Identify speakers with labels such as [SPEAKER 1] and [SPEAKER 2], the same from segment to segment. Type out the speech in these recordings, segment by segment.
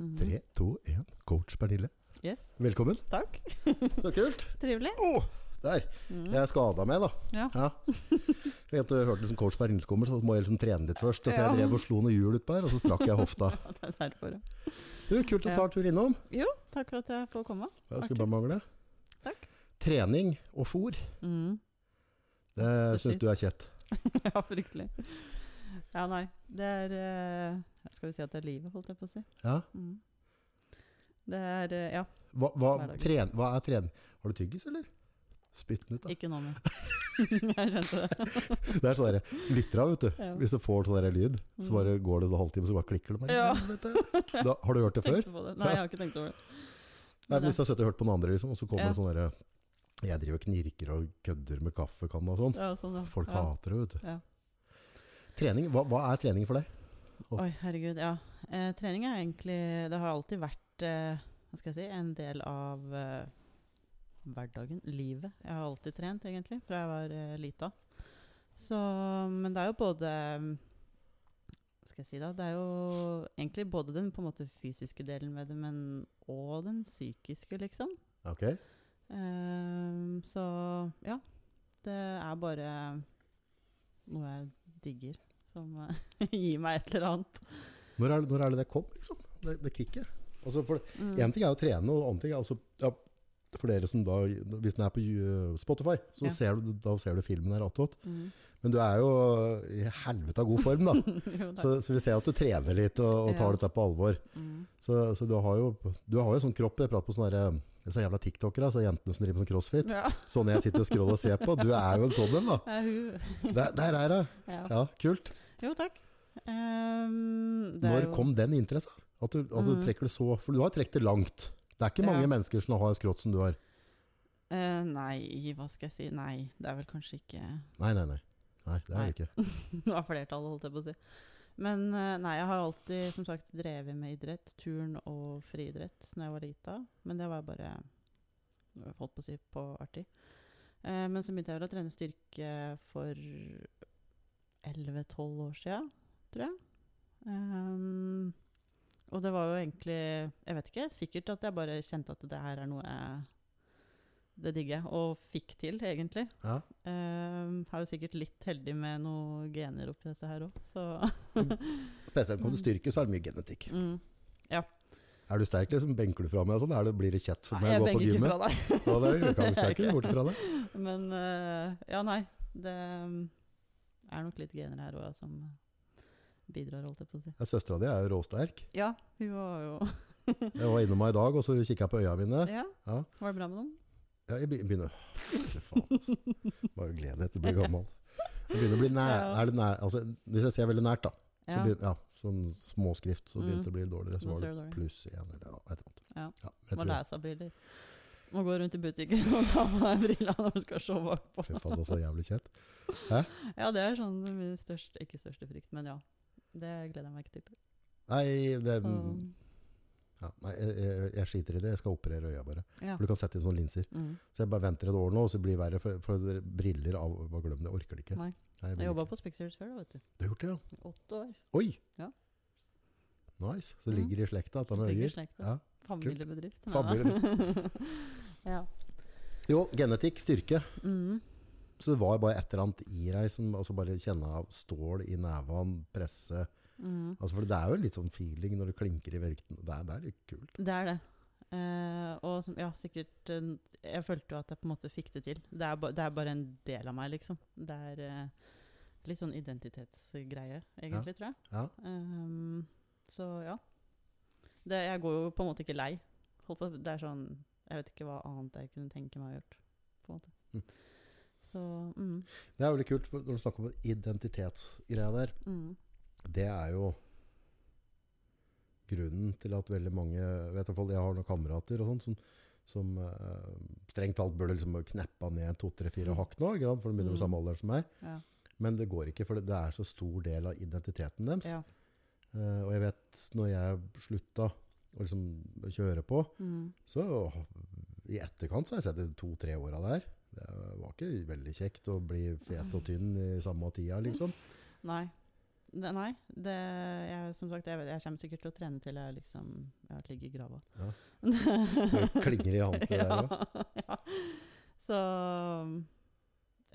[SPEAKER 1] Mhm.
[SPEAKER 2] Tre, to, én. Coach Pernille.
[SPEAKER 1] Yes.
[SPEAKER 2] Mm. Velkommen.
[SPEAKER 1] Takk.
[SPEAKER 2] Så kult.
[SPEAKER 1] Trivelig. Mhm.
[SPEAKER 2] Åh, der. Jeg skada meg, da.
[SPEAKER 1] Ja.
[SPEAKER 2] Jeg hadde hørt liksom coach Pernille kommer, så må jeg liksom trene litt først. Og så
[SPEAKER 1] Ja.
[SPEAKER 2] jeg drev og slo noe hjul utpå her, og så strakk jeg hofta.
[SPEAKER 1] Ja, det er derfor. ja.
[SPEAKER 2] Du, kult å ta en tur innom.
[SPEAKER 1] Jo, takk for at jeg får komme.
[SPEAKER 2] Jeg
[SPEAKER 1] Artig.
[SPEAKER 2] skulle bare mangle.
[SPEAKER 1] Takk.
[SPEAKER 2] Trening og fôr, Mhm.
[SPEAKER 1] Mm.
[SPEAKER 2] det
[SPEAKER 1] That's the
[SPEAKER 2] syns
[SPEAKER 1] shit.
[SPEAKER 2] du er kjett.
[SPEAKER 1] Ja, fryktelig. Ja, nei. Det er eh, Skal vi si at det er livet, holdt jeg på å si.
[SPEAKER 2] Ja.
[SPEAKER 1] Mm. Det er eh, Ja,
[SPEAKER 2] Hva, hva,
[SPEAKER 1] Hverdagen.
[SPEAKER 2] tren, hva er trening? Har du tyggis, eller? Spytt den ut, da.
[SPEAKER 1] ikke nå mer. jeg skjønte det.
[SPEAKER 2] Det er sånn der, lytter av, vet du.
[SPEAKER 1] Ja.
[SPEAKER 2] Hvis du får sånn der lyd, så
[SPEAKER 1] Mm.
[SPEAKER 2] bare går det en halvtime, så bare klikker det. Bare,
[SPEAKER 1] Ja.
[SPEAKER 2] helvete. da, har du hørt det før?
[SPEAKER 1] Tenkte på det. Nei, jeg har ikke tenkt over det.
[SPEAKER 2] Nei, men Hvis du har sittet og hørt på noen andre, liksom, og så kommer
[SPEAKER 1] Ja.
[SPEAKER 2] det sånn derre Jeg driver og knirker og kødder med kaffekanna og sånn.
[SPEAKER 1] Ja, sånn, ja.
[SPEAKER 2] Folk
[SPEAKER 1] ja.
[SPEAKER 2] hater det, vet du.
[SPEAKER 1] Ja.
[SPEAKER 2] Trening, hva, hva er trening for deg?
[SPEAKER 1] Oi, herregud, ja. Eh, trening er egentlig Det har alltid vært eh, hva skal jeg si, en del av eh, hverdagen, livet. Jeg har alltid trent, egentlig, fra jeg var eh, lita. Så Men det er jo både mm, Hva skal jeg si, da? Det er jo egentlig både den på en måte fysiske delen med det, men og den psykiske, liksom.
[SPEAKER 2] Ok,
[SPEAKER 1] Eh, så ja. Det er bare noe jeg digger, som eh, gir meg et eller annet.
[SPEAKER 2] Når er, det- når er det det kom, liksom? Det, det kicket? Altså, for
[SPEAKER 1] Mm.
[SPEAKER 2] Én ting er å trene, og annen ting er altså ja, For dere som da Hvis den er på eh, Spotify, så
[SPEAKER 1] Ja.
[SPEAKER 2] ser du, da ser du filmen her attåt.
[SPEAKER 1] Mm.
[SPEAKER 2] Men du er jo i helvete av god form, da.
[SPEAKER 1] Jo, da.
[SPEAKER 2] Så, så vi ser at du trener litt og, og tar
[SPEAKER 1] Ja.
[SPEAKER 2] dette på alvor.
[SPEAKER 1] Mm.
[SPEAKER 2] Så, så du har jo Du har jo sånn kropp Jeg prater på sånne der, eh, så jævla tiktokere, altså jentene som driver med sånn crossfit.
[SPEAKER 1] Ja,
[SPEAKER 2] Sånn jeg sitter og scroller og ser på. Du er jo en sånn en, da.
[SPEAKER 1] er hun.
[SPEAKER 2] Der, der er hun.
[SPEAKER 1] Ja.
[SPEAKER 2] Ja, kult.
[SPEAKER 1] Jo, takk. Ehm, det er
[SPEAKER 2] Når
[SPEAKER 1] jo-
[SPEAKER 2] kom den interessa? At du, altså, du
[SPEAKER 1] Mhm.
[SPEAKER 2] trekker det så For du har trukket det langt. Det er ikke mange
[SPEAKER 1] Ja.
[SPEAKER 2] mennesker som har skrått som du har.
[SPEAKER 1] Eh, nei, hva skal jeg si? Nei, det er vel kanskje ikke
[SPEAKER 2] Nei, nei, nei. Nei, det er
[SPEAKER 1] Nei.
[SPEAKER 2] det ikke.
[SPEAKER 1] Det var flertallet, holdt jeg på å si. Men eh, nei, jeg har alltid som sagt drevet med idrett. Turn og friidrett når jeg var lita. Men det var bare holdt på å si på artig. Eh, Men så begynte jeg vel å trene styrke for 11-12 år sia, tror jeg. Ehm, og det var jo egentlig Jeg vet ikke, sikkert at jeg bare kjente at det her er noe jeg det digger jeg, og fikk til, egentlig.
[SPEAKER 2] Ja.
[SPEAKER 1] Um, er jo sikkert litt heldig med noen gener oppi dette her òg, så
[SPEAKER 2] Spesielt om du styrker, så er det mye genetikk.
[SPEAKER 1] mm.
[SPEAKER 2] Er du sterk, liksom, benker du fra meg og sånn? Er det, blir det kjett for
[SPEAKER 1] Nei,
[SPEAKER 2] meg å
[SPEAKER 1] jeg
[SPEAKER 2] gå på
[SPEAKER 1] begge ikke
[SPEAKER 2] gymmet?
[SPEAKER 1] fra deg.
[SPEAKER 2] Ja, det er, jeg kan jeg
[SPEAKER 1] Jeg
[SPEAKER 2] ikke se bort fra det.
[SPEAKER 1] Men eh, ja, nei. Det um, er nok litt gener her òg som eh, bidrar, holdt jeg på å si.
[SPEAKER 2] Ja, Søstera di er jo råsterk.
[SPEAKER 1] Ja, hun var jo
[SPEAKER 2] Jeg var innom meg i dag, og så kikka jeg på øya mine.
[SPEAKER 1] Ja,
[SPEAKER 2] Ja.
[SPEAKER 1] var det bra med noen?
[SPEAKER 2] Ja, jeg be- begynner Fy faen, altså. Bare glede etter å bli gammel. Jeg begynner å bli nær,
[SPEAKER 1] Ja.
[SPEAKER 2] er det nær altså, Hvis jeg ser veldig nært, da, så
[SPEAKER 1] Ja. Mm.
[SPEAKER 2] begynner, ja, sånn småskrift, så begynte det å bli dårligere. Så
[SPEAKER 1] Nå
[SPEAKER 2] var
[SPEAKER 1] ser
[SPEAKER 2] det
[SPEAKER 1] du dårlig.
[SPEAKER 2] pluss én eller ja, et eller annet.
[SPEAKER 1] Ja.
[SPEAKER 2] Ja,
[SPEAKER 1] Må
[SPEAKER 2] jeg tror det.
[SPEAKER 1] lese av briller. Må gå rundt i butikken og ta på deg brilla når du skal se bakpå.
[SPEAKER 2] Fy faen, det er så jævlig kjett.
[SPEAKER 1] Ja, det er sånn min største Ikke største frykt, men ja. Det gleder jeg meg ikke til.
[SPEAKER 2] Nei, det,
[SPEAKER 1] Så,
[SPEAKER 2] ja, nei jeg, jeg, jeg skiter i det. Jeg skal operere øya, bare.
[SPEAKER 1] ja.
[SPEAKER 2] For du kan sette inn sånne linser.
[SPEAKER 1] Mm.
[SPEAKER 2] Så jeg bare venter et år nå, og så blir det verre. For, for briller av Bare glem det. Jeg orker det ikke.
[SPEAKER 1] Nei.
[SPEAKER 2] Nei, jeg vil
[SPEAKER 1] Jeg jobba
[SPEAKER 2] ikke.
[SPEAKER 1] på Spixers før, da, vet du.
[SPEAKER 2] Du har gjort det, ja?
[SPEAKER 1] I åtte år.
[SPEAKER 2] Oi!
[SPEAKER 1] Ja.
[SPEAKER 2] Nice. Så det
[SPEAKER 1] Mm.
[SPEAKER 2] ligger i slekta, dette med
[SPEAKER 1] Ligger i
[SPEAKER 2] øyer.
[SPEAKER 1] slekta.
[SPEAKER 2] Ja.
[SPEAKER 1] Familiebedrift. nei da. ja.
[SPEAKER 2] Jo, genetikk, styrke.
[SPEAKER 1] Mm.
[SPEAKER 2] Så det var bare et eller annet i deg som altså bare kjenne av stål i nevene, presse
[SPEAKER 1] Mm.
[SPEAKER 2] altså, For det er jo litt sånn feeling når det klinker i verkten. Det er, det er litt kult.
[SPEAKER 1] Det er det. Eh, og som, ja, sikkert eh, Jeg følte jo at jeg på en måte fikk det til. Det er, ba, det er bare en del av meg, liksom. Det er eh, litt sånn identitetsgreie, egentlig, tror jeg.
[SPEAKER 2] Ja.
[SPEAKER 1] Ehm, så ja. Det, jeg går jo på en måte ikke lei. Holdt på, det er sånn Jeg vet ikke hva annet jeg kunne tenke meg å gjøre, på en måte.
[SPEAKER 2] Mm.
[SPEAKER 1] Så mm,
[SPEAKER 2] Det er jo litt kult for når du snakker om identitetsgreia der.
[SPEAKER 1] mm,
[SPEAKER 2] Det er jo grunnen til at veldig mange vet du, i hvert fall Jeg har noen kamerater og sånn som, som eh, strengt talt burde liksom kneppa ned to, tre, fire hakk nå, ikke sant? for de begynner å bli
[SPEAKER 1] Mm.
[SPEAKER 2] samme alder som meg.
[SPEAKER 1] ja,
[SPEAKER 2] Men det går ikke, for det, det er så stor del av identiteten deres.
[SPEAKER 1] ja,
[SPEAKER 2] Eh, og jeg vet, når jeg slutta å liksom kjøre på,
[SPEAKER 1] mm,
[SPEAKER 2] så i etterkant så har jeg sett de to-tre åra der. Det var ikke veldig kjekt å bli fet og tynn i samme tida, liksom.
[SPEAKER 1] Nei. Det, nei. Det, jeg, som sagt, jeg, vet- jeg kommer sikkert til å trene til jeg liksom jeg ligger i grava.
[SPEAKER 2] Ja. klinger i hånden til deg,
[SPEAKER 1] ja, ja. Så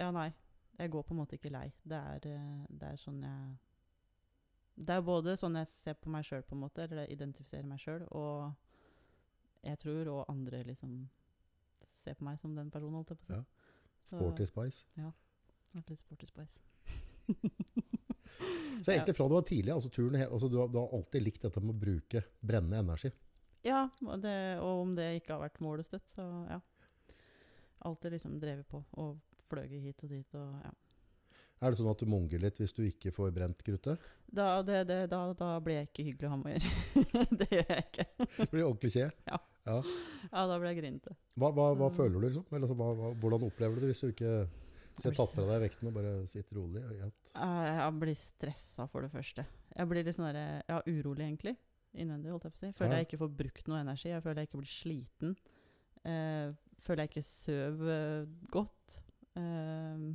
[SPEAKER 1] Ja, nei. Jeg går på en måte ikke lei. Det er, eh, det er sånn jeg Det er både sånn jeg ser på meg sjøl, på en måte, eller identifiserer meg sjøl, og jeg tror òg andre liksom ser på meg som den personen, holdt jeg på å si.
[SPEAKER 2] Ja.
[SPEAKER 1] Så-
[SPEAKER 2] Sporty Spice.
[SPEAKER 1] det er Litt sporty spice.
[SPEAKER 2] Så egentlig fra du var tidlig, altså turen, he- altså du, har, du har alltid likt dette med å bruke brennende energi.
[SPEAKER 1] Ja, og, det, og om det ikke har vært målet støtt, så ja. Alltid liksom drevet på og fløyet hit og dit og ja.
[SPEAKER 2] Er det sånn at du munger litt hvis du ikke får brent kruttet?
[SPEAKER 1] Da, det, det, da, da blir jeg ikke hyggelig å ha med å gjøre. det gjør jeg ikke.
[SPEAKER 2] Det blir ordentlig kje.
[SPEAKER 1] Ja, da blir jeg grinete.
[SPEAKER 2] Hva, hva, hva
[SPEAKER 1] Så-
[SPEAKER 2] føler du, liksom? Eller, altså, hva, hva, hvordan opplever du det hvis du ikke hvis jeg tatt fra deg vekten og bare sitter rolig? og gjett?
[SPEAKER 1] Eh, Jeg blir stressa, for det første. Jeg blir litt sånn der, ja, urolig, egentlig. Innvendig, holdt jeg på å si. Føler
[SPEAKER 2] Ja.
[SPEAKER 1] jeg ikke får brukt noe energi. Jeg føler jeg ikke blir sliten. Eh, føler jeg ikke søv eh, godt. Eh,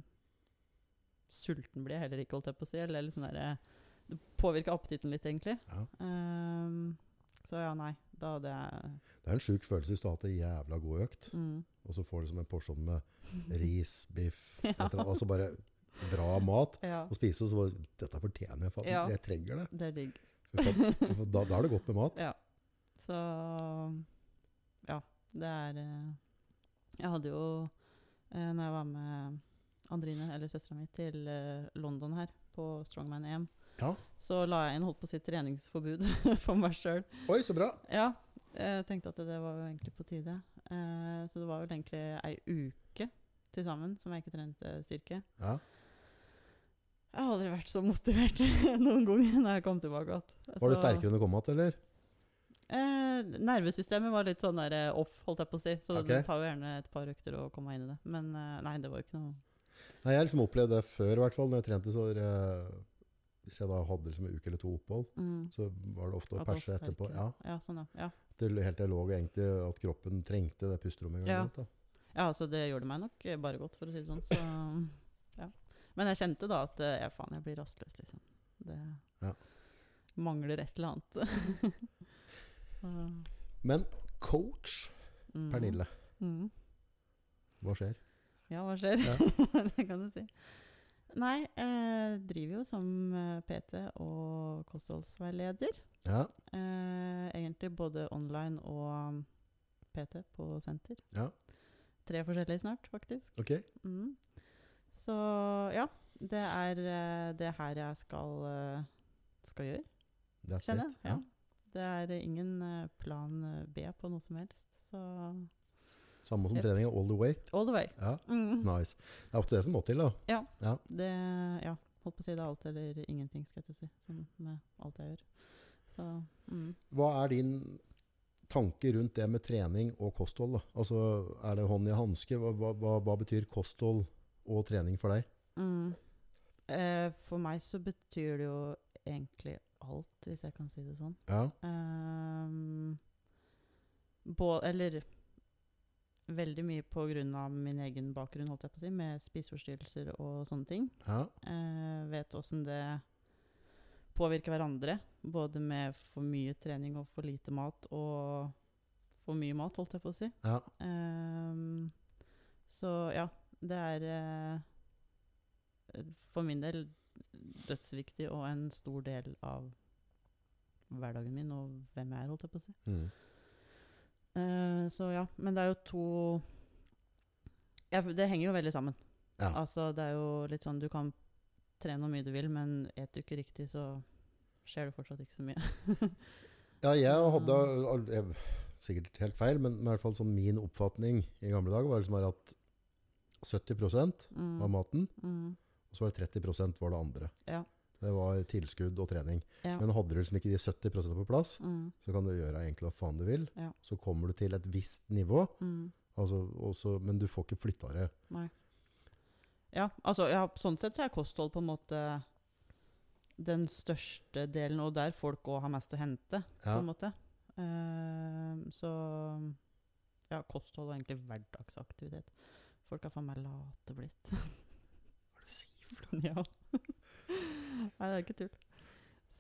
[SPEAKER 1] sulten blir jeg heller ikke, holdt jeg på å si. Eller litt sånn der, eh, det påvirker appetitten litt, egentlig.
[SPEAKER 2] Ja.
[SPEAKER 1] Eh, så ja, nei. Da det er
[SPEAKER 2] Det er en sjuk følelse hvis du har hatt en jævla god økt,
[SPEAKER 1] mm.
[SPEAKER 2] og så får du som en porsjon med ris, biff, et eller annet, altså bare bra mat.
[SPEAKER 1] Ja.
[SPEAKER 2] Og spise, og så bare Dette fortjener jeg, faen.
[SPEAKER 1] Ja.
[SPEAKER 2] Jeg trenger det.
[SPEAKER 1] Det er digg.
[SPEAKER 2] For Da, da er det godt med mat.
[SPEAKER 1] Ja. Så Ja, det er eh, Jeg hadde jo eh, Når jeg var med Andrine, eller søstera mi, til eh, London her på Strongman EM,
[SPEAKER 2] Ja.
[SPEAKER 1] så la jeg inn holdt på å si treningsforbud for meg sjøl.
[SPEAKER 2] Oi, så bra!
[SPEAKER 1] Ja, jeg tenkte at det var jo egentlig på tide. Eh, så det var vel egentlig ei uke til sammen som jeg ikke trente styrke.
[SPEAKER 2] Ja.
[SPEAKER 1] Jeg har aldri vært så motivert noen gang når jeg kom tilbake igjen.
[SPEAKER 2] Var det
[SPEAKER 1] Så-
[SPEAKER 2] sterkere enn du kom att, eller?
[SPEAKER 1] Eh, nervesystemet var litt sånn der eh, off, holdt jeg på å si. Så
[SPEAKER 2] Ok.
[SPEAKER 1] det tar jo gjerne et par økter å komme meg inn i det. Men eh, nei, det var jo ikke noe
[SPEAKER 2] Nei, jeg har liksom opplevd det før, i hvert fall. Når jeg trente, så eh, Hvis jeg da hadde liksom en uke eller to opphold,
[SPEAKER 1] mm,
[SPEAKER 2] så var det ofte å
[SPEAKER 1] at det var
[SPEAKER 2] perse etterpå.
[SPEAKER 1] sterkere.
[SPEAKER 2] Ja,
[SPEAKER 1] ja, sånn, ja. ja.
[SPEAKER 2] til, Helt til jeg lå og egentlig at kroppen trengte det pusterommet.
[SPEAKER 1] Ja.
[SPEAKER 2] Ja.
[SPEAKER 1] Ja, altså det gjorde meg nok eh, bare godt, for å si det sånn. Så, ja. Men jeg kjente da at eh, ja, faen, jeg blir rastløs, liksom. Det
[SPEAKER 2] Ja.
[SPEAKER 1] mangler et eller annet. så,
[SPEAKER 2] Men coach
[SPEAKER 1] mm,
[SPEAKER 2] Pernille,
[SPEAKER 1] Mm.
[SPEAKER 2] hva skjer?
[SPEAKER 1] Ja, hva skjer?
[SPEAKER 2] Ja.
[SPEAKER 1] det kan du si. Nei, eh, driver jo som eh, PT og kostholdsveileder.
[SPEAKER 2] Ja,
[SPEAKER 1] Eh, egentlig både online og PT på senter.
[SPEAKER 2] Ja.
[SPEAKER 1] Tre forskjellige snart, faktisk.
[SPEAKER 2] ok.
[SPEAKER 1] Mm. Så ja, det er eh, det her jeg skal, eh, skal gjøre,
[SPEAKER 2] That's
[SPEAKER 1] kjenner jeg.
[SPEAKER 2] it.
[SPEAKER 1] Ja. Det er eh, ingen eh, plan eh, B på noe som helst. Så
[SPEAKER 2] Samme som
[SPEAKER 1] Yep.
[SPEAKER 2] treninga, all the way.
[SPEAKER 1] all the way.
[SPEAKER 2] Ja,
[SPEAKER 1] Mm.
[SPEAKER 2] nice. Det er ofte det som må til, da.
[SPEAKER 1] Det Ja, holdt på å si det er alt eller ingenting, skal jeg til å si. Som med alt jeg gjør. Så mm.
[SPEAKER 2] Hva er din tanke rundt det med trening og kosthold? Da? Altså, er det hånd i hanske? Hva, hva, hva, hva betyr kosthold og trening for deg?
[SPEAKER 1] Mm. Eh, for meg så betyr det jo egentlig alt, hvis jeg kan si det sånn.
[SPEAKER 2] Ja,
[SPEAKER 1] Ehm, bå- eller veldig mye på grunn av min egen bakgrunn, holdt jeg på å si, med spiseforstyrrelser og sånne ting.
[SPEAKER 2] ja,
[SPEAKER 1] Eh, vet åssen det påvirker hverandre. Både med for mye trening og for lite mat, og for mye mat, holdt jeg på å si.
[SPEAKER 2] ja.
[SPEAKER 1] Ehm, så ja, det er eh, for min del dødsviktig og en stor del av hverdagen min og hvem jeg er, holdt jeg på å si.
[SPEAKER 2] Mm.
[SPEAKER 1] Eh, så ja, men det er jo to ja, for Det henger jo veldig sammen.
[SPEAKER 2] Ja.
[SPEAKER 1] Altså, det er jo litt sånn Du kan trene hvor mye du vil, men et du ikke riktig, så skjer det fortsatt ikke så mye.
[SPEAKER 2] ja jeg hadde al- jeg, sikkert helt feil, men i hvert fall sånn min oppfatning i gamle dager var liksom bare at 70
[SPEAKER 1] Mm,
[SPEAKER 2] var maten,
[SPEAKER 1] mm,
[SPEAKER 2] og så var det 30 var det andre.
[SPEAKER 1] Ja.
[SPEAKER 2] Det var tilskudd og trening.
[SPEAKER 1] Ja.
[SPEAKER 2] Men hadde du liksom ikke de 70 på plass,
[SPEAKER 1] mm,
[SPEAKER 2] så kan du gjøre egentlig hva faen du vil.
[SPEAKER 1] Ja.
[SPEAKER 2] Så kommer du til et visst nivå,
[SPEAKER 1] mm.
[SPEAKER 2] altså, og så- men du får ikke flytta det
[SPEAKER 1] Ja, altså ja, sånn sett så er kosthold på en måte den største delen, og der folk òg har mest å hente, på
[SPEAKER 2] Ja.
[SPEAKER 1] en måte. Eh, så ja, kosthold og egentlig hverdagsaktivitet. Folk er faen meg late blitt. Hva er det du sier for noe? ja. Nei, det er ikke tull.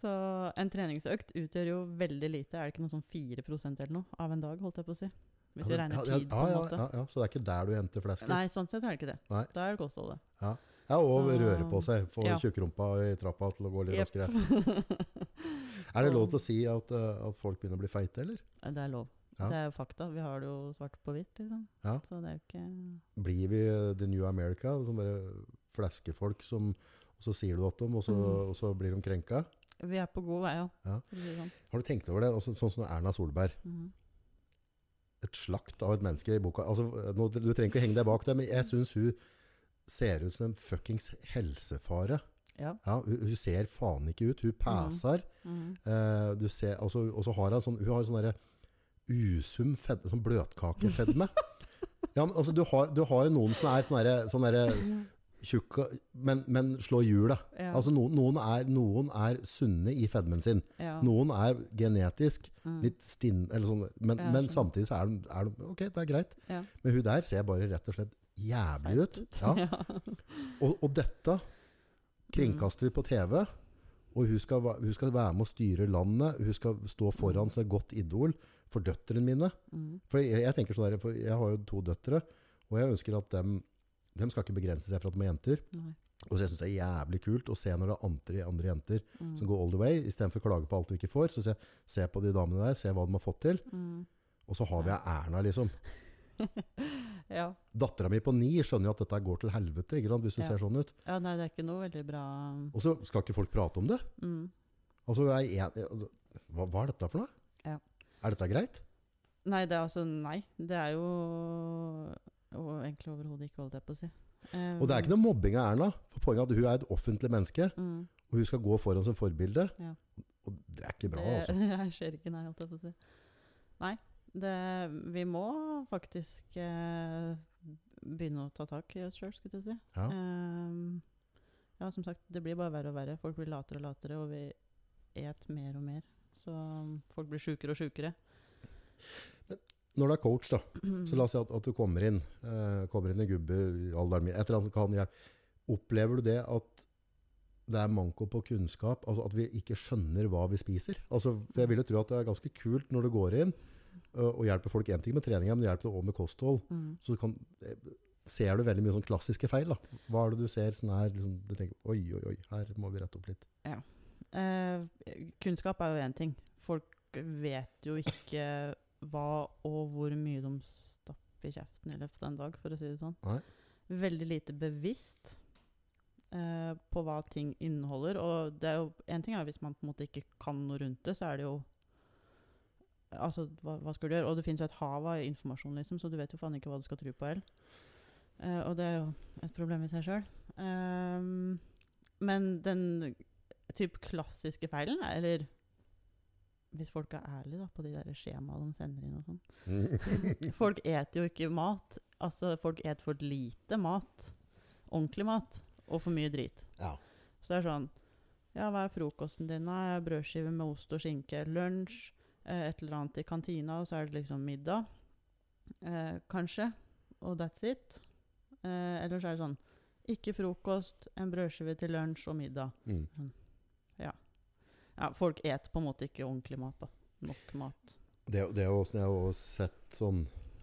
[SPEAKER 1] Så en treningsøkt utgjør jo veldig lite. Er det ikke noe sånn 4 eller noe av en dag, holdt jeg på å si? Hvis vi
[SPEAKER 2] Ja, men-
[SPEAKER 1] regner
[SPEAKER 2] ja,
[SPEAKER 1] tid, på
[SPEAKER 2] ja,
[SPEAKER 1] en
[SPEAKER 2] ja,
[SPEAKER 1] måte.
[SPEAKER 2] Ja, ja, så det er ikke der du henter flesket?
[SPEAKER 1] Nei, sånn sett er det ikke det.
[SPEAKER 2] Nei.
[SPEAKER 1] Da er det kostholdet.
[SPEAKER 2] Ja, og
[SPEAKER 1] Så-
[SPEAKER 2] røre på seg. Få
[SPEAKER 1] Ja.
[SPEAKER 2] tjukkrumpa i trappa til å gå litt
[SPEAKER 1] Jep.
[SPEAKER 2] raskere. Er det lov til å si at, eh, at folk begynner å bli feite, eller?
[SPEAKER 1] det er lov.
[SPEAKER 2] Ja.
[SPEAKER 1] Det er jo fakta. Vi har det jo svart på hvitt, liksom.
[SPEAKER 2] Ja.
[SPEAKER 1] Så det er jo ikke
[SPEAKER 2] Blir vi eh, The New America? Som bare fleskefolk som Og så sier du at dem, og så,
[SPEAKER 1] Mhm.
[SPEAKER 2] og så blir de krenka?
[SPEAKER 1] Vi er på god vei, ja.
[SPEAKER 2] Ja.
[SPEAKER 1] for å si det Sånn.
[SPEAKER 2] Har du tenkt over det? Altså, sånn som Erna Solberg.
[SPEAKER 1] Mhm.
[SPEAKER 2] Et slakt av et menneske i boka. Altså, nå, du trenger ikke å henge deg bak det, men jeg syns hun ser ut som en fuckings helsefare.
[SPEAKER 1] Ja.
[SPEAKER 2] Ja, hun, hun ser faen ikke ut. Hun pæser.
[SPEAKER 1] Mhm.
[SPEAKER 2] Eh, du ser, altså, og så har hun sånn, hun har sånn derre usum fedme, sånn bløtkakefedme. ja, men, altså, du, har, du har jo noen som er sånn derre- sånn derre tjukka, men, men slår hjula.
[SPEAKER 1] ja.
[SPEAKER 2] Altså, noen, noen, er, noen er sunne i fedmen sin.
[SPEAKER 1] ja.
[SPEAKER 2] Noen er genetisk
[SPEAKER 1] Mhm.
[SPEAKER 2] litt stinn, eller sånn, men,
[SPEAKER 1] Ja, jeg
[SPEAKER 2] men
[SPEAKER 1] skjønner.
[SPEAKER 2] samtidig så er de, er de Ok, det er greit.
[SPEAKER 1] Ja.
[SPEAKER 2] Men hun der ser bare rett og slett jævlig
[SPEAKER 1] Feit
[SPEAKER 2] ut. Ja. Og, og dette kringkaster vi på TV, og hun skal, va- hun skal være med å styre landet. Hun skal stå foran som et godt idol for døtrene mine.
[SPEAKER 1] Mhm.
[SPEAKER 2] For jeg, jeg tenker sånn der, for jeg har jo to døtre, og jeg ønsker at dem, dem skal ikke begrense seg for at de er jenter.
[SPEAKER 1] Nei.
[SPEAKER 2] Og så jeg syns det er jævlig kult å se når det er andre, andre jenter
[SPEAKER 1] Mhm.
[SPEAKER 2] som går all the way. Istedenfor å klage på alt du ikke får, så se, se på de damene der, se hva de har fått til.
[SPEAKER 1] Mhm.
[SPEAKER 2] Og så har vi Erna, liksom.
[SPEAKER 1] ja.
[SPEAKER 2] Dattera mi på ni skjønner jo at dette går til helvete, ikke sant, hvis du
[SPEAKER 1] Ja.
[SPEAKER 2] ser sånn ut.
[SPEAKER 1] ja. Nei, det er ikke noe veldig bra
[SPEAKER 2] Og så skal ikke folk prate om det.
[SPEAKER 1] mm.
[SPEAKER 2] Altså, jeg er en, altså hva, hva er dette for noe?
[SPEAKER 1] Ja.
[SPEAKER 2] Er dette greit?
[SPEAKER 1] Nei, det er altså Nei. Det er jo og egentlig overhodet ikke, holdt jeg på å si.
[SPEAKER 2] Og det er ikke noe mobbing av Erna. For Poenget er at hun er et offentlig menneske,
[SPEAKER 1] mm.
[SPEAKER 2] og hun skal gå foran som forbilde.
[SPEAKER 1] Ja.
[SPEAKER 2] Og det er ikke bra,
[SPEAKER 1] det,
[SPEAKER 2] altså.
[SPEAKER 1] Det skjer ikke, nei, holdt jeg på å si. Nei. Det, vi må faktisk eh, begynne å ta tak i oss sjøl, skulle jeg til å si.
[SPEAKER 2] Ja.
[SPEAKER 1] Ehm, ja, som sagt, det blir bare verre og verre. Folk blir latere og latere, og vi et mer og mer. Så um, folk blir sjukere og sjukere.
[SPEAKER 2] Når du er coach, da, så la oss si at, at du kommer inn eh, kommer inn en gubbe i alderen min, et eller annet som kan hjelpe. Opplever du det at det er manko på kunnskap? Altså at vi ikke skjønner hva vi spiser? Altså, for jeg vil jo tro at det er ganske kult når du går inn eh, og hjelper folk én ting med treninga, men du hjelper også med kosthold.
[SPEAKER 1] Mm.
[SPEAKER 2] Så du kan, eh, ser du veldig mye sånn klassiske feil. da. Hva er det du ser sånn her? Liksom, du tenker oi, oi, oi, her må vi rette opp litt.
[SPEAKER 1] Eh, kunnskap er jo én ting. Folk vet jo ikke hva og hvor mye de stapper i kjeften i løpet av en dag, for å si det sånn.
[SPEAKER 2] Nei.
[SPEAKER 1] Veldig lite bevisst eh, på hva ting inneholder. Og det er jo én ting er jo hvis man på en måte ikke kan noe rundt det, så er det jo Altså, hva, hva skal du gjøre? Og det finnes jo et hav av informasjon, liksom, så du vet jo faen ikke hva du skal tro på heller. Eh, og det er jo et problem i seg sjøl. men den typ klassiske feilen, eller hvis folk er ærlige da, på de der skjemaene de sender inn og sånn. Folk et jo ikke mat. Altså, folk et for lite mat. Ordentlig mat. Og for mye drit.
[SPEAKER 2] ja.
[SPEAKER 1] Så det er sånn Ja, hva er frokosten din? Nei, brødskive med ost og skinke. Lunsj. Eh, et eller annet i kantina, og så er det liksom middag. Eh, kanskje. Og that's it. Eh, eller så er det sånn Ikke frokost, en brødskive til lunsj og middag.
[SPEAKER 2] Mm.
[SPEAKER 1] Ja, folk et på en måte ikke ordentlig mat, da. Nok mat.
[SPEAKER 2] Det, det er jo åssen jeg har også sett sånn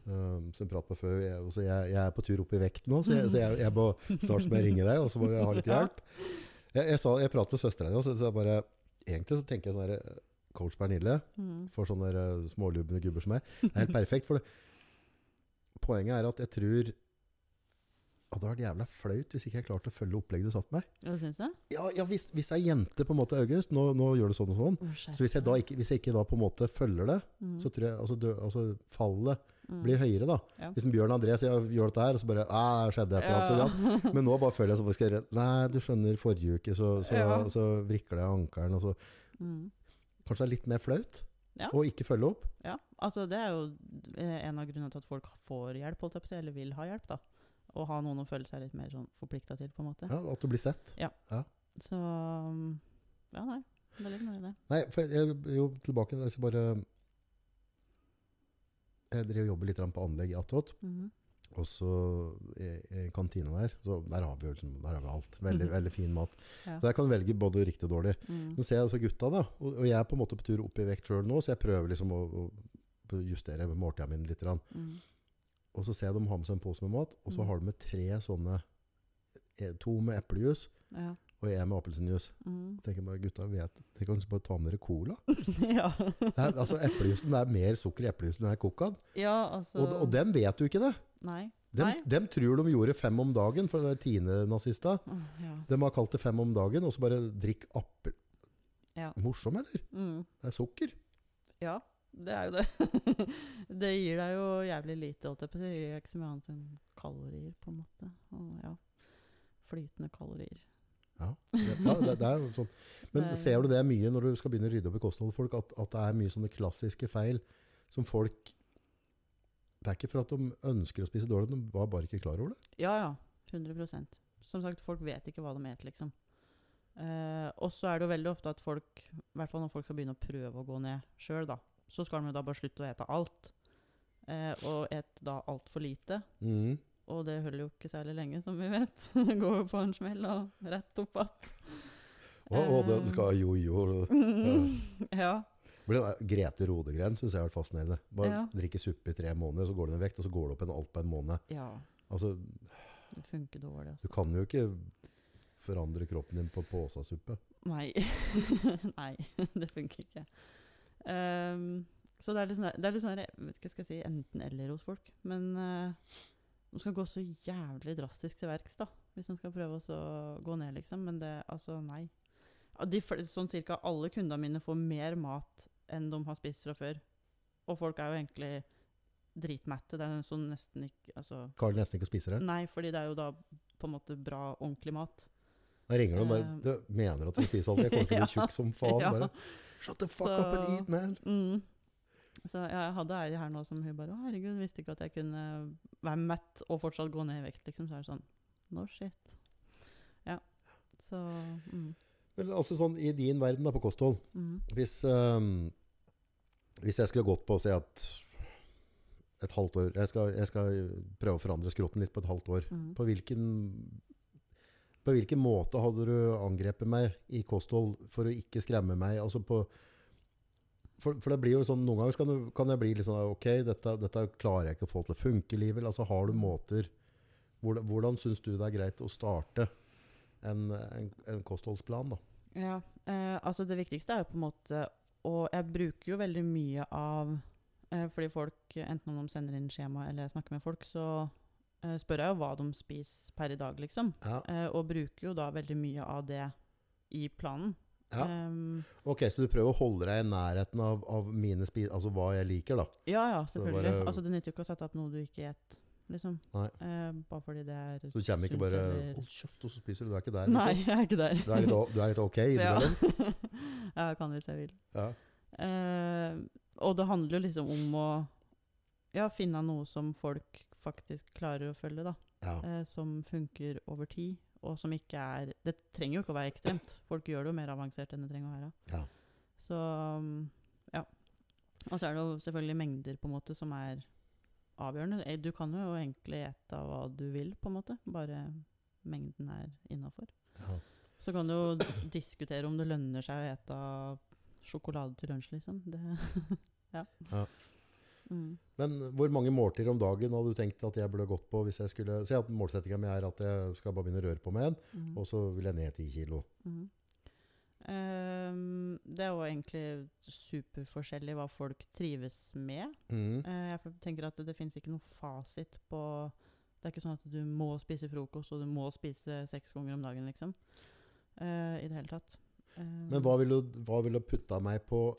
[SPEAKER 2] ehm, som jeg pratet på før, jeg, også, jeg, jeg er på tur opp i vekt nå, så jeg, så jeg, jeg må starte med å ringe deg, og så må jeg ha litt
[SPEAKER 1] Ja.
[SPEAKER 2] hjelp. Jeg, jeg, sa, jeg pratet med søsteren din også, så jeg bare, egentlig så tenker jeg sånn her, coach Pernille,
[SPEAKER 1] Mm.
[SPEAKER 2] for sånne der, eh, smålubne gubber som meg, det er helt perfekt, for det. poenget er at jeg tror, at det hadde vært jævla flaut hvis ikke jeg klarte å følge opplegget du satt meg.
[SPEAKER 1] Ja, du syns det?
[SPEAKER 2] Ja, ja hvis, hvis jeg er jente på en måte, August, nå, nå gjør du sånn og sånn,
[SPEAKER 1] Å, skjerp
[SPEAKER 2] så hvis jeg da ikke, hvis jeg ikke da på en måte følger det,
[SPEAKER 1] Mm.
[SPEAKER 2] så tror jeg, altså, dø, altså fallet,
[SPEAKER 1] Mm.
[SPEAKER 2] blir høyere, da.
[SPEAKER 1] Ja.
[SPEAKER 2] Hvis en Bjørn André sier «Ja, gjør dette her, og så bare «Æ, det skjedde et eller annet. så
[SPEAKER 1] Ja.
[SPEAKER 2] ja. Men nå bare føler jeg som jeg skal gjøre Nei, du skjønner, forrige uke så, så,
[SPEAKER 1] Ja.
[SPEAKER 2] så vrikla jeg ankelen, og så
[SPEAKER 1] Mm.
[SPEAKER 2] Kanskje det er litt mer flaut
[SPEAKER 1] Ja.
[SPEAKER 2] å ikke følge opp?
[SPEAKER 1] ja. Altså, det er jo eh, en av grunnene til at folk får hjelp, holdt jeg på å si, eller vil ha hjelp, da. Å ha noen å føle seg litt mer sånn forplikta til, på en måte.
[SPEAKER 2] Ja, at du blir sett.
[SPEAKER 1] Så um, Ja, nei. Det ligger noe i det.
[SPEAKER 2] Nei, for jeg jeg er jo tilbake der, så bare Jeg drev og jobber litt grann på anlegg i Attåt.
[SPEAKER 1] Mhm.
[SPEAKER 2] Og så i, i kantina der, så der har vi jo liksom, der har vi alt. Veldig, veldig fin mat.
[SPEAKER 1] Mhm. Ja.
[SPEAKER 2] Så der kan du velge både riktig og dårlig.
[SPEAKER 1] Mm.
[SPEAKER 2] Nå ser jeg altså gutta, da. Og, og jeg er på en måte på tur opp i vekt sjøl nå, så jeg prøver liksom å, å justere måltida mine litt. Grann.
[SPEAKER 1] Mm.
[SPEAKER 2] Og så ser jeg de har med seg en pose med mat, og så
[SPEAKER 1] Mm.
[SPEAKER 2] har de med tre sånne eh, To med eplejus
[SPEAKER 1] Ja.
[SPEAKER 2] og en med appelsinjuice.
[SPEAKER 1] Mm.
[SPEAKER 2] Jeg tenker bare, gutta vet Tenk om dere bare tar med dere cola?
[SPEAKER 1] ja.
[SPEAKER 2] Det er, altså, Eplejusen det er mer sukker i eplejusen enn i cocaen.
[SPEAKER 1] ja, altså
[SPEAKER 2] Og, og dem vet jo ikke det.
[SPEAKER 1] Nei.
[SPEAKER 2] Dem,
[SPEAKER 1] Nei.
[SPEAKER 2] dem tror de gjorde fem om dagen, for det er Tine-nazista.
[SPEAKER 1] Åh, ja.
[SPEAKER 2] De har kalt det fem om dagen, og så bare drikk appel.
[SPEAKER 1] Ja.
[SPEAKER 2] Morsom, eller?
[SPEAKER 1] Mm.
[SPEAKER 2] Det er sukker.
[SPEAKER 1] ja. Det er jo det. det gir deg jo jævlig lite, holdt jeg på å si. Det gir deg ikke så mye annet enn kalorier, på en måte. Og ja. Flytende kalorier.
[SPEAKER 2] Ja, det, ja, det, det er jo sånn. Men
[SPEAKER 1] Det er-
[SPEAKER 2] ser du det mye når du skal begynne å rydde opp i kostholdet folk, at, at det er mye sånne klassiske feil som folk Det er ikke for at de ønsker å spise dårlig, de var bare ikke klar over det.
[SPEAKER 1] Ja, ja. 100 Som sagt, folk vet ikke hva de spiser, liksom. Eh, og så er det jo veldig ofte at folk, i hvert fall når folk skal begynne å prøve å gå ned sjøl, da, så skal de jo da bare slutte å ete alt. Eh, og et da altfor lite.
[SPEAKER 2] Mhm.
[SPEAKER 1] Og det holder jo ikke særlig lenge, som vi vet. Det går jo på en smell og rett opp igjen.
[SPEAKER 2] Å, å, det
[SPEAKER 1] Eh.
[SPEAKER 2] skal jo, jo.
[SPEAKER 1] ja.
[SPEAKER 2] Men den der Grete Rodegren syns jeg har vært fascinerende. Bare
[SPEAKER 1] Ja.
[SPEAKER 2] drikke suppe i tre måneder, så går det ned i vekt, og så går det opp en alt på en måned.
[SPEAKER 1] ja.
[SPEAKER 2] Altså,
[SPEAKER 1] Det funker dårlig, altså.
[SPEAKER 2] du kan jo ikke forandre kroppen din på påsasuppe.
[SPEAKER 1] Nei. Nei, det funker ikke. Ehm, så det er litt sånn, der- det er litt sånn der, jeg vet ikke hva skal jeg si, enten-eller hos folk. Men eh, de skal gå så jævlig drastisk til verks, da. Hvis de skal prøve å så gå ned, liksom. Men det, altså, nei. Ja, De, fl- sånn cirka alle kundene mine får mer mat enn de har spist fra før. Og folk er jo egentlig dritmette. Det er sånn nesten ikke Altså,
[SPEAKER 2] Klarer nesten ikke å spise det.
[SPEAKER 1] nei, fordi det er jo da på en måte bra, ordentlig mat.
[SPEAKER 2] Da ringer de og bare
[SPEAKER 1] Eh.
[SPEAKER 2] Du mener at du spiser alt? Jeg kommer til å bli
[SPEAKER 1] Ja.
[SPEAKER 2] tjukk som faen.
[SPEAKER 1] Ja.
[SPEAKER 2] Bare Shut the fuck
[SPEAKER 1] Så-
[SPEAKER 2] up and eat, man!
[SPEAKER 1] Mm. Så ja, jeg hadde ei her nå som hun bare Å, herregud, visste ikke at jeg kunne være mett og fortsatt gå ned i vekt, liksom. Så er det sånn No shit. Ja. Så mm,
[SPEAKER 2] Men altså sånn i din verden da, på kosthold
[SPEAKER 1] mm,
[SPEAKER 2] Hvis, ehm, hvis jeg skulle gått på å si at et halvt år jeg skal, jeg skal prøve å forandre skrotten litt på et halvt år.
[SPEAKER 1] mm.
[SPEAKER 2] På hvilken, på hvilken måte hadde du angrepet meg i kosthold for å ikke skremme meg? Altså på, for, for det blir jo sånn, noen ganger så kan, du, kan jeg bli litt sånn Ok, dette, dette klarer jeg ikke å få til å funke i livet. Altså, har du måter Hvordan, hvordan syns du det er greit å starte en, en, en kostholdsplan? da?
[SPEAKER 1] Ja, eh, altså det viktigste er jo på en måte Og jeg bruker jo veldig mye av eh, Fordi folk, enten om de sender inn skjema eller jeg snakker med folk, så eh, spør jeg jo hva de spiser per i dag, liksom.
[SPEAKER 2] Ja,
[SPEAKER 1] Eh, og bruker jo da veldig mye av det i planen.
[SPEAKER 2] ja.
[SPEAKER 1] Ehm,
[SPEAKER 2] Ok, så du prøver å holde deg i nærheten av, av mine spi altså hva jeg liker, da.
[SPEAKER 1] Ja, ja,
[SPEAKER 2] det bare-
[SPEAKER 1] selvfølgelig. Altså, det nytter jo ikke å sette opp noe du ikke et, liksom.
[SPEAKER 2] Nei.
[SPEAKER 1] Eh, bare fordi det er
[SPEAKER 2] Så du kommer ikke
[SPEAKER 1] sunt
[SPEAKER 2] bare
[SPEAKER 1] eller-
[SPEAKER 2] Hold kjeft, og så spiser du. Du er ikke der.
[SPEAKER 1] Nei,
[SPEAKER 2] Liksom.
[SPEAKER 1] jeg er ikke der.
[SPEAKER 2] Du, er litt, o- du er litt ok innimellom.
[SPEAKER 1] Ja. ja, jeg kan hvis jeg vil.
[SPEAKER 2] Ja.
[SPEAKER 1] Eh, og det handler jo liksom om å ja, finne noe som folk faktisk klarer å følge, da.
[SPEAKER 2] Ja.
[SPEAKER 1] Eh, som funker over tid, og som ikke er Det trenger jo ikke å være ekstremt. Folk gjør det jo mer avansert enn det trenger å være.
[SPEAKER 2] Ja.
[SPEAKER 1] Så mm, ja. Og så er det jo selvfølgelig mengder på en måte som er avgjørende. Eh, Du kan jo egentlig ete av hva du vil, på en måte, bare mengden er innafor.
[SPEAKER 2] Ja.
[SPEAKER 1] Så kan du jo diskutere om det lønner seg å ete av sjokolade til lunsj, liksom. Det ja.
[SPEAKER 2] Ja.
[SPEAKER 1] Mm.
[SPEAKER 2] Men hvor mange måltider om dagen hadde du tenkt at jeg burde gått på hvis jeg skulle Si at målsettinga mi er at jeg skal bare begynne å røre på meg igjen,
[SPEAKER 1] Mm.
[SPEAKER 2] og så vil jeg ned 10 kilo.
[SPEAKER 1] Mhm. Ehm, det er jo egentlig superforskjellig hva folk trives med.
[SPEAKER 2] Mhm.
[SPEAKER 1] Eh, jeg f- tenker at det, det finnes ikke noen fasit på Det er ikke sånn at du må spise frokost og du må spise seks ganger om dagen, liksom. Eh, I det hele tatt. Ehm,
[SPEAKER 2] Men hva ville du, hva ville du putta meg på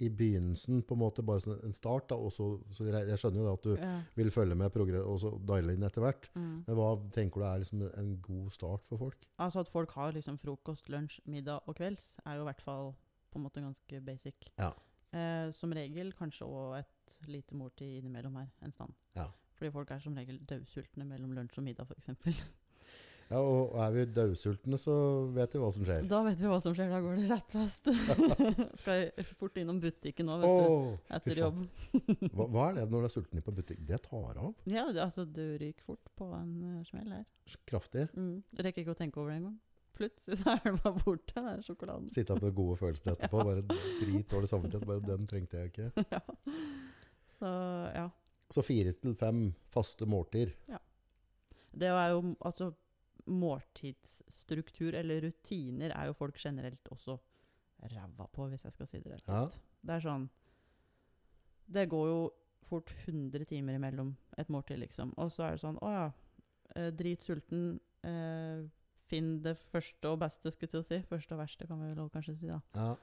[SPEAKER 2] i begynnelsen, på en måte bare sånn en start? da, og så, så jeg, jeg skjønner jo det at du
[SPEAKER 1] ja,
[SPEAKER 2] vil følge med progre- og så diale inn etter hvert.
[SPEAKER 1] mm.
[SPEAKER 2] Men hva tenker du er liksom en god start for folk?
[SPEAKER 1] Altså at folk har liksom frokost, lunsj, middag og kvelds, er jo i hvert fall på en måte ganske basic.
[SPEAKER 2] Ja.
[SPEAKER 1] Eh, som regel kanskje òg et lite måltid innimellom her en stand.
[SPEAKER 2] Ja.
[SPEAKER 1] Fordi folk er som regel dødsultne mellom lunsj og middag, f.eks.
[SPEAKER 2] Ja, Ja, og er vi daudsultne, så vet vi hva som skjer.
[SPEAKER 1] Da vet vi hva som skjer. Da går det rett vest. Skal jeg fort innom butikken nå, vet du.
[SPEAKER 2] Åh, fy
[SPEAKER 1] Etter
[SPEAKER 2] faen.
[SPEAKER 1] jobb.
[SPEAKER 2] Hva, hva er det når du er sulten på butikk? Det tar av
[SPEAKER 1] Ja, det- altså, du ryker fort på en eh, smell her.
[SPEAKER 2] kraftig.
[SPEAKER 1] Mm. Du rekker ikke å tenke over det engang. Plutselig så er det bare borte, den sjokoladen.
[SPEAKER 2] Sitte med den gode følelsen etterpå. Bare dritdårlig samvittighet. Bare den trengte jeg ikke.
[SPEAKER 1] ja. Så ja.
[SPEAKER 2] Så fire til fem faste måltider.
[SPEAKER 1] Det er jo altså Måltidsstruktur eller rutiner er jo folk generelt også ræva på, hvis jeg skal si det rett
[SPEAKER 2] Ja.
[SPEAKER 1] ut. Det er sånn Det går jo fort 100 timer imellom et måltid, liksom. Og så er det sånn Å ja, eh, dritsulten. Eh, finn det første og beste, skulle jeg til å si. Første og verste, kan vi vel kanskje si, da.
[SPEAKER 2] Ja.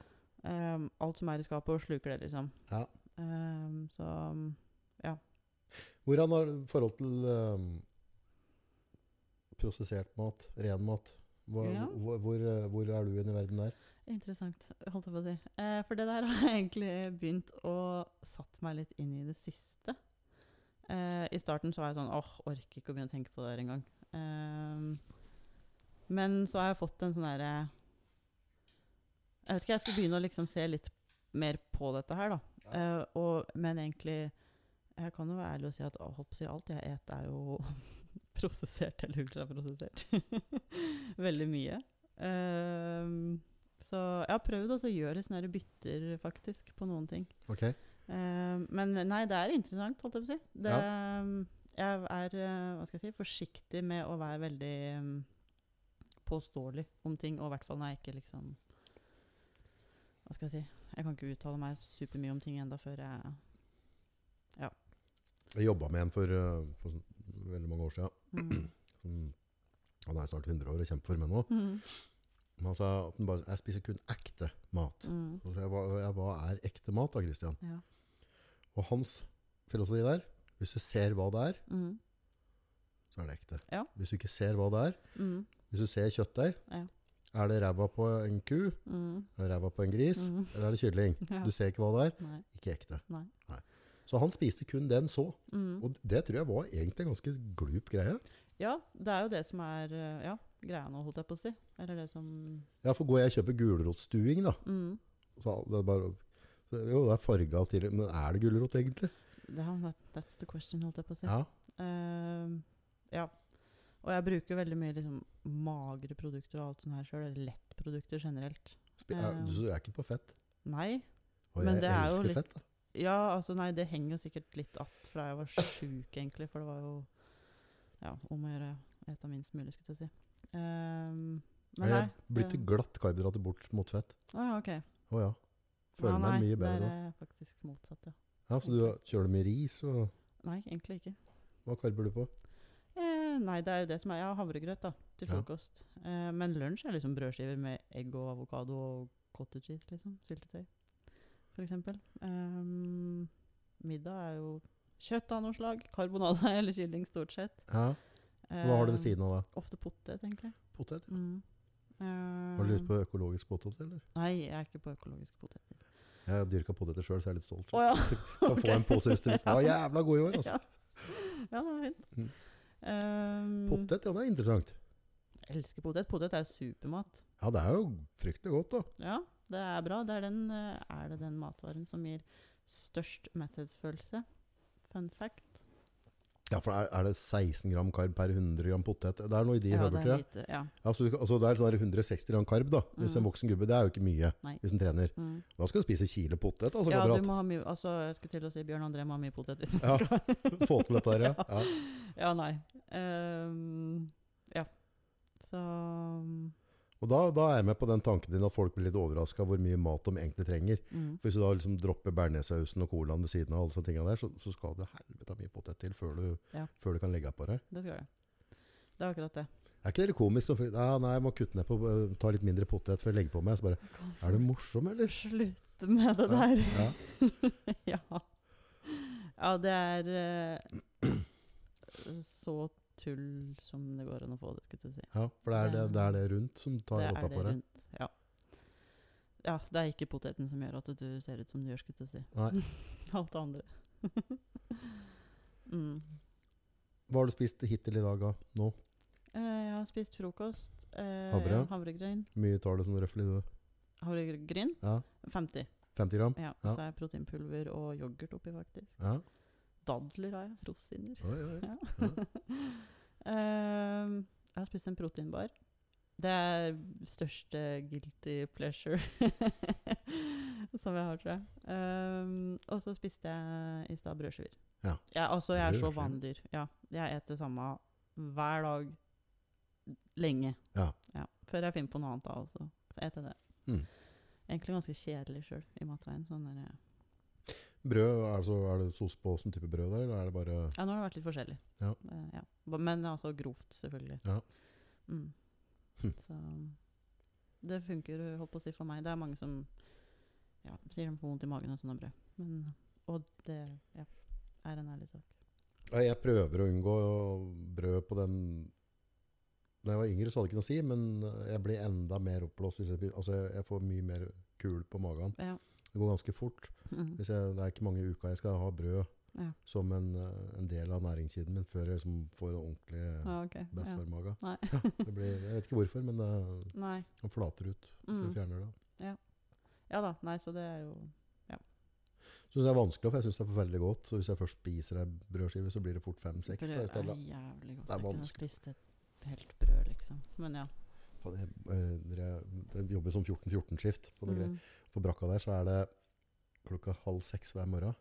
[SPEAKER 1] Eh, alt som er i skapet, og sluker det, liksom.
[SPEAKER 2] Ja.
[SPEAKER 1] Eh, så
[SPEAKER 2] Hvordan har du forhold til ehm, prosessert mat, ren mat? Hvor,
[SPEAKER 1] Ja.
[SPEAKER 2] hvor, hvor, eh, hvor er du inn i verden der?
[SPEAKER 1] Interessant, holdt jeg på å si. Eh, for det der har jeg egentlig begynt å satt meg litt inn i det siste. Eh, I starten så var jeg sånn åh, orker ikke å begynne å tenke på det der engang. Eh, men så har jeg fått en sånn derre Jeg vet ikke, jeg skulle begynne å liksom se litt mer på dette her, da. Eh, og, men egentlig Jeg kan jo være ærlig og si at å, holdt på å si, alt jeg et er jo prosessert eller ultraprosessert. Veldig mye. Eh, så jeg har prøvd også å gjøre sånne her bytter faktisk på noen ting.
[SPEAKER 2] Ok.
[SPEAKER 1] Eh, men nei, det er interessant, holdt jeg på å si. Det, ehm, Jeg er eh, hva skal jeg si, forsiktig med å være veldig eh, påståelig om ting, og i hvert fall når jeg ikke liksom Hva skal jeg si? Jeg kan ikke uttale meg supermye om ting enda før jeg
[SPEAKER 2] Jeg jobba med en for, eh, for sånn, veldig mange år siden.
[SPEAKER 1] mm.
[SPEAKER 2] Som- Han er snart 100 år og kjemper for meg nå.
[SPEAKER 1] Mm.
[SPEAKER 2] Men han sa at han bare, jeg spiser kun ekte mat.
[SPEAKER 1] Mm.
[SPEAKER 2] Og så sa jeg, hva, jeg, hva er ekte mat da, Christian?
[SPEAKER 1] Ja.
[SPEAKER 2] Og hans filosofi der, hvis du ser hva det er,
[SPEAKER 1] Mm.
[SPEAKER 2] så er det ekte.
[SPEAKER 1] Ja.
[SPEAKER 2] Hvis du ikke ser hva det er,
[SPEAKER 1] Mm.
[SPEAKER 2] hvis du ser kjøttdeig,
[SPEAKER 1] Ja.
[SPEAKER 2] er det ræva på en ku,
[SPEAKER 1] Mm.
[SPEAKER 2] er det ræva på en gris,
[SPEAKER 1] Mm.
[SPEAKER 2] eller er det kylling?
[SPEAKER 1] Ja.
[SPEAKER 2] Du ser ikke hva det er,
[SPEAKER 1] Nei.
[SPEAKER 2] ikke ekte.
[SPEAKER 1] Nei.
[SPEAKER 2] Så han spiste kun det han så.
[SPEAKER 1] Mm.
[SPEAKER 2] Og det tror jeg var egentlig en ganske glup greie.
[SPEAKER 1] Ja, det er jo det som er eh, ja, greia nå, holdt jeg på å si. Eller det som
[SPEAKER 2] Ja, for går jeg og kjøper gulrotstuing da,
[SPEAKER 1] mm.
[SPEAKER 2] så det er bare... så- Jo, det er farga til, men er det gulrot egentlig?
[SPEAKER 1] Det er- that, That's the question, holdt jeg på å si.
[SPEAKER 2] Ja.
[SPEAKER 1] Ehm, ja. Og jeg bruker veldig mye liksom, magre produkter og alt sånt her sjøl. Eller lettprodukter generelt.
[SPEAKER 2] Spi- er-
[SPEAKER 1] Ja.
[SPEAKER 2] Du så er ikke på fett.
[SPEAKER 1] Nei.
[SPEAKER 2] Og
[SPEAKER 1] Men
[SPEAKER 2] jeg
[SPEAKER 1] det er jo
[SPEAKER 2] elsker
[SPEAKER 1] litt-
[SPEAKER 2] fett. Da.
[SPEAKER 1] Ja, altså, nei, det henger jo sikkert litt att fra jeg var sjuk, egentlig. For det var jo ja, om å gjøre å ete minst mulig, skulle jeg til å si. Ehm, men
[SPEAKER 2] jeg
[SPEAKER 1] nei.
[SPEAKER 2] har blitt
[SPEAKER 1] det-
[SPEAKER 2] glatt karbohydrater bort mot fett.
[SPEAKER 1] Å ja, OK.
[SPEAKER 2] Å ja. Føler
[SPEAKER 1] Ja,
[SPEAKER 2] meg
[SPEAKER 1] nei,
[SPEAKER 2] mye bedre
[SPEAKER 1] Det
[SPEAKER 2] da.
[SPEAKER 1] er eh, faktisk motsatt, ja.
[SPEAKER 2] Ja, så du kjører du med ris, og
[SPEAKER 1] Nei, egentlig ikke.
[SPEAKER 2] hva karber du på?
[SPEAKER 1] Eh, nei, det er jo det som er. Jeg har havregrøt da, til
[SPEAKER 2] Ja.
[SPEAKER 1] frokost. Eh, men lunsj er liksom brødskiver med egg og avokado og cottage cheese, liksom. Syltetøy, for eksempel. Ehm, middag er jo kjøtt av noe slag. Karbonade eller kylling, stort sett.
[SPEAKER 2] Ja. Hva har du ved
[SPEAKER 1] Eh,
[SPEAKER 2] siden av da?
[SPEAKER 1] Ofte potet, egentlig.
[SPEAKER 2] Potet? ja.
[SPEAKER 1] Mm.
[SPEAKER 2] Har du
[SPEAKER 1] Eh,
[SPEAKER 2] lyst på økologisk potet, eller?
[SPEAKER 1] Nei, jeg er ikke på økologiske poteter.
[SPEAKER 2] Jeg har dyrka poteter sjøl, så jeg er litt stolt.
[SPEAKER 1] Å ja.
[SPEAKER 2] Kan få en pose hvis du vil. Ja,
[SPEAKER 1] ja.
[SPEAKER 2] jævla god i år, altså.
[SPEAKER 1] Ja. ja, det er fint.
[SPEAKER 2] Mm.
[SPEAKER 1] Ehm,
[SPEAKER 2] Potet, ja, det er interessant.
[SPEAKER 1] jeg Elsker potet. Potet er supermat.
[SPEAKER 2] Ja, det er jo fryktelig godt, da.
[SPEAKER 1] Ja, det er bra. Det er, den, eh, er det den matvaren som gir størst metthetsfølelse? Fun fact.
[SPEAKER 2] Ja, for er, er det 16 gram karb per 100 gram potet? Det er noe i de
[SPEAKER 1] ja,
[SPEAKER 2] høver,
[SPEAKER 1] det
[SPEAKER 2] tror
[SPEAKER 1] er
[SPEAKER 2] jeg.
[SPEAKER 1] lite. Ja.
[SPEAKER 2] Ja, så du kan- altså, det er sånn der 160 gram karb, da. Hvis en
[SPEAKER 1] Mm.
[SPEAKER 2] voksen gubbe, det er jo ikke mye.
[SPEAKER 1] Nei.
[SPEAKER 2] Hvis en trener.
[SPEAKER 1] Mm.
[SPEAKER 2] Da skal du spise kilo potet, altså,
[SPEAKER 1] ja, du
[SPEAKER 2] kamerat.
[SPEAKER 1] må ha mye altså, Jeg skulle til å si Bjørn André må ha mye potet. hvis han
[SPEAKER 2] Ja.
[SPEAKER 1] skal.
[SPEAKER 2] Få til dette her, ja. ja.
[SPEAKER 1] ja, nei. Ehm, ja. Så
[SPEAKER 2] Og da, da er jeg med på den tanken din at folk blir litt overraska hvor mye mat de egentlig trenger.
[SPEAKER 1] mm.
[SPEAKER 2] For Hvis du da liksom dropper bearnéssausen og colaen ved siden av, alle sånne tingene der, så, så skal det helvete mye potet til før du,
[SPEAKER 1] Ja.
[SPEAKER 2] før du kan legge på deg.
[SPEAKER 1] Det skal det. Det er akkurat det.
[SPEAKER 2] Er ikke det komisk? Så, ja, nei, jeg må kutte ned på øh, Ta litt mindre potet før jeg legger på meg. Så bare Er du morsom, eller?
[SPEAKER 1] Slutt med det der.
[SPEAKER 2] Ja.
[SPEAKER 1] ja. Ja, det er eh, så tull som det går an å få det, skulle jeg til å si.
[SPEAKER 2] ja for det er det, det er det rundt som tar
[SPEAKER 1] Det er
[SPEAKER 2] rotta
[SPEAKER 1] det
[SPEAKER 2] på deg.
[SPEAKER 1] rundt. Ja. ja, det er ikke poteten som gjør at du ser ut som du gjør, skulle jeg til å si. Alt det andre. mm.
[SPEAKER 2] Hva har du spist hittil i dag, da? Nå?
[SPEAKER 1] Eh, jeg har spist frokost. eh,
[SPEAKER 2] Havre?
[SPEAKER 1] Havregryn.
[SPEAKER 2] mye tar det sånn røffelig, du?
[SPEAKER 1] Havregryn
[SPEAKER 2] Ja,
[SPEAKER 1] 50.
[SPEAKER 2] 50 gram?
[SPEAKER 1] Ja, og så er proteinpulver og yoghurt oppi, faktisk.
[SPEAKER 2] Ja.
[SPEAKER 1] Dadler har jeg. Rosiner.
[SPEAKER 2] Oi, oi.
[SPEAKER 1] Ja. Eh, jeg har spist en proteinbar. Det er største guilty pleasure som jeg har, tror jeg. Eh, og så spiste jeg i stad brødskiver.
[SPEAKER 2] Ja.
[SPEAKER 1] altså, jeg er så
[SPEAKER 2] Brødskiver.
[SPEAKER 1] vanedyr. Ja, jeg eter samme hver dag lenge.
[SPEAKER 2] Ja.
[SPEAKER 1] Før jeg finner på noe annet da også. Så eter jeg det.
[SPEAKER 2] Mm.
[SPEAKER 1] Egentlig ganske kjedelig sjøl i matveien. Sånn der,
[SPEAKER 2] Brød, altså, er det sos på sånn type brød der, eller er det bare
[SPEAKER 1] ja, nå har det vært litt forskjellig.
[SPEAKER 2] Ja.
[SPEAKER 1] Eh, ja. Ba- Men altså grovt, selvfølgelig.
[SPEAKER 2] Ja.
[SPEAKER 1] Mm.
[SPEAKER 2] Hm.
[SPEAKER 1] Så det funker, holdt på å si, for meg. Det er mange som ja, sier de får vondt i magen av sånne brød. Men, og det ja, er en ærlig sak.
[SPEAKER 2] Nei, Jeg prøver å unngå brød på den Da jeg var yngre, så hadde det ikke noe å si, men jeg blir enda mer oppblåst. Hvis jeg, spiser- altså, jeg- jeg får mye mer kul på magen.
[SPEAKER 1] Ja.
[SPEAKER 2] Det går ganske fort.
[SPEAKER 1] Mm.
[SPEAKER 2] Hvis jeg, det er ikke mange uker jeg skal ha brød
[SPEAKER 1] Ja.
[SPEAKER 2] som en, eh, en del av næringskjeden min før jeg liksom får en ordentlig eh,
[SPEAKER 1] Ja, Ah, ok. Ja.
[SPEAKER 2] bestefar-mage.
[SPEAKER 1] Nei.
[SPEAKER 2] Ja, det blir- jeg vet ikke hvorfor, men det
[SPEAKER 1] Nei.
[SPEAKER 2] den flater ut. Så
[SPEAKER 1] Mm.
[SPEAKER 2] jeg fjerner det.
[SPEAKER 1] Ja da. Nei, så det er jo
[SPEAKER 2] Så synes jeg det er vanskelig, for jeg syns det er forferdelig godt. Så hvis jeg først spiser ei brødskive, så blir det fort fem-seks.
[SPEAKER 1] Brød
[SPEAKER 2] da, i
[SPEAKER 1] er
[SPEAKER 2] stedet.
[SPEAKER 1] jævlig godt.
[SPEAKER 2] Det er
[SPEAKER 1] Jeg kunne
[SPEAKER 2] vanskelig.
[SPEAKER 1] spist et helt brød, liksom. Men ja.
[SPEAKER 2] Faen, Jeg, eh, dere- jeg jobber som 14-14-skift på noe greier.
[SPEAKER 1] Mm.
[SPEAKER 2] På brakka der så er det klokka halv seks hver morgen.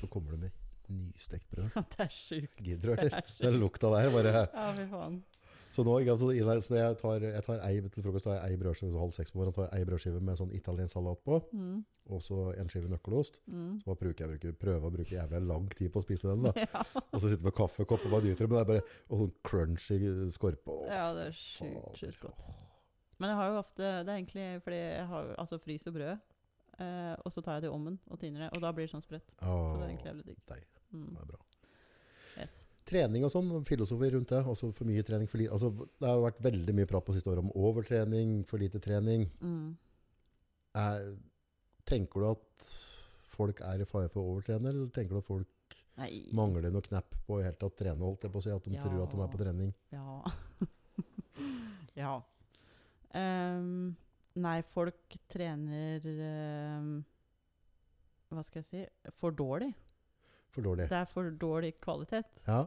[SPEAKER 2] Så kommer det med nystekt brød.
[SPEAKER 1] Mm. det er sjukt.
[SPEAKER 2] Gidder du,
[SPEAKER 1] Det
[SPEAKER 2] eller?
[SPEAKER 1] er
[SPEAKER 2] Den
[SPEAKER 1] sjukt.
[SPEAKER 2] lukta der bare
[SPEAKER 1] Ja, fy faen.
[SPEAKER 2] Så nå, ikke, sant, så i det- så jeg tar, jeg tar ei, til frokost tar jeg ei brødskive så halv seks på morgenen, tar jeg ei brødskive med sånn italiensk salat på,
[SPEAKER 1] Mm.
[SPEAKER 2] og så en skive nøkkelost.
[SPEAKER 1] Mm.
[SPEAKER 2] Så bare bruker jeg bruker, prøver å bruke jævlig lang tid på å spise den. da.
[SPEAKER 1] Ja.
[SPEAKER 2] Og så sitter jeg med kaffekopp og bare nyter det. Men det er bare og sånn crunchy skorpe. Åh,
[SPEAKER 1] Ja, det er
[SPEAKER 2] fader.
[SPEAKER 1] sjukt, sjukt godt. Men jeg har jo ofte Det er egentlig fordi jeg har jo- altså fryser brødet, eh, og så tar jeg det i ovnen og tiner det, og da blir det sånn spredt. Så det er egentlig
[SPEAKER 2] Åh,
[SPEAKER 1] jævlig digg.
[SPEAKER 2] deg.
[SPEAKER 1] Mm.
[SPEAKER 2] det er bra.
[SPEAKER 1] Yes.
[SPEAKER 2] trening og sånn, filosofi rundt det. Altså for mye trening, for lite altså, Det har jo vært veldig mye prat på siste året om overtrening, for lite trening.
[SPEAKER 1] Mm.
[SPEAKER 2] Er, tenker du at folk er i fare for å overtrene, eller tenker du at folk
[SPEAKER 1] Nei
[SPEAKER 2] mangler noe knapp på i hele tatt trene, holdt jeg på å si, at de
[SPEAKER 1] Ja.
[SPEAKER 2] tror at de er på trening?
[SPEAKER 1] Ja. ja. Ehm, nei, folk trener ehm, Hva skal jeg si For dårlig.
[SPEAKER 2] For dårlig.
[SPEAKER 1] Det er for dårlig kvalitet.
[SPEAKER 2] Ja,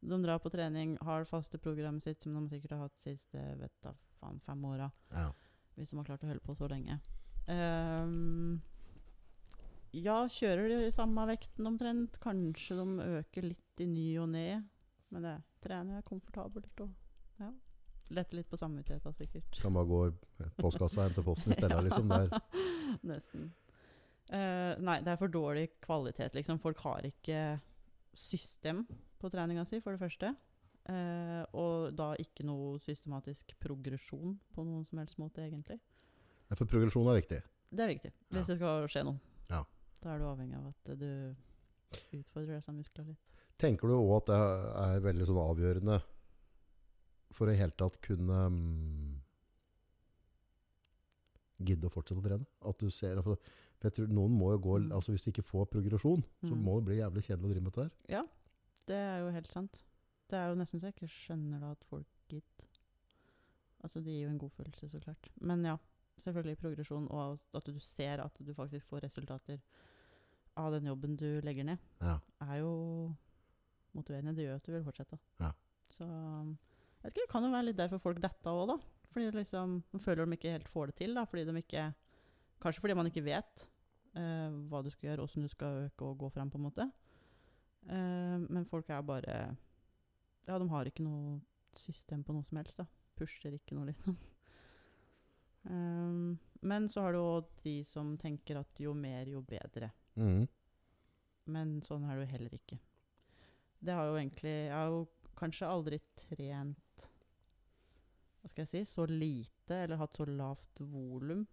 [SPEAKER 1] De drar på trening, har faste programmet sitt, som de sikkert har hatt siste vet da, faen, fem åra.
[SPEAKER 2] ja.
[SPEAKER 1] Hvis de har klart å holde på så lenge. Ehm, ja, kjører de i samme vekten omtrent. Kanskje de øker litt i ny og ne. Men det trener jeg komfortabelt og ja. letter litt på samvittigheten sikkert.
[SPEAKER 2] Kan bare gå i postkassa og hente posten i stedet, liksom. Det er
[SPEAKER 1] Nesten. Eh, nei, det er for dårlig kvalitet, liksom. Folk har ikke system på treninga si, for det første. Eh, og da ikke noe systematisk progresjon på noen som helst måte, egentlig.
[SPEAKER 2] Ja, For progresjon er viktig.
[SPEAKER 1] Det er viktig, hvis det skal skje noe.
[SPEAKER 2] Ja.
[SPEAKER 1] Da er du avhengig av at eh, du utfordrer disse musklene litt.
[SPEAKER 2] Tenker du òg at det er veldig sånn avgjørende for å i hele tatt kunne mm, gidde å fortsette å trene? At du ser altså, for jeg tror noen må jo gå,
[SPEAKER 1] Mm.
[SPEAKER 2] altså Hvis du ikke får progresjon, så
[SPEAKER 1] Mm.
[SPEAKER 2] må det bli jævlig kjedelig å drive med dette her.
[SPEAKER 1] Det er jo helt sant. Det er jo nesten så jeg ikke skjønner da at folk gitt Altså, det gir jo en god følelse, så klart. Men ja, selvfølgelig progresjon, og at du ser at du faktisk får resultater av den jobben du legger ned,
[SPEAKER 2] Ja.
[SPEAKER 1] er jo motiverende. Det gjør at du vil fortsette.
[SPEAKER 2] Ja.
[SPEAKER 1] Så jeg vet ikke, det kan jo være litt derfor folk detta òg, da. Fordi det liksom, de føler de ikke helt får det til. da, fordi de ikke, Kanskje fordi man ikke vet eh, hva du skal gjøre, åssen du skal øke og gå fram, på en måte. Eh, men folk er bare Ja, de har ikke noe system på noe som helst, da. Pusher ikke noe, liksom. Eh, men så har du òg de som tenker at jo mer, jo bedre.
[SPEAKER 2] Mm.
[SPEAKER 1] Men sånn er det jo heller ikke. Det har jo egentlig Jeg har jo kanskje aldri trent Hva skal jeg si så lite eller hatt så lavt volum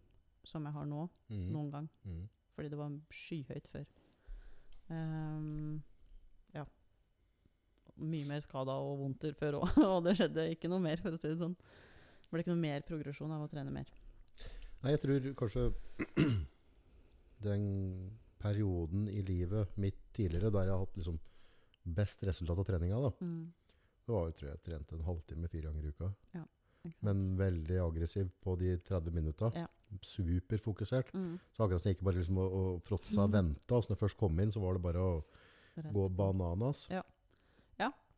[SPEAKER 1] som jeg har nå,
[SPEAKER 2] Mm.
[SPEAKER 1] noen gang.
[SPEAKER 2] Mm.
[SPEAKER 1] Fordi det var skyhøyt før. Ehm, ja. Mye mer skada og vondter før òg, og det skjedde ikke noe mer, for å si det sånn. Det ble ikke noe mer progresjon av å trene mer.
[SPEAKER 2] Nei, jeg tror kanskje den
[SPEAKER 1] Mm,
[SPEAKER 2] perioden i livet mitt tidligere der jeg har hatt liksom best resultat av treninga, da, Det var jo, tror jeg, jeg trente en halvtime fire ganger i uka.
[SPEAKER 1] Ikke sant?
[SPEAKER 2] Men veldig aggressiv på de 30 minutta.
[SPEAKER 1] Ja.
[SPEAKER 2] Superfokusert.
[SPEAKER 1] Mm,
[SPEAKER 2] Så akkurat som jeg ikke bare liksom å, å fråtsa og venta. Og så når jeg først kom inn, så var det bare å
[SPEAKER 1] rett.
[SPEAKER 2] gå bananas.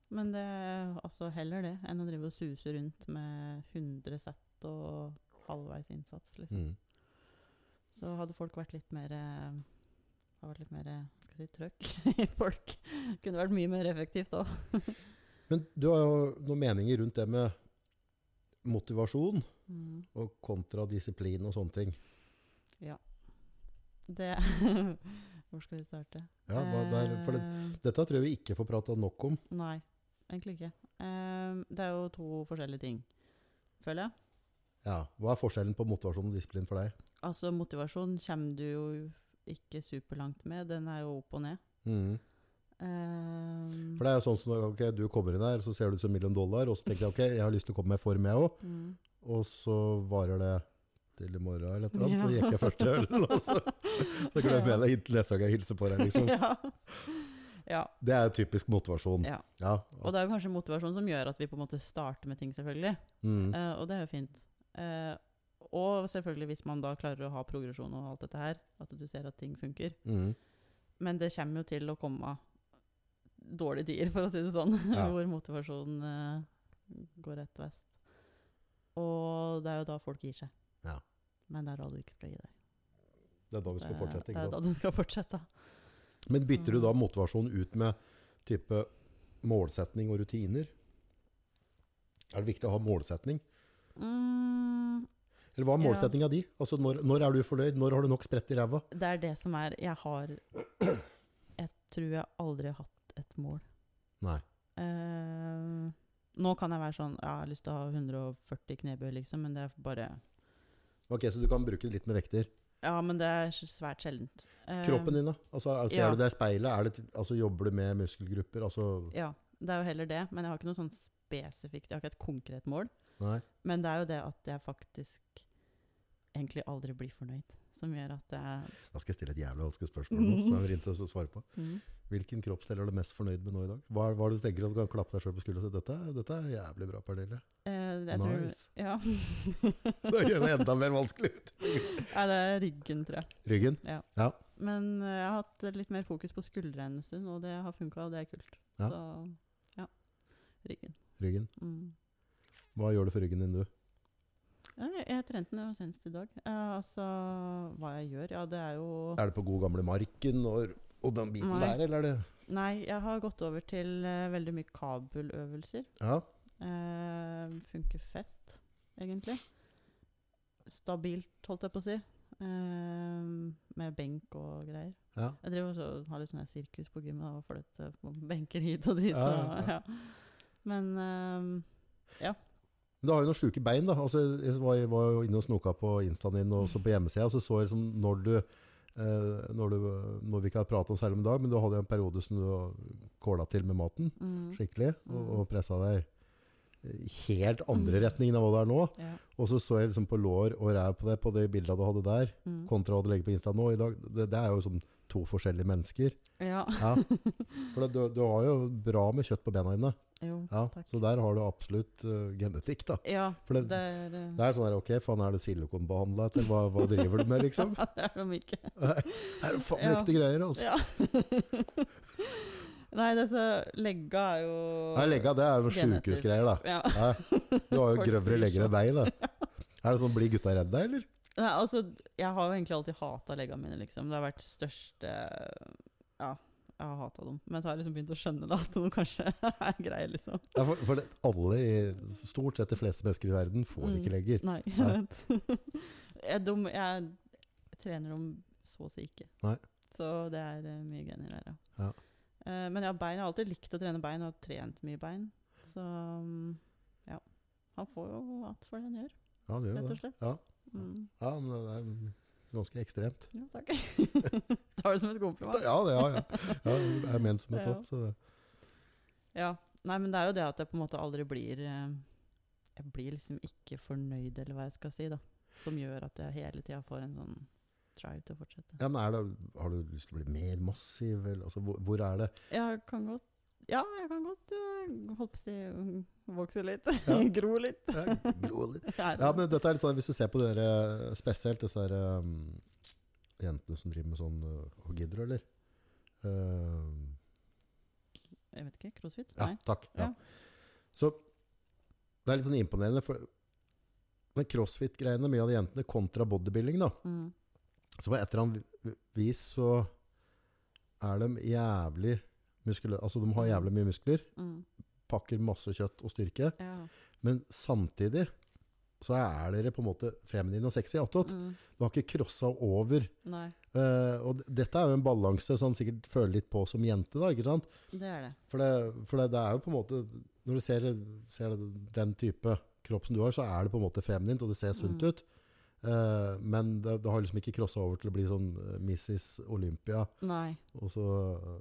[SPEAKER 1] Men det er altså heller det enn å drive og suse rundt med 100 sett og halvveis innsats, liksom.
[SPEAKER 2] Mm.
[SPEAKER 1] Så hadde folk vært litt mer eh, hadde vært litt mer eh, hva skal jeg si, trøkk i folk. Kunne vært mye mer effektivt òg.
[SPEAKER 2] Men du har jo noen meninger rundt det med motivasjon
[SPEAKER 1] Mm.
[SPEAKER 2] og kontra disiplin og sånne ting.
[SPEAKER 1] Det Hvor skal vi starte?
[SPEAKER 2] Ja, hva, der, for det,
[SPEAKER 1] Eh,
[SPEAKER 2] dette tror jeg vi ikke får prata nok om.
[SPEAKER 1] Nei, egentlig ikke. Eh, det er jo to forskjellige ting, føler jeg.
[SPEAKER 2] Ja, Hva er forskjellen på motivasjon og disiplin for deg?
[SPEAKER 1] Altså, motivasjon kommer du jo ikke superlangt med. Den er jo opp og ned.
[SPEAKER 2] Mm.
[SPEAKER 1] Eh,
[SPEAKER 2] For det er jo sånn som ok, du kommer inn her, så ser du ut som million dollar, og så tenker jeg ok, jeg har lyst til å komme meg i form, jeg òg.
[SPEAKER 1] mm.
[SPEAKER 2] Og så varer det til i morgen eller et eller annet,
[SPEAKER 1] Ja.
[SPEAKER 2] så gikk jeg første øl, og så, så glemmer jeg det inntil neste gang jeg hilser på deg. Liksom.
[SPEAKER 1] ja. ja.
[SPEAKER 2] Det er jo typisk motivasjon.
[SPEAKER 1] Ja.
[SPEAKER 2] Ja.
[SPEAKER 1] Og det er jo kanskje motivasjon som gjør at vi på en måte starter med ting, selvfølgelig.
[SPEAKER 2] Mm.
[SPEAKER 1] Eh, og det er jo fint. Eh, og selvfølgelig hvis man da klarer å ha progresjon og alt dette her, at du ser at ting funker.
[SPEAKER 2] Mm.
[SPEAKER 1] Men det kommer jo til å komme dårlige tider, for å si det sånn,
[SPEAKER 2] Ja.
[SPEAKER 1] hvor motivasjonen eh, går rett vest. Og det er jo da folk gir seg.
[SPEAKER 2] Ja.
[SPEAKER 1] Men det er da du ikke skal gi deg.
[SPEAKER 2] Det er da vi skal
[SPEAKER 1] Det-
[SPEAKER 2] fortsette.
[SPEAKER 1] Eh, Det
[SPEAKER 2] ikke
[SPEAKER 1] er da
[SPEAKER 2] sant?
[SPEAKER 1] du skal fortsette.
[SPEAKER 2] Men bytter du da motivasjon ut med type målsetning og rutiner? Er det viktig å ha målsetning?
[SPEAKER 1] Mm,
[SPEAKER 2] Eller hva er
[SPEAKER 1] Ja.
[SPEAKER 2] målsetninga di? Altså, når, når er du fornøyd? Når har du nok spredt i ræva?
[SPEAKER 1] det er det som er Jeg har Jeg tror jeg aldri har hatt et mål.
[SPEAKER 2] Nei.
[SPEAKER 1] Eh, nå kan jeg være sånn ja, Jeg har lyst til å ha 140 knebøy, liksom, men det er bare
[SPEAKER 2] Ok, Så du kan bruke det litt med vekter.
[SPEAKER 1] Ja, men det er svært sjeldent. Eh,
[SPEAKER 2] Kroppen din, da? Altså, altså,
[SPEAKER 1] ja.
[SPEAKER 2] Er du der i speilet? Er det, altså, jobber du med muskelgrupper? Altså,
[SPEAKER 1] Ja, det er jo heller det. Men jeg har ikke noe sånn spesifikt Jeg har ikke et konkret mål.
[SPEAKER 2] nei.
[SPEAKER 1] Men det er jo det at jeg faktisk egentlig aldri blir fornøyd, som gjør at jeg
[SPEAKER 2] Da skal jeg stille et jævlig vanskelig spørsmål nå, som det er vrient å svare på.
[SPEAKER 1] mm,
[SPEAKER 2] Hvilken kroppsdel er du mest fornøyd med nå i dag? Hva er hva er det du tenker at du kan klappe deg sjøl på skulderen og si dette, dette er jævlig bra, Pernille?
[SPEAKER 1] eh, jeg tror,
[SPEAKER 2] Nice.
[SPEAKER 1] Ja.
[SPEAKER 2] Da gjør det enda mer vanskelig. ut.
[SPEAKER 1] Nei, det er ryggen, tror jeg.
[SPEAKER 2] Ryggen?
[SPEAKER 1] Men eh, jeg har hatt litt mer fokus på skuldrene en stund, og det har funka, og det er kult.
[SPEAKER 2] Ja.
[SPEAKER 1] Så ja. Ryggen.
[SPEAKER 2] Ryggen.
[SPEAKER 1] Mm.
[SPEAKER 2] Hva gjør du for ryggen din, du?
[SPEAKER 1] Ja, jeg- jeg trente den jo senest i dag. Eh, altså, hva jeg gjør? Ja, det er jo
[SPEAKER 2] Er det på god gamle marken og, og den biten
[SPEAKER 1] Nei.
[SPEAKER 2] der, eller er det
[SPEAKER 1] Nei, jeg har gått over til eh, veldig mye kabeløvelser.
[SPEAKER 2] Ja.
[SPEAKER 1] Eh, funker fett, egentlig. Stabilt, holdt jeg på å si. Eh, med benk og greier.
[SPEAKER 2] ja.
[SPEAKER 1] Jeg driver også og har litt sånn her sirkus på gymmet og flytter på benker hit og dit.
[SPEAKER 2] Ja,
[SPEAKER 1] og,
[SPEAKER 2] ja, ja.
[SPEAKER 1] ja. Men eh,
[SPEAKER 2] Men du har jo noen sjuke bein, da. Altså, jeg var, jeg var jo inne og snoka på instaen din og også på hjemmesida, og så så jeg liksom når du eh, når, du, når vi ikke har pratet om særlig om i dag, men du hadde jo en periode som du kåla til med maten
[SPEAKER 1] mm, Mm.
[SPEAKER 2] skikkelig, og, og pressa deg i helt andre retningen enn hva det er nå.
[SPEAKER 1] ja,
[SPEAKER 2] Og så så jeg liksom på lår og ræv på deg på de bildene du hadde der,
[SPEAKER 1] mm.
[SPEAKER 2] kontra hva du legger på Insta nå i dag. Det, det er jo som to forskjellige mennesker.
[SPEAKER 1] ja.
[SPEAKER 2] Ja. For det, du, du har jo bra med kjøtt på bena dine.
[SPEAKER 1] Jo.
[SPEAKER 2] Ja.
[SPEAKER 1] Takk.
[SPEAKER 2] Så der har du absolutt eh, genetikk, da.
[SPEAKER 1] Ja,
[SPEAKER 2] For det-
[SPEAKER 1] det er eh,
[SPEAKER 2] Det er sånn her, ok, faen, er det silikonbehandla etter? Hva, hva driver du med, liksom?
[SPEAKER 1] Ja, det er de ikke.
[SPEAKER 2] Er det faen
[SPEAKER 1] Ja.
[SPEAKER 2] ekte greier, altså?
[SPEAKER 1] Ja. Nei, disse legga er jo
[SPEAKER 2] Nei, legga, det er noen
[SPEAKER 1] Genetisk.
[SPEAKER 2] sjukehusgreier, da.
[SPEAKER 1] Ja.
[SPEAKER 2] Ja. Du har jo
[SPEAKER 1] Folk
[SPEAKER 2] grøvere
[SPEAKER 1] sier
[SPEAKER 2] legger enn meg, da. Er det sånn, blir gutta redde deg, eller?
[SPEAKER 1] Nei, altså, jeg har jo egentlig alltid hata leggene mine, liksom. Det har vært største Ja, jeg har hata dem. Men så har jeg liksom begynt å skjønne da, at de kanskje er greie, liksom.
[SPEAKER 2] Ja, for, for det, alle, i- stort sett de fleste mennesker i verden, får
[SPEAKER 1] Mm.
[SPEAKER 2] ikke legger.
[SPEAKER 1] Nei, jeg
[SPEAKER 2] Nei.
[SPEAKER 1] vet. Jeg, de, jeg trener dem så å si ikke.
[SPEAKER 2] Nei.
[SPEAKER 1] Så det er eh, mye gener der, ja.
[SPEAKER 2] Ja.
[SPEAKER 1] Eh, men ja, bein, jeg har alltid likt å trene bein, og har trent mye bein. Så mm, ja. Han får jo alt for det han gjør,
[SPEAKER 2] Ja, det gjør
[SPEAKER 1] rett
[SPEAKER 2] jo
[SPEAKER 1] og
[SPEAKER 2] det.
[SPEAKER 1] slett.
[SPEAKER 2] Ja.
[SPEAKER 1] Mm.
[SPEAKER 2] Ja, men det er mm, ganske ekstremt.
[SPEAKER 1] Ja, takk. Tar det som et kompliment.
[SPEAKER 2] Ja, det ja, ja. ja, det er ment som et
[SPEAKER 1] Ja.
[SPEAKER 2] topp. Så det.
[SPEAKER 1] Ja. Nei, men det er jo det at jeg på en måte aldri blir eh, Jeg blir liksom ikke fornøyd, eller hva jeg skal si, da. Som gjør at jeg hele tida får en sånn drive til å fortsette.
[SPEAKER 2] Ja, men er det, har du lyst til å bli mer massiv? Eller, altså, hvor, hvor er det?
[SPEAKER 1] Jeg kan godt Ja, jeg kan godt eh, holdt på å si mm, vokse litt.
[SPEAKER 2] Ja.
[SPEAKER 1] Gro litt.
[SPEAKER 2] Ja, gro litt.
[SPEAKER 1] Her.
[SPEAKER 2] Ja, men dette er litt sånn, Hvis du ser på dere, eh, spesielt disse her, um, jentene som driver med sånn uh, Og gidder, eller? Um,
[SPEAKER 1] Jeg vet ikke. Crossfit?
[SPEAKER 2] Ja,
[SPEAKER 1] Nei.
[SPEAKER 2] takk. Ja.
[SPEAKER 1] Ja.
[SPEAKER 2] Så det er litt sånn imponerende, for den crossfit-greiene, mye av de jentene, kontra bodybuilding, da.
[SPEAKER 1] Mm.
[SPEAKER 2] Så på et eller annet vis så er de jævlig muskule... Altså, de har jævlig mye muskler,
[SPEAKER 1] Mm.
[SPEAKER 2] pakker masse kjøtt og styrke,
[SPEAKER 1] Ja.
[SPEAKER 2] men samtidig så er dere på en måte feminine og sexy attåt.
[SPEAKER 1] Mm.
[SPEAKER 2] Du har ikke crossa over.
[SPEAKER 1] Nei,
[SPEAKER 2] Eh, og d- dette er jo en balanse som han sikkert føler litt på som jente, da, ikke sant?
[SPEAKER 1] det er det.
[SPEAKER 2] For det, for det, det er jo på en måte Når du ser, ser den type kropp som du har, så er det på en måte feminint, og det ser sunt
[SPEAKER 1] Mm.
[SPEAKER 2] ut. Eh, men det, det har liksom ikke crossa over til å bli sånn eh, Mrs. Olympia.
[SPEAKER 1] Nei.
[SPEAKER 2] Og så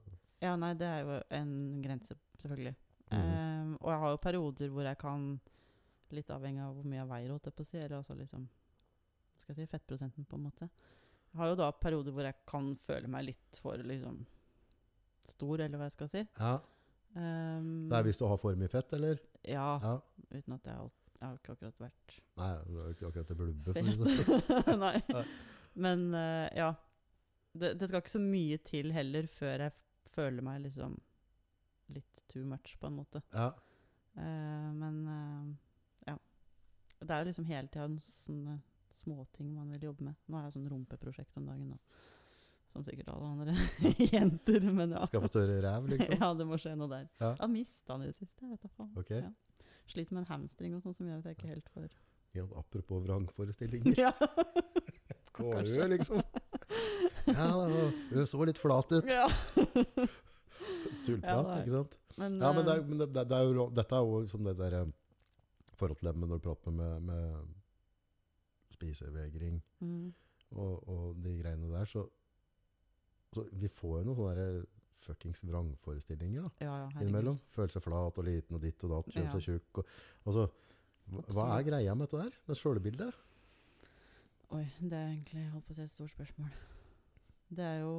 [SPEAKER 2] eh,
[SPEAKER 1] Ja, nei, det er jo en grense, selvfølgelig.
[SPEAKER 2] Mhm.
[SPEAKER 1] Ehm, og jeg har jo perioder hvor jeg kan, litt avhengig av hvor mye jeg veier, holdt jeg på å si, eller altså liksom hva skal jeg si, fettprosenten, på en måte. Jeg har jo da perioder hvor jeg kan føle meg litt for liksom stor, eller hva jeg skal si.
[SPEAKER 2] Ja.
[SPEAKER 1] Ehm,
[SPEAKER 2] Det er hvis du har for mye fett, eller?
[SPEAKER 1] ja,
[SPEAKER 2] Ja.
[SPEAKER 1] uten at jeg har, jeg har jo ikke akkurat vært
[SPEAKER 2] Nei, det er jo ikke akkurat det blubbe. For å si det. sånn.
[SPEAKER 1] fet. Nei.
[SPEAKER 2] Ja.
[SPEAKER 1] Men eh, ja. Det, det skal ikke så mye til heller før jeg f- føler meg liksom litt too much, på en måte.
[SPEAKER 2] Ja.
[SPEAKER 1] Eh, men eh, ja. Det er jo liksom hele tida sånne småting man vil jobbe med. Nå har jeg sånn rumpeprosjekt om dagen, da. Som sikkert alle andre jenter, men ja.
[SPEAKER 2] Skal få større ræv, liksom.
[SPEAKER 1] ja, det må skje noe der.
[SPEAKER 2] Ja.
[SPEAKER 1] Jeg har mista det i det siste. Jeg vet da faen.
[SPEAKER 2] Ok.
[SPEAKER 1] Ja. Sliter med en hamstring og sånn som gjør at jeg ikke helt får
[SPEAKER 2] Ja, apropos vrangforestillinger.
[SPEAKER 1] Ja.
[SPEAKER 2] Kålø,
[SPEAKER 1] Kanskje.
[SPEAKER 2] liksom. Ja, da, hun så litt flat ut.
[SPEAKER 1] ja.
[SPEAKER 2] Tullprat,
[SPEAKER 1] Ja, det er-
[SPEAKER 2] ikke sant?
[SPEAKER 1] Men,
[SPEAKER 2] Ja, men, det,
[SPEAKER 1] eh,
[SPEAKER 2] er- men det, det er jo, ro- dette er jo som det der eh, forhold til det med når du prater med, med spisevegring
[SPEAKER 1] mm,
[SPEAKER 2] og, og de greiene der, så, så vi får jo noen sånne der eh, fuckings vrangforestillinger da,
[SPEAKER 1] ja, ja, herregud.
[SPEAKER 2] innimellom. Føle seg flat og liten og ditt og datt, kjønn
[SPEAKER 1] Ja.
[SPEAKER 2] og tjukk. Og, altså, hva, hva
[SPEAKER 1] Absolutt.
[SPEAKER 2] er greia med dette der? Med sjølbildet?
[SPEAKER 1] Oi, det er egentlig jeg holdt på å si et stort spørsmål. Det er jo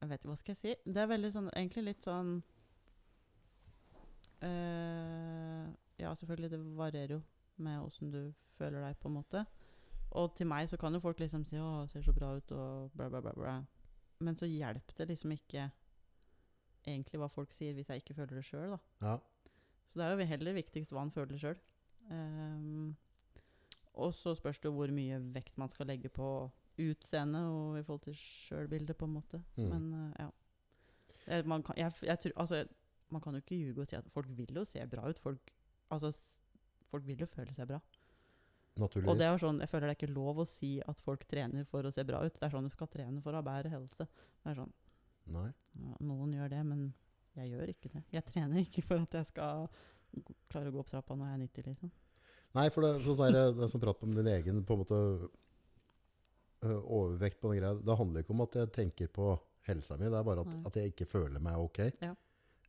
[SPEAKER 1] Jeg vet ikke hva skal jeg si. Det er veldig sånn, egentlig litt sånn eh, Ja, selvfølgelig, det varierer jo med åssen du føler deg, på en måte. Og til meg så kan jo folk liksom si 'Å, ser så bra ut', og bla, bla, bla. bla. Men så hjelper det liksom ikke egentlig hva folk sier, hvis jeg ikke føler det sjøl, da.
[SPEAKER 2] Ja.
[SPEAKER 1] Så det er jo heller viktigst hva han føler sjøl. og så spørs det jo hvor mye vekt man skal legge på utseende og i forhold til sjølbildet, på en måte.
[SPEAKER 2] Mm.
[SPEAKER 1] Men eh, ja. Eh, Man kan, jeg, f- jeg tror, altså, jeg- man kan jo ikke ljuge og si at folk vil jo se bra ut. Folk, altså, s- folk vil jo føle seg bra.
[SPEAKER 2] Naturligvis.
[SPEAKER 1] Og det er sånn, jeg føler det er ikke lov å si at folk trener for å se bra ut. Det er sånn du skal trene for å ha bedre helse. Det er sånn,
[SPEAKER 2] Nei.
[SPEAKER 1] ja, noen gjør det, men jeg gjør ikke det. Jeg trener ikke for at jeg skal g- klare å gå opp trappa når jeg er 90, liksom.
[SPEAKER 2] Nei, for det, sånn der, det som prater om min egen på en måte ø, overvekt på den greia, det handler ikke om at jeg tenker på helsa mi, det er bare at,
[SPEAKER 1] Nei.
[SPEAKER 2] at jeg ikke føler meg ok.
[SPEAKER 1] Ja.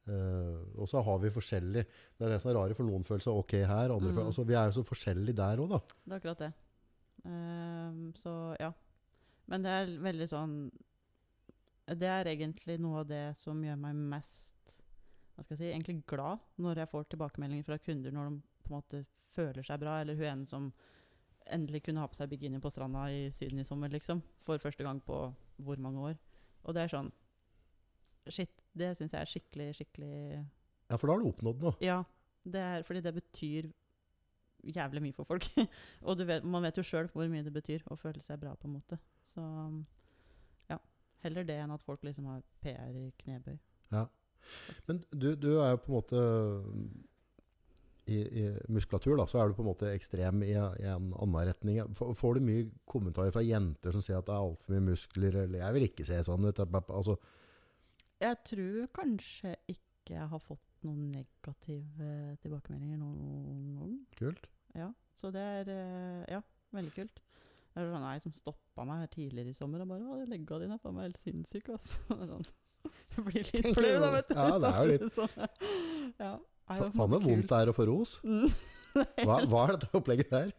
[SPEAKER 2] Eh, og så har vi forskjellig Det er det som er rare, for noen føler seg ok her, andre
[SPEAKER 1] Mm.
[SPEAKER 2] føler Altså, vi er jo så forskjellige der òg, da.
[SPEAKER 1] Det er akkurat det. Ehm, så ja. Men det er veldig sånn Det er egentlig noe av det som gjør meg mest hva skal jeg si, egentlig glad når jeg får tilbakemeldinger fra kunder når de på en måte føler seg bra, eller hun ene som endelig kunne ha på seg bikini på stranda i Syden i sommer, liksom. For første gang på hvor mange år. Og det er sånn Shit, det syns jeg er skikkelig, skikkelig
[SPEAKER 2] Ja, for da har du oppnådd noe.
[SPEAKER 1] ja, det er, fordi det betyr jævlig mye for folk. og du vet, man vet jo sjøl hvor mye det betyr å føle seg bra, på en måte. Så um, ja. Heller det enn at folk liksom har PR i knebøy.
[SPEAKER 2] Men du, du er jo på en måte i, I muskulatur da, så er du på en måte ekstrem i, i en annen retning. Får, får du mye kommentarer fra jenter som sier at det er altfor mye muskler, eller 'jeg vil ikke se sånn ut'? Altså,
[SPEAKER 1] Jeg tror kanskje ikke jeg har fått noen negative tilbakemeldinger noen gang.
[SPEAKER 2] kult.
[SPEAKER 1] Ja, så det er eh, Ja, veldig kult. Det er sånn ei som stoppa meg her tidligere i sommer og bare 'Å, legga dine er faen meg helt sinnssyk', ass. Og Sånn. Jeg blir litt
[SPEAKER 2] Tenker
[SPEAKER 1] flau,
[SPEAKER 2] du
[SPEAKER 1] da,
[SPEAKER 2] det?
[SPEAKER 1] vet du.
[SPEAKER 2] Ja, det er jo
[SPEAKER 1] Samtidig som- ja, er jo
[SPEAKER 2] Fa-
[SPEAKER 1] på en
[SPEAKER 2] Faen,
[SPEAKER 1] måte
[SPEAKER 2] hvor vondt
[SPEAKER 1] kult.
[SPEAKER 2] det er å få ros.
[SPEAKER 1] Mm.
[SPEAKER 2] Hva, hva er dette opplegget der?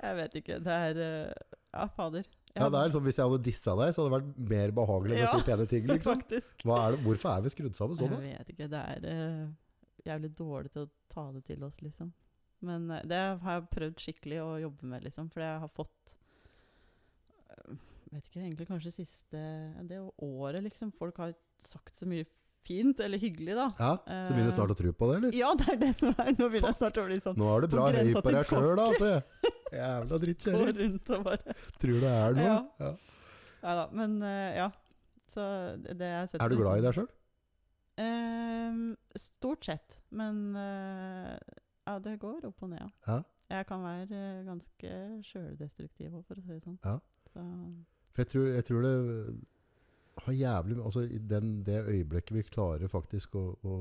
[SPEAKER 1] Jeg vet ikke. Det er eh, Ja, fader.
[SPEAKER 2] Ja, det er liksom, Hvis jeg hadde dissa deg, så hadde det vært mer behagelig å
[SPEAKER 1] Ja.
[SPEAKER 2] si pene ting. liksom.
[SPEAKER 1] Faktisk.
[SPEAKER 2] Hva er det, hvorfor er vi skrudd sammen sånn?
[SPEAKER 1] Jeg
[SPEAKER 2] da?
[SPEAKER 1] vet ikke. Det er eh, jævlig dårlig til å ta det til oss, liksom. Men eh, det har jeg prøvd skikkelig å jobbe med, liksom. For jeg har fått eh, Vet ikke, egentlig kanskje siste Det året, liksom. Folk har sagt så mye fint eller hyggelig, da.
[SPEAKER 2] Ja, Så begynner du snart å tro på det, eller?
[SPEAKER 1] Ja, det er det som er Nå begynner jeg snart å bli sånn
[SPEAKER 2] Nå er du
[SPEAKER 1] På
[SPEAKER 2] bra høy
[SPEAKER 1] grensa
[SPEAKER 2] på deg
[SPEAKER 1] til
[SPEAKER 2] sjøl, da. Altså. Jævla
[SPEAKER 1] Gå
[SPEAKER 2] drittkjerring.
[SPEAKER 1] rundt og bare
[SPEAKER 2] Tror det er noe.
[SPEAKER 1] Ja.
[SPEAKER 2] Ja.
[SPEAKER 1] Nei da, men eh, ja. Så det det jeg setter
[SPEAKER 2] Er du glad i deg sjøl?
[SPEAKER 1] Ehm, stort sett, men eh, ja, det går opp og ned.
[SPEAKER 2] Ja.
[SPEAKER 1] Jeg kan være eh, ganske sjøldestruktiv òg, for å si det sånn.
[SPEAKER 2] Ja.
[SPEAKER 1] Så,
[SPEAKER 2] For jeg tror, jeg tror det har jævlig Altså i den, det øyeblikket vi klarer faktisk å, å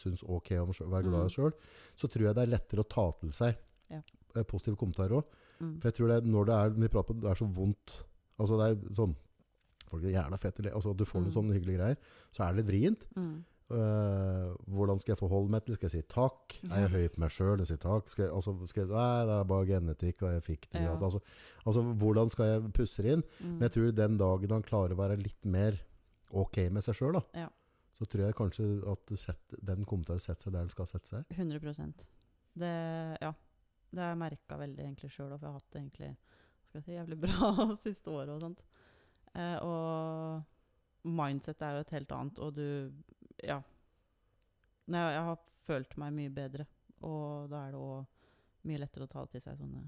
[SPEAKER 2] synes ok om å være glad i oss sjøl, så tror jeg det er lettere å ta til seg
[SPEAKER 1] Mm. Ja.
[SPEAKER 2] eh, positive kommentarer òg.
[SPEAKER 1] mm.
[SPEAKER 2] For jeg tror det er når det er vi prater om, det er så vondt Altså det er sånn Folk er jævla fette eller- Altså at du får
[SPEAKER 1] Mm.
[SPEAKER 2] noen sånne hyggelige greier, så er det litt vrient.
[SPEAKER 1] Mm.
[SPEAKER 2] Eh, hvordan skal jeg forholde meg til det? Skal jeg si takk? Er jeg høy på meg sjøl? Si takk? Skal jeg, altså, skal jeg, nei, det er bare genetikk, og jeg fikk det.
[SPEAKER 1] Ja.
[SPEAKER 2] gratis. Altså, altså, hvordan skal jeg pusse det inn?
[SPEAKER 1] Mm.
[SPEAKER 2] Men jeg tror den dagen han klarer å være litt mer ok med seg sjøl,
[SPEAKER 1] Ja.
[SPEAKER 2] så tror jeg kanskje at det setter- den kommer til å sette seg der den skal sette seg.
[SPEAKER 1] 100 Det Ja. Det har jeg merka veldig egentlig sjøl, og for jeg har hatt det egentlig hva skal jeg si, jævlig bra siste året og sånt. Eh, og mindset er jo et helt annet, og du Ja. Nei, jeg har følt meg mye bedre, og da er det òg mye lettere å ta til seg sånne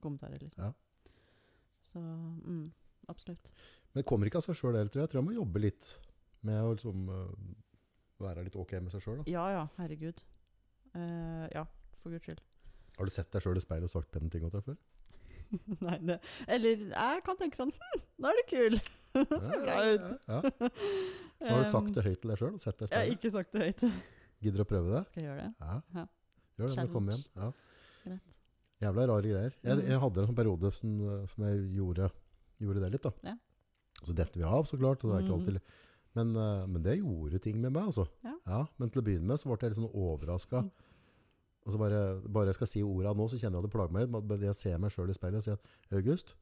[SPEAKER 1] kommentarer, liksom.
[SPEAKER 2] Ja.
[SPEAKER 1] Så mm, absolutt.
[SPEAKER 2] Men det kommer ikke av seg sjøl heller, tror jeg. Jeg tror jeg må jobbe litt med å liksom, øh, være litt ok med seg sjøl.
[SPEAKER 1] Ja ja, herregud. Eh, ja, for guds skyld.
[SPEAKER 2] Har du sett deg sjøl i speilet og sagt pene ting om deg før?
[SPEAKER 1] Nei, det Eller jeg kan tenke sånn Hm, nå er du kul! Det ser bra ut.
[SPEAKER 2] Ja, ja. Nå Har du
[SPEAKER 1] Um,
[SPEAKER 2] sagt det høyt til deg sjøl og sett deg i
[SPEAKER 1] Jeg har
[SPEAKER 2] speilet?
[SPEAKER 1] ikke sagt det høyt.
[SPEAKER 2] Gidder du å prøve det?
[SPEAKER 1] Skal jeg gjøre det?
[SPEAKER 2] Ja.
[SPEAKER 1] Ja.
[SPEAKER 2] Gjør det når du kommer hjem. Ja.
[SPEAKER 1] Greit.
[SPEAKER 2] Jævla rare greier. Jeg,
[SPEAKER 1] Mhm.
[SPEAKER 2] jeg hadde en sånn periode som, som jeg gjorde, gjorde det litt. da.
[SPEAKER 1] Ja.
[SPEAKER 2] Så detter vi av, så klart. Og det er ikke
[SPEAKER 1] Mhm.
[SPEAKER 2] alltid, men, eh, men det gjorde ting med meg, altså.
[SPEAKER 1] Ja.
[SPEAKER 2] men til å begynne med så ble jeg litt sånn overraska.
[SPEAKER 1] Mm.
[SPEAKER 2] Og så bare, bare jeg skal si orda nå, så kjenner jeg at det plager meg litt. men Bare jeg ser meg sjøl i speilet og sier at 'August,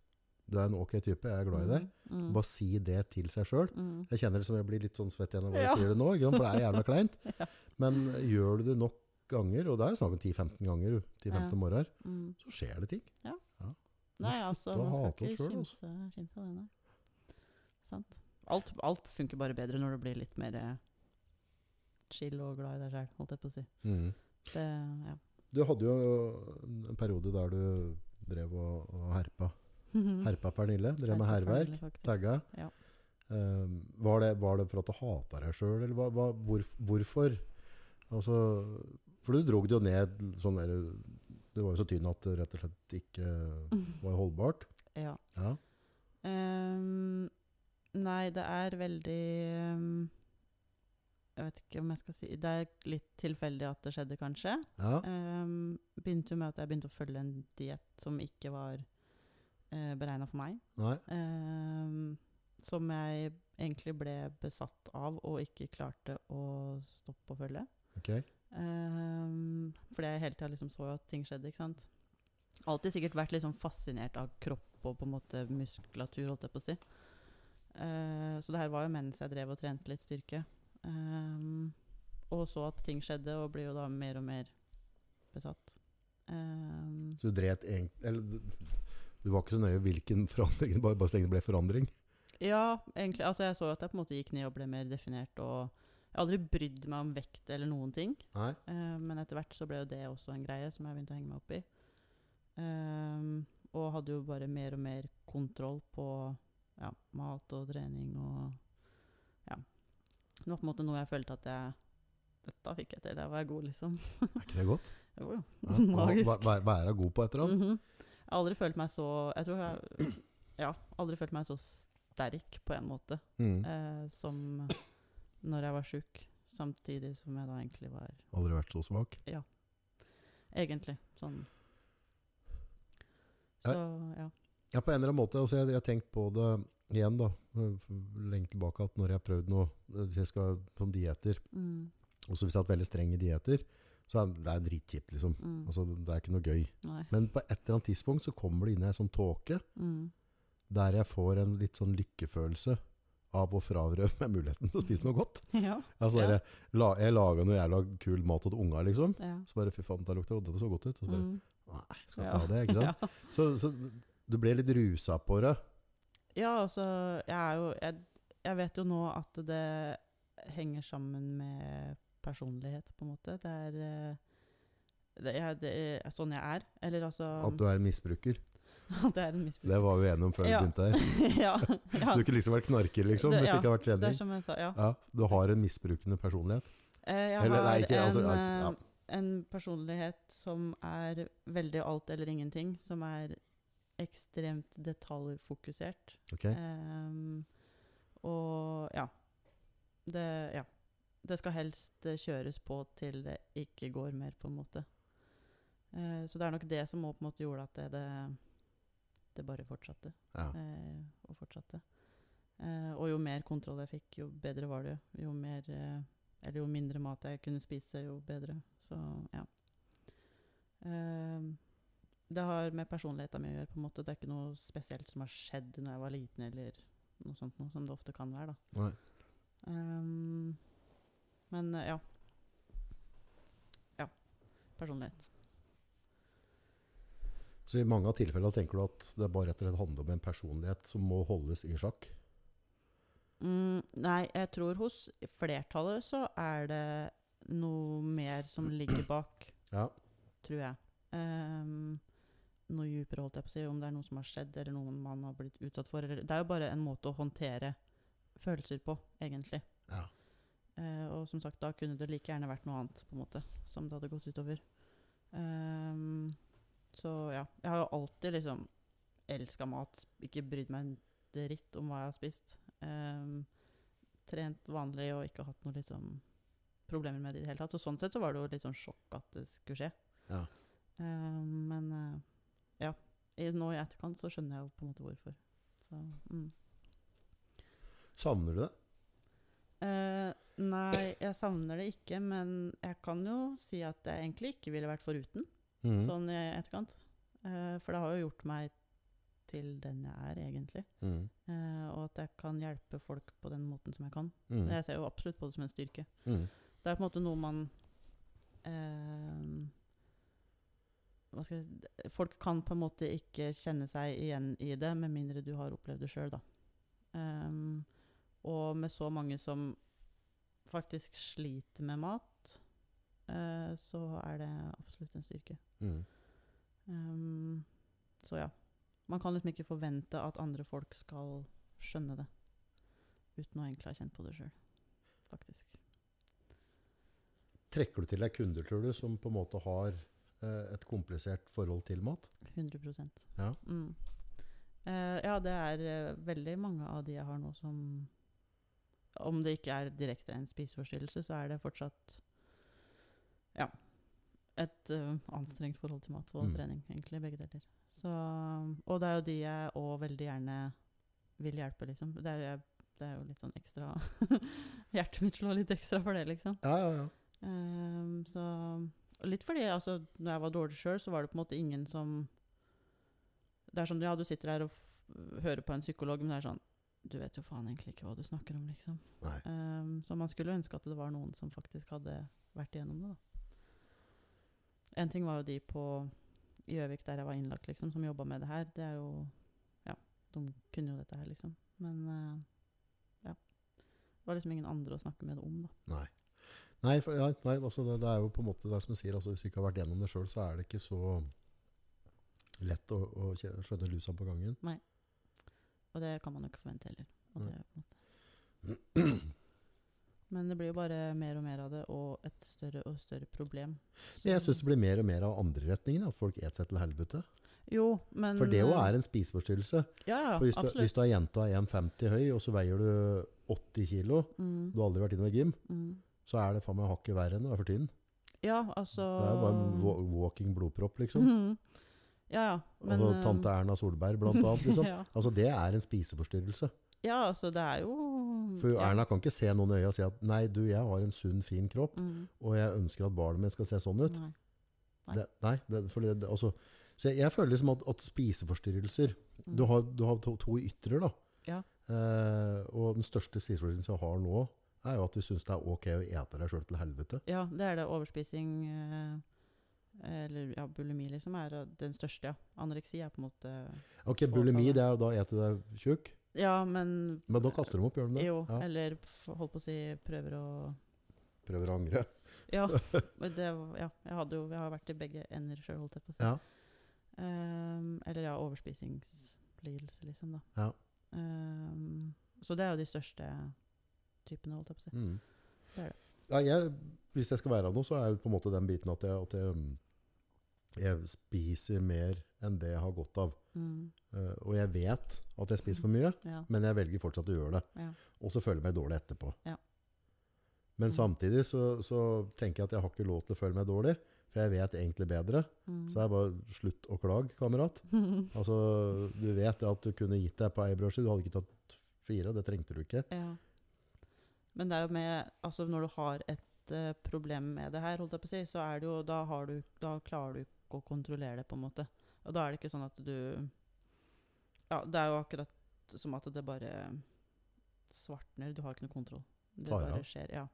[SPEAKER 2] du er en ok type, jeg er glad i deg'.
[SPEAKER 1] Mm.
[SPEAKER 2] Bare si det til seg sjøl.
[SPEAKER 1] Mm.
[SPEAKER 2] Jeg kjenner det som jeg blir litt sånn svett igjen av hva jeg
[SPEAKER 1] Ja.
[SPEAKER 2] sier det nå, ikke sant? for det er jævla kleint. Men gjør du det nok ganger, og det er snakk om 10-15 ganger, 10-15
[SPEAKER 1] Ja.
[SPEAKER 2] morgener,
[SPEAKER 1] Mm.
[SPEAKER 2] så skjer det ting. må
[SPEAKER 1] Nei, altså,
[SPEAKER 2] slutte å
[SPEAKER 1] man skal
[SPEAKER 2] hate oss
[SPEAKER 1] ikke
[SPEAKER 2] selv,
[SPEAKER 1] kimse kimse av det, nei. Sant. Alt, alt funker bare bedre når du blir litt mer eh, chill og glad i deg sjøl, holdt jeg på å si. Det, ja.
[SPEAKER 2] Du hadde jo en periode der du drev og, og herpa. Herpa Pernille, drev med
[SPEAKER 1] Mm. Herpa
[SPEAKER 2] herverk,
[SPEAKER 1] Pernille, faktisk.
[SPEAKER 2] tagga.
[SPEAKER 1] Ja.
[SPEAKER 2] Ehm, var, det, var det for at du hata deg sjøl, eller hva, hva, hvor, hvorfor? Altså, for du drog det jo ned sånn der Du var jo så tynn at det rett og slett ikke var holdbart.
[SPEAKER 1] ja.
[SPEAKER 2] Ja.
[SPEAKER 1] Ehm, nei, det er veldig ehm, Jeg vet ikke om jeg skal si Det er litt tilfeldig at det skjedde, kanskje.
[SPEAKER 2] ja.
[SPEAKER 1] Ehm, begynte jo med at jeg begynte å følge en diett som ikke var uh, beregna for meg.
[SPEAKER 2] Nei.
[SPEAKER 1] Ehm, som jeg egentlig ble besatt av og ikke klarte å stoppe å følge.
[SPEAKER 2] Ok.
[SPEAKER 1] Ehm, fordi jeg hele tida liksom så jo at ting skjedde, ikke sant. Alltid sikkert vært liksom fascinert av kropp og på en måte muskulatur, holdt jeg på å si. Eh, så det her var jo mens jeg drev og trente litt styrke. Ehm, og så at ting skjedde, og blir jo da mer og mer besatt. Ehm,
[SPEAKER 2] Så du dret egentlig Eller du- du var ikke så nøye hvilken forandring, bare, bare så lenge det ble forandring.
[SPEAKER 1] ja, egentlig. Altså jeg så jo at jeg på en måte gikk ned og ble mer definert, og jeg har aldri brydd meg om vekt eller noen ting.
[SPEAKER 2] Nei.
[SPEAKER 1] Eh, men etter hvert så ble jo det også en greie som jeg begynte å henge meg opp i. Ehm, og hadde jo bare mer og mer kontroll på ja, mat og trening og ja. Det var på en måte noe jeg følte at jeg Dette fikk jeg til, der var jeg god, liksom.
[SPEAKER 2] Er ikke det godt?
[SPEAKER 1] Jo, jo.
[SPEAKER 2] Ja.
[SPEAKER 1] Magisk.
[SPEAKER 2] Hva, hva, hva er jeg god på etter alt?
[SPEAKER 1] Mhm. Jeg har aldri følt meg så Jeg tror jeg Ja, aldri følt meg så sterk på en måte
[SPEAKER 2] Mm.
[SPEAKER 1] eh, som når jeg var sjuk. Samtidig som jeg da egentlig var
[SPEAKER 2] Aldri vært så svak.
[SPEAKER 1] Egentlig. Sånn.
[SPEAKER 2] Ja.
[SPEAKER 1] Så ja.
[SPEAKER 2] Ja, på en eller annen måte. Altså, jeg jeg har tenkt på det igjen, da. Eh, Lenge tilbake at når jeg har prøvd noe, hvis jeg skal sånn dietter,
[SPEAKER 1] Mm,
[SPEAKER 2] også hvis jeg har hatt veldig strenge dietter, så er det det er dritkjipt, liksom.
[SPEAKER 1] mm,
[SPEAKER 2] Altså, det er ikke noe gøy.
[SPEAKER 1] nei.
[SPEAKER 2] Men på et eller annet tidspunkt så kommer det inn ei sånn tåke
[SPEAKER 1] Mm,
[SPEAKER 2] der jeg får en litt sånn lykkefølelse av å frarøve meg muligheten til å spise noe godt.
[SPEAKER 1] ja.
[SPEAKER 2] Altså,
[SPEAKER 1] Ja.
[SPEAKER 2] jeg, la, jeg lager noe jævla kul mat til unga, liksom.
[SPEAKER 1] ja.
[SPEAKER 2] Så bare, fy faen, det lukter godt, dette så godt ut. Og så bare,
[SPEAKER 1] Mm.
[SPEAKER 2] nei, skal ikke
[SPEAKER 1] Ja.
[SPEAKER 2] ha det, ikke sant?
[SPEAKER 1] Ja.
[SPEAKER 2] Så, så du ble litt rusa på det.
[SPEAKER 1] ja, altså Jeg er jo jeg, jeg vet jo nå at det henger sammen med personlighet, på en måte. Det er, eh, det er, det er sånn jeg er. Eller altså
[SPEAKER 2] At du er en misbruker.
[SPEAKER 1] At jeg er en misbruker.
[SPEAKER 2] Det var vi enige om før
[SPEAKER 1] Ja.
[SPEAKER 2] vi begynte her.
[SPEAKER 1] ja, ja.
[SPEAKER 2] Du kunne liksom vært knarker, liksom,
[SPEAKER 1] Det-
[SPEAKER 2] hvis
[SPEAKER 1] ja,
[SPEAKER 2] det ikke har vært
[SPEAKER 1] Det er
[SPEAKER 2] trening.
[SPEAKER 1] som jeg sa, ja.
[SPEAKER 2] Ja, du har en misbrukende personlighet.
[SPEAKER 1] Eh, Jeg
[SPEAKER 2] Eller,
[SPEAKER 1] har
[SPEAKER 2] nei, ikke-
[SPEAKER 1] en,
[SPEAKER 2] altså, ja,
[SPEAKER 1] eh, en personlighet som er veldig alt eller ingenting, som er ekstremt detaljfokusert.
[SPEAKER 2] Ok?
[SPEAKER 1] Ehm, og ja. Det, ja. det skal helst eh, kjøres på til det ikke går mer, på en måte. Eh, så det er nok det som også på en måte gjorde at det, det, det bare fortsatte
[SPEAKER 2] Ja.
[SPEAKER 1] eh, og fortsatte. Eh, og jo mer kontroll jeg fikk, jo bedre var det jo. Jo, mer, eh, eller jo mindre mat jeg kunne spise, jo bedre. Så ja. Eh, det har med personligheten min å gjøre. på en måte. Det er ikke noe spesielt som har skjedd når jeg var liten, eller noe sånt noe, som det ofte kan være. da.
[SPEAKER 2] Nei.
[SPEAKER 1] Ehm, men eh, ja. Ja. Personlighet.
[SPEAKER 2] Så i mange av tilfellene tenker du at det bare rett og slett handler om en personlighet som må holdes i sjakk.
[SPEAKER 1] Mm, nei, jeg tror hos flertallet så er det noe mer som ligger bak,
[SPEAKER 2] Ja.
[SPEAKER 1] tror jeg. Ehm, noe djupere, holdt jeg på å si, om det er noe som har skjedd, eller noe man har blitt utsatt for. Eller, det er jo bare en måte å håndtere følelser på, egentlig.
[SPEAKER 2] Ja.
[SPEAKER 1] Eh, og som sagt, da kunne det like gjerne vært noe annet, på en måte, som det hadde gått utover. Ehm, så ja. Jeg har jo alltid liksom elska mat, ikke brydd meg en dritt om hva jeg har spist. Ehm, trent vanlig og ikke hatt noe liksom problemer med det i det hele tatt. Så sånn sett så var det jo litt sånn sjokk at det skulle skje.
[SPEAKER 2] Ja.
[SPEAKER 1] Ehm, men eh, ja. I, nå i etterkant så skjønner jeg jo på en måte hvorfor. Så, mm.
[SPEAKER 2] Savner du det?
[SPEAKER 1] Eh, nei, jeg savner det ikke, men jeg kan jo si at jeg egentlig ikke ville vært foruten,
[SPEAKER 2] Mhm.
[SPEAKER 1] sånn i etterkant. Eh, for det har jo gjort meg til den jeg er, egentlig.
[SPEAKER 2] Mhm.
[SPEAKER 1] Eh, og at jeg kan hjelpe folk på den måten som jeg kan.
[SPEAKER 2] Mhm.
[SPEAKER 1] Jeg ser jo absolutt på det som en styrke.
[SPEAKER 2] Mhm.
[SPEAKER 1] Det er på en måte noe man eh, hva skal jeg, si? Folk kan på en måte ikke kjenne seg igjen i det, med mindre du har opplevd det sjøl, da. Ehm, og med så mange som faktisk sliter med mat, eh, så er det absolutt en styrke.
[SPEAKER 2] Mhm.
[SPEAKER 1] Ehm, så ja. Man kan liksom ikke forvente at andre folk skal skjønne det. Uten å egentlig ha kjent på det sjøl, faktisk.
[SPEAKER 2] Trekker du til deg kunder, tror du, som på en måte har eh, et komplisert forhold til mat?
[SPEAKER 1] 100
[SPEAKER 2] Ja.
[SPEAKER 1] Mm. Eh, ja, det er eh, veldig mange av de jeg har nå som Om det ikke er direkte en spiseforstyrrelse, så er det fortsatt Ja. Et eh, anstrengt forhold til mat og
[SPEAKER 2] Mm.
[SPEAKER 1] trening, egentlig, begge deler. Så, og det er jo de jeg òg veldig gjerne vil hjelpe, liksom. Det er, jeg- det er jo litt sånn ekstra Hjertet mitt slår litt ekstra for det, liksom.
[SPEAKER 2] Ja, ja, ja.
[SPEAKER 1] Ehm, så, og litt fordi altså, når jeg var dårlig sjøl, så var det på en måte ingen som Det er som ja, du sitter her og f hører på en psykolog, men det er sånn Du vet jo faen egentlig ikke hva du snakker om, liksom.
[SPEAKER 2] Nei.
[SPEAKER 1] Ehm, så man skulle ønske at det var noen som faktisk hadde vært igjennom det, da. En ting var jo de på i Gjøvik, der jeg var innlagt, liksom, som jobba med det her. Det er jo Ja, de kunne jo dette her, liksom. Men eh, ja. Det var liksom ingen andre å snakke med det om, da.
[SPEAKER 2] Nei. Nei, for, ja, nei altså det, det er jo på en måte det er som du sier, altså hvis du ikke har vært gjennom det sjøl, så er det ikke så lett å, å kje- skjønne lusa på gangen.
[SPEAKER 1] Og det kan man jo ikke forvente heller. Og
[SPEAKER 2] Nei.
[SPEAKER 1] det, er på en måte. Men det blir jo bare mer og mer av det, og et større og større problem.
[SPEAKER 2] Men jeg
[SPEAKER 1] Så-
[SPEAKER 2] syns det blir mer og mer av andre retningen, at folk et seg til helvete.
[SPEAKER 1] Jo, men
[SPEAKER 2] For det jo er en spiseforstyrrelse.
[SPEAKER 1] Ja, ja,
[SPEAKER 2] For hvis du,
[SPEAKER 1] absolutt.
[SPEAKER 2] hvis du er jenta 1,50 høy, og så veier du 80 kilo,
[SPEAKER 1] Mm,
[SPEAKER 2] du har aldri vært inne i gym,
[SPEAKER 1] mm.
[SPEAKER 2] så er det faen meg hakket verre enn å være for tynn.
[SPEAKER 1] Ja, altså
[SPEAKER 2] Det er jo bare en wa- walking blodpropp, liksom.
[SPEAKER 1] Mhm. Ja, ja. men,
[SPEAKER 2] og
[SPEAKER 1] eh,
[SPEAKER 2] tante Erna Solberg, blant annet. Liksom.
[SPEAKER 1] ja.
[SPEAKER 2] Altså, det er en spiseforstyrrelse.
[SPEAKER 1] ja, altså, det er jo
[SPEAKER 2] For
[SPEAKER 1] Mm, ja.
[SPEAKER 2] Erna kan ikke se noen i øya og si at 'nei, du, jeg har en sunn, fin kropp',
[SPEAKER 1] Mm,
[SPEAKER 2] og jeg ønsker at barnet mitt skal se sånn ut.
[SPEAKER 1] nei.
[SPEAKER 2] Det, nei, det, for det, det, altså, Så jeg, jeg føler liksom at, at spiseforstyrrelser
[SPEAKER 1] Mm.
[SPEAKER 2] Du har, du har to, to ytrer, da.
[SPEAKER 1] Ja.
[SPEAKER 2] Eh, og den største spiseforstyrrelsen jeg har nå, er jo at du syns det er ok å ete deg sjøl til helvete.
[SPEAKER 1] Ja, det er det. Overspising eh, eller ja, bulimi liksom er eh, den største, ja. Anoreksi er på en måte
[SPEAKER 2] Ok, bulimi det er jo da å ete deg tjukk,
[SPEAKER 1] Ja, men
[SPEAKER 2] men da kaster de opp, gjør de det?
[SPEAKER 1] Jo,
[SPEAKER 2] Ja,
[SPEAKER 1] eller f- holdt på å si prøver å
[SPEAKER 2] prøver å angre.
[SPEAKER 1] Ja. men Det, ja jeg, hadde jo, jeg har vært i begge ender sjøl, holdt jeg på å si.
[SPEAKER 2] Ja.
[SPEAKER 1] Ehm, eller ja, overspisingslidelse, liksom, da.
[SPEAKER 2] Ja.
[SPEAKER 1] Ehm, så det er jo de største typene, holdt jeg på å si.
[SPEAKER 2] Mm.
[SPEAKER 1] Det er det.
[SPEAKER 2] Ja, jeg, hvis jeg skal være av noe, så er jo på en måte den biten at jeg, at jeg, mm, jeg spiser mer enn det jeg har godt av.
[SPEAKER 1] Mm,
[SPEAKER 2] Eh, og jeg vet at jeg spiser for mye,
[SPEAKER 1] ja.
[SPEAKER 2] men jeg velger fortsatt å gjøre det.
[SPEAKER 1] Ja.
[SPEAKER 2] Og så føler jeg meg dårlig etterpå.
[SPEAKER 1] Ja.
[SPEAKER 2] Men
[SPEAKER 1] Mm.
[SPEAKER 2] samtidig så, så tenker jeg at jeg har ikke lov til å føle meg dårlig, for jeg vet egentlig bedre.
[SPEAKER 1] Mm.
[SPEAKER 2] Så det er bare slutt å klage, kamerat. Altså, du vet det at du kunne gitt deg på ei brødskive, du hadde ikke tatt fire, det trengte du ikke.
[SPEAKER 1] Ja. Men det er jo med Altså, når du har et eh, problem med det her, holdt jeg på å si, så er det jo Da, har du, da klarer du ikke å kontrollere det, på en måte. Og da er det ikke sånn at du Ja, det er jo akkurat som at det bare svartner. Du har ikke noe kontroll. Det
[SPEAKER 2] Tar av.
[SPEAKER 1] bare skjer. Ja.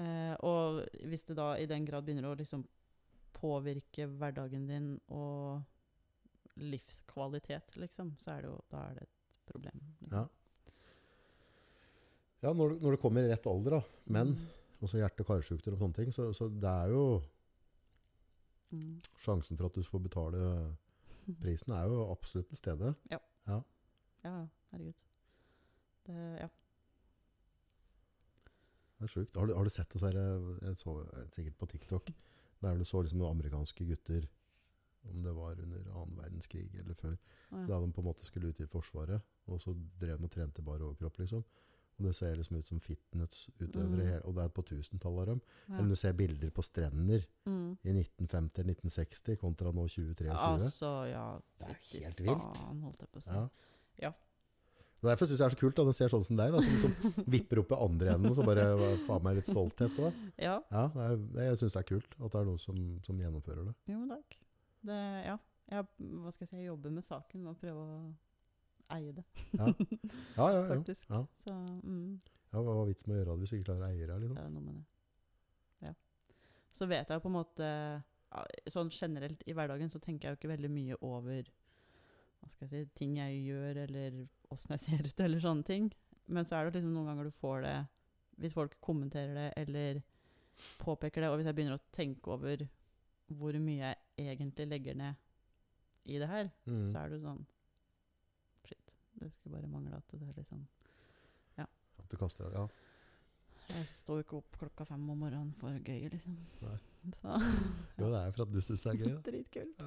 [SPEAKER 1] Eh, og hvis det da i den grad begynner å liksom påvirke hverdagen din og livskvalitet, liksom, så er det jo Da er det et problem.
[SPEAKER 2] Ja. Ja, når, du- når det kommer i rett alder, da. Men
[SPEAKER 1] Mm.
[SPEAKER 2] også hjerte- og karsykdommer og sånne ting, så, så det er jo
[SPEAKER 1] Mm.
[SPEAKER 2] sjansen for at du får betale prisen, er jo absolutt til stede.
[SPEAKER 1] Ja, ja, herregud. Det, ja.
[SPEAKER 2] Det er sjukt. Har, du- har du sett det så her, jeg så, eh, sikkert på TikTok, der du så liksom noen amerikanske gutter, om det var under 2. verdenskrig eller før,
[SPEAKER 1] Å, ja.
[SPEAKER 2] da de på en måte skulle ut i forsvaret, og så drev de og trente bare overkropp, liksom. Og det ser liksom ut som fitnessutøvere,
[SPEAKER 1] Mm.
[SPEAKER 2] hele- og det er på tusentallet av dem. Eller
[SPEAKER 1] ja.
[SPEAKER 2] du ser bilder på strender
[SPEAKER 1] Mm.
[SPEAKER 2] i 1950 eller 1960 kontra nå 2023.
[SPEAKER 1] Altså, ja
[SPEAKER 2] Det er
[SPEAKER 1] fytti
[SPEAKER 2] helt vilt.
[SPEAKER 1] Faen, holdt jeg på å si.
[SPEAKER 2] Ja.
[SPEAKER 1] Ja.
[SPEAKER 2] Og Derfor syns jeg det er så kult at den ser sånn som deg, da, som, som vipper opp i andre enden, og så bare hva- faen meg litt stolthet òg.
[SPEAKER 1] Ja.
[SPEAKER 2] Ja, det er, det, jeg syns det er kult at det er noen som, som gjennomfører det.
[SPEAKER 1] Jo, men takk. Det, ja. Jeg, hva skal jeg si, jeg jobber med saken med å prøve å eie det,
[SPEAKER 2] Ja, ja, ja.
[SPEAKER 1] faktisk.
[SPEAKER 2] Ja.
[SPEAKER 1] Så mm,
[SPEAKER 2] ja hva var vitsen med å gjøre det hvis du ikke klarer å eie det?
[SPEAKER 1] det
[SPEAKER 2] Liksom?
[SPEAKER 1] er noe med det. Ja. Så vet jeg jo på en måte ja, Sånn generelt i hverdagen så tenker jeg jo ikke veldig mye over hva skal jeg si, ting jeg gjør, eller åssen jeg ser ut, eller sånne ting. Men så er det liksom noen ganger du får det Hvis folk kommenterer det eller påpeker det, og hvis jeg begynner å tenke over hvor mye jeg egentlig legger ned i det her,
[SPEAKER 2] Mm.
[SPEAKER 1] så er det jo sånn Shit. Det skulle bare mangle at det er liksom
[SPEAKER 2] At du kaster deg Ja.
[SPEAKER 1] Jeg står jo ikke opp klokka fem om morgenen for gøy, liksom.
[SPEAKER 2] Nei.
[SPEAKER 1] Så
[SPEAKER 2] Jo, det er jo for at du syns det er gøy. da.
[SPEAKER 1] dritkult.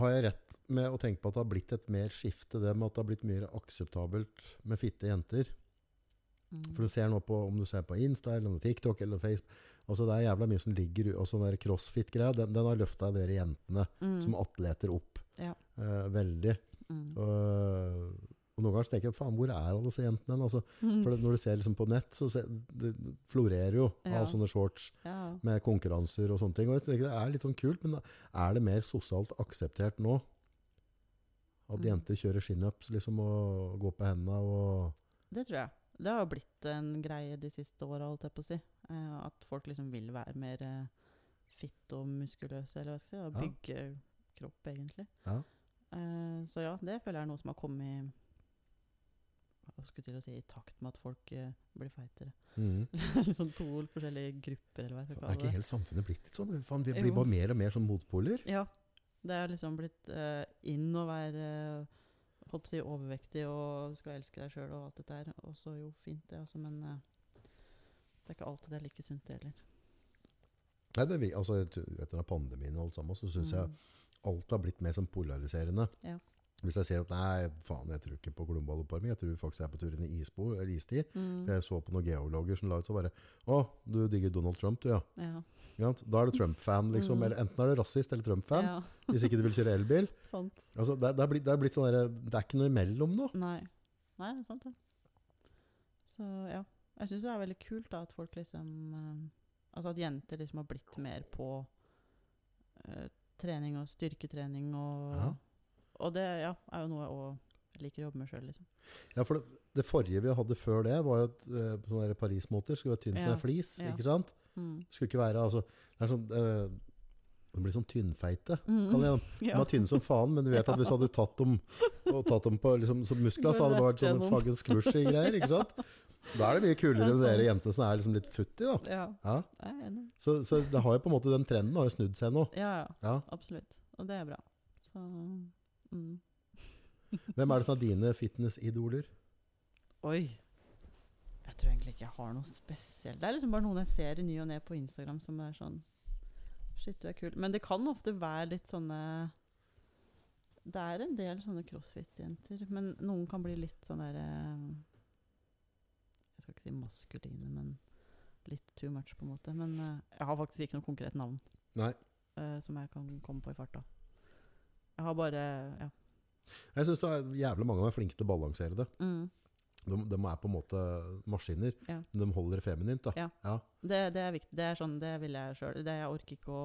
[SPEAKER 2] Har jeg rett med å tenke på at det har blitt et mer skifte, det med at det har blitt mer akseptabelt med fitte jenter?
[SPEAKER 1] Mm.
[SPEAKER 2] For du ser nå på, om du ser på Insta, eller om det er TikTok eller Facebook altså Det er jævla mye som ligger u- Og sånn der crossfit-greia, den, den har løfta dere jentene
[SPEAKER 1] Mm.
[SPEAKER 2] som atleter opp
[SPEAKER 1] Ja.
[SPEAKER 2] eh, veldig.
[SPEAKER 1] Mm.
[SPEAKER 2] Og, og noen ganger så tenker jeg faen, hvor er alle disse jentene? hen? Altså,
[SPEAKER 1] Mm.
[SPEAKER 2] For det, når du ser liksom på nett, så ser, det det florerer jo
[SPEAKER 1] Ja.
[SPEAKER 2] av sånne shorts
[SPEAKER 1] Ja.
[SPEAKER 2] med konkurranser og sånne ting. Og jeg tenker, det er litt sånn kult, men er det mer sosialt akseptert nå? At
[SPEAKER 1] Mm.
[SPEAKER 2] jenter kjører skinups liksom, og går på hendene og
[SPEAKER 1] Det tror jeg. Det har jo blitt en greie de siste åra, holdt jeg på å si. Eh, at folk liksom vil være mer eh, fitte og muskuløse, eller hva skal jeg si. Og
[SPEAKER 2] Ja.
[SPEAKER 1] bygge kropp, egentlig.
[SPEAKER 2] Ja.
[SPEAKER 1] Eh, så ja, det føler jeg er noe som har kommet jeg skulle til å si i takt med at folk eh, blir feitere. liksom to forskjellige grupper, eller hva jeg skal
[SPEAKER 2] Er
[SPEAKER 1] kalle
[SPEAKER 2] ikke
[SPEAKER 1] det.
[SPEAKER 2] hele samfunnet blitt litt sånn? Faen, vi
[SPEAKER 1] Jo.
[SPEAKER 2] blir bare mer og mer sånn motpoler.
[SPEAKER 1] Ja. Det er liksom blitt eh, inn å være eh, holdt på å si overvektig og skal elske deg sjøl og alt dette her. Og så jo, fint det, altså, men eh, det er ikke alltid det er like sunt, det heller.
[SPEAKER 2] Nei, det, er vi- altså, jeg tror- etter pandemien og alt sammen, så syns jeg
[SPEAKER 1] Mm.
[SPEAKER 2] alt har blitt mer sånn polariserende.
[SPEAKER 1] Ja.
[SPEAKER 2] Hvis jeg ser at nei, faen, jeg tror ikke på globalopparming, jeg tror faktisk jeg er på tur inn i isbo, eller istid.
[SPEAKER 1] Mm.
[SPEAKER 2] Jeg så på noen geologer som la ut så bare Å, du digger Donald Trump, du, ja.
[SPEAKER 1] Ja.
[SPEAKER 2] Ikke sant? Da er du Trump-fan, liksom.
[SPEAKER 1] Mm.
[SPEAKER 2] Eller enten er du rasist eller Trump-fan,
[SPEAKER 1] ja,
[SPEAKER 2] hvis ikke du vil kjøre elbil.
[SPEAKER 1] sant.
[SPEAKER 2] Altså, det, det, er blitt, det er blitt sånn derre Det er ikke noe imellom nå.
[SPEAKER 1] Nei. Nei, det er sant, det. Så ja. Jeg syns det er veldig kult da, at folk liksom eh, Altså at jenter liksom har blitt mer på eh, trening og styrketrening og
[SPEAKER 2] Ja.
[SPEAKER 1] Og det ja, er jo noe jeg òg liker å jobbe med sjøl, liksom.
[SPEAKER 2] Ja, for det, det forrige vi hadde før det, var jo at eh, på sånne der Paris-måter skulle være tynn som
[SPEAKER 1] Ja,
[SPEAKER 2] en flis.
[SPEAKER 1] ja.
[SPEAKER 2] ikke sant?
[SPEAKER 1] Mm.
[SPEAKER 2] Skulle ikke være altså, Det er sånn eh, De blir sånn tynnfeite.
[SPEAKER 1] Mm.
[SPEAKER 2] Kan jeg, de
[SPEAKER 1] Ja.
[SPEAKER 2] er tynne som faen, men du vet at hvis du hadde tatt dem, og tatt dem på liksom, som muskler, så hadde det vært sånn faggen skvusj i greier. ikke sant? Da er det mye kulere enn dere jentene som er liksom litt futti, da.
[SPEAKER 1] ja.
[SPEAKER 2] Ja.
[SPEAKER 1] Jeg er enig.
[SPEAKER 2] Så, så det har jo på en måte, den trenden har jo snudd seg nå.
[SPEAKER 1] Ja, ja.
[SPEAKER 2] Ja.
[SPEAKER 1] Absolutt. Og det er bra. Så mm.
[SPEAKER 2] Hvem er det som er dine fitnessidoler?
[SPEAKER 1] Oi. Jeg tror egentlig ikke jeg har noe spesielt. Det er liksom bare noen jeg ser i ny og ne på Instagram som er sånn Shit, du er kul. Men det kan ofte være litt sånne Det er en del sånne crossfit-jenter. Men noen kan bli litt sånn derre Jeg skal ikke si maskuline, men litt too much, på en måte. Men eh, jeg har faktisk ikke noe konkret navn
[SPEAKER 2] Nei.
[SPEAKER 1] eh, som jeg kan komme på i farta. Jeg har bare Ja.
[SPEAKER 2] Jeg syns jævlig mange av dem er flinke til å balansere det.
[SPEAKER 1] Mm.
[SPEAKER 2] De, de er på en måte maskiner,
[SPEAKER 1] Ja.
[SPEAKER 2] men de holder det feminint. da.
[SPEAKER 1] Ja. Det, det er viktig. Det er sånn, det vil jeg sjøl. Jeg orker ikke å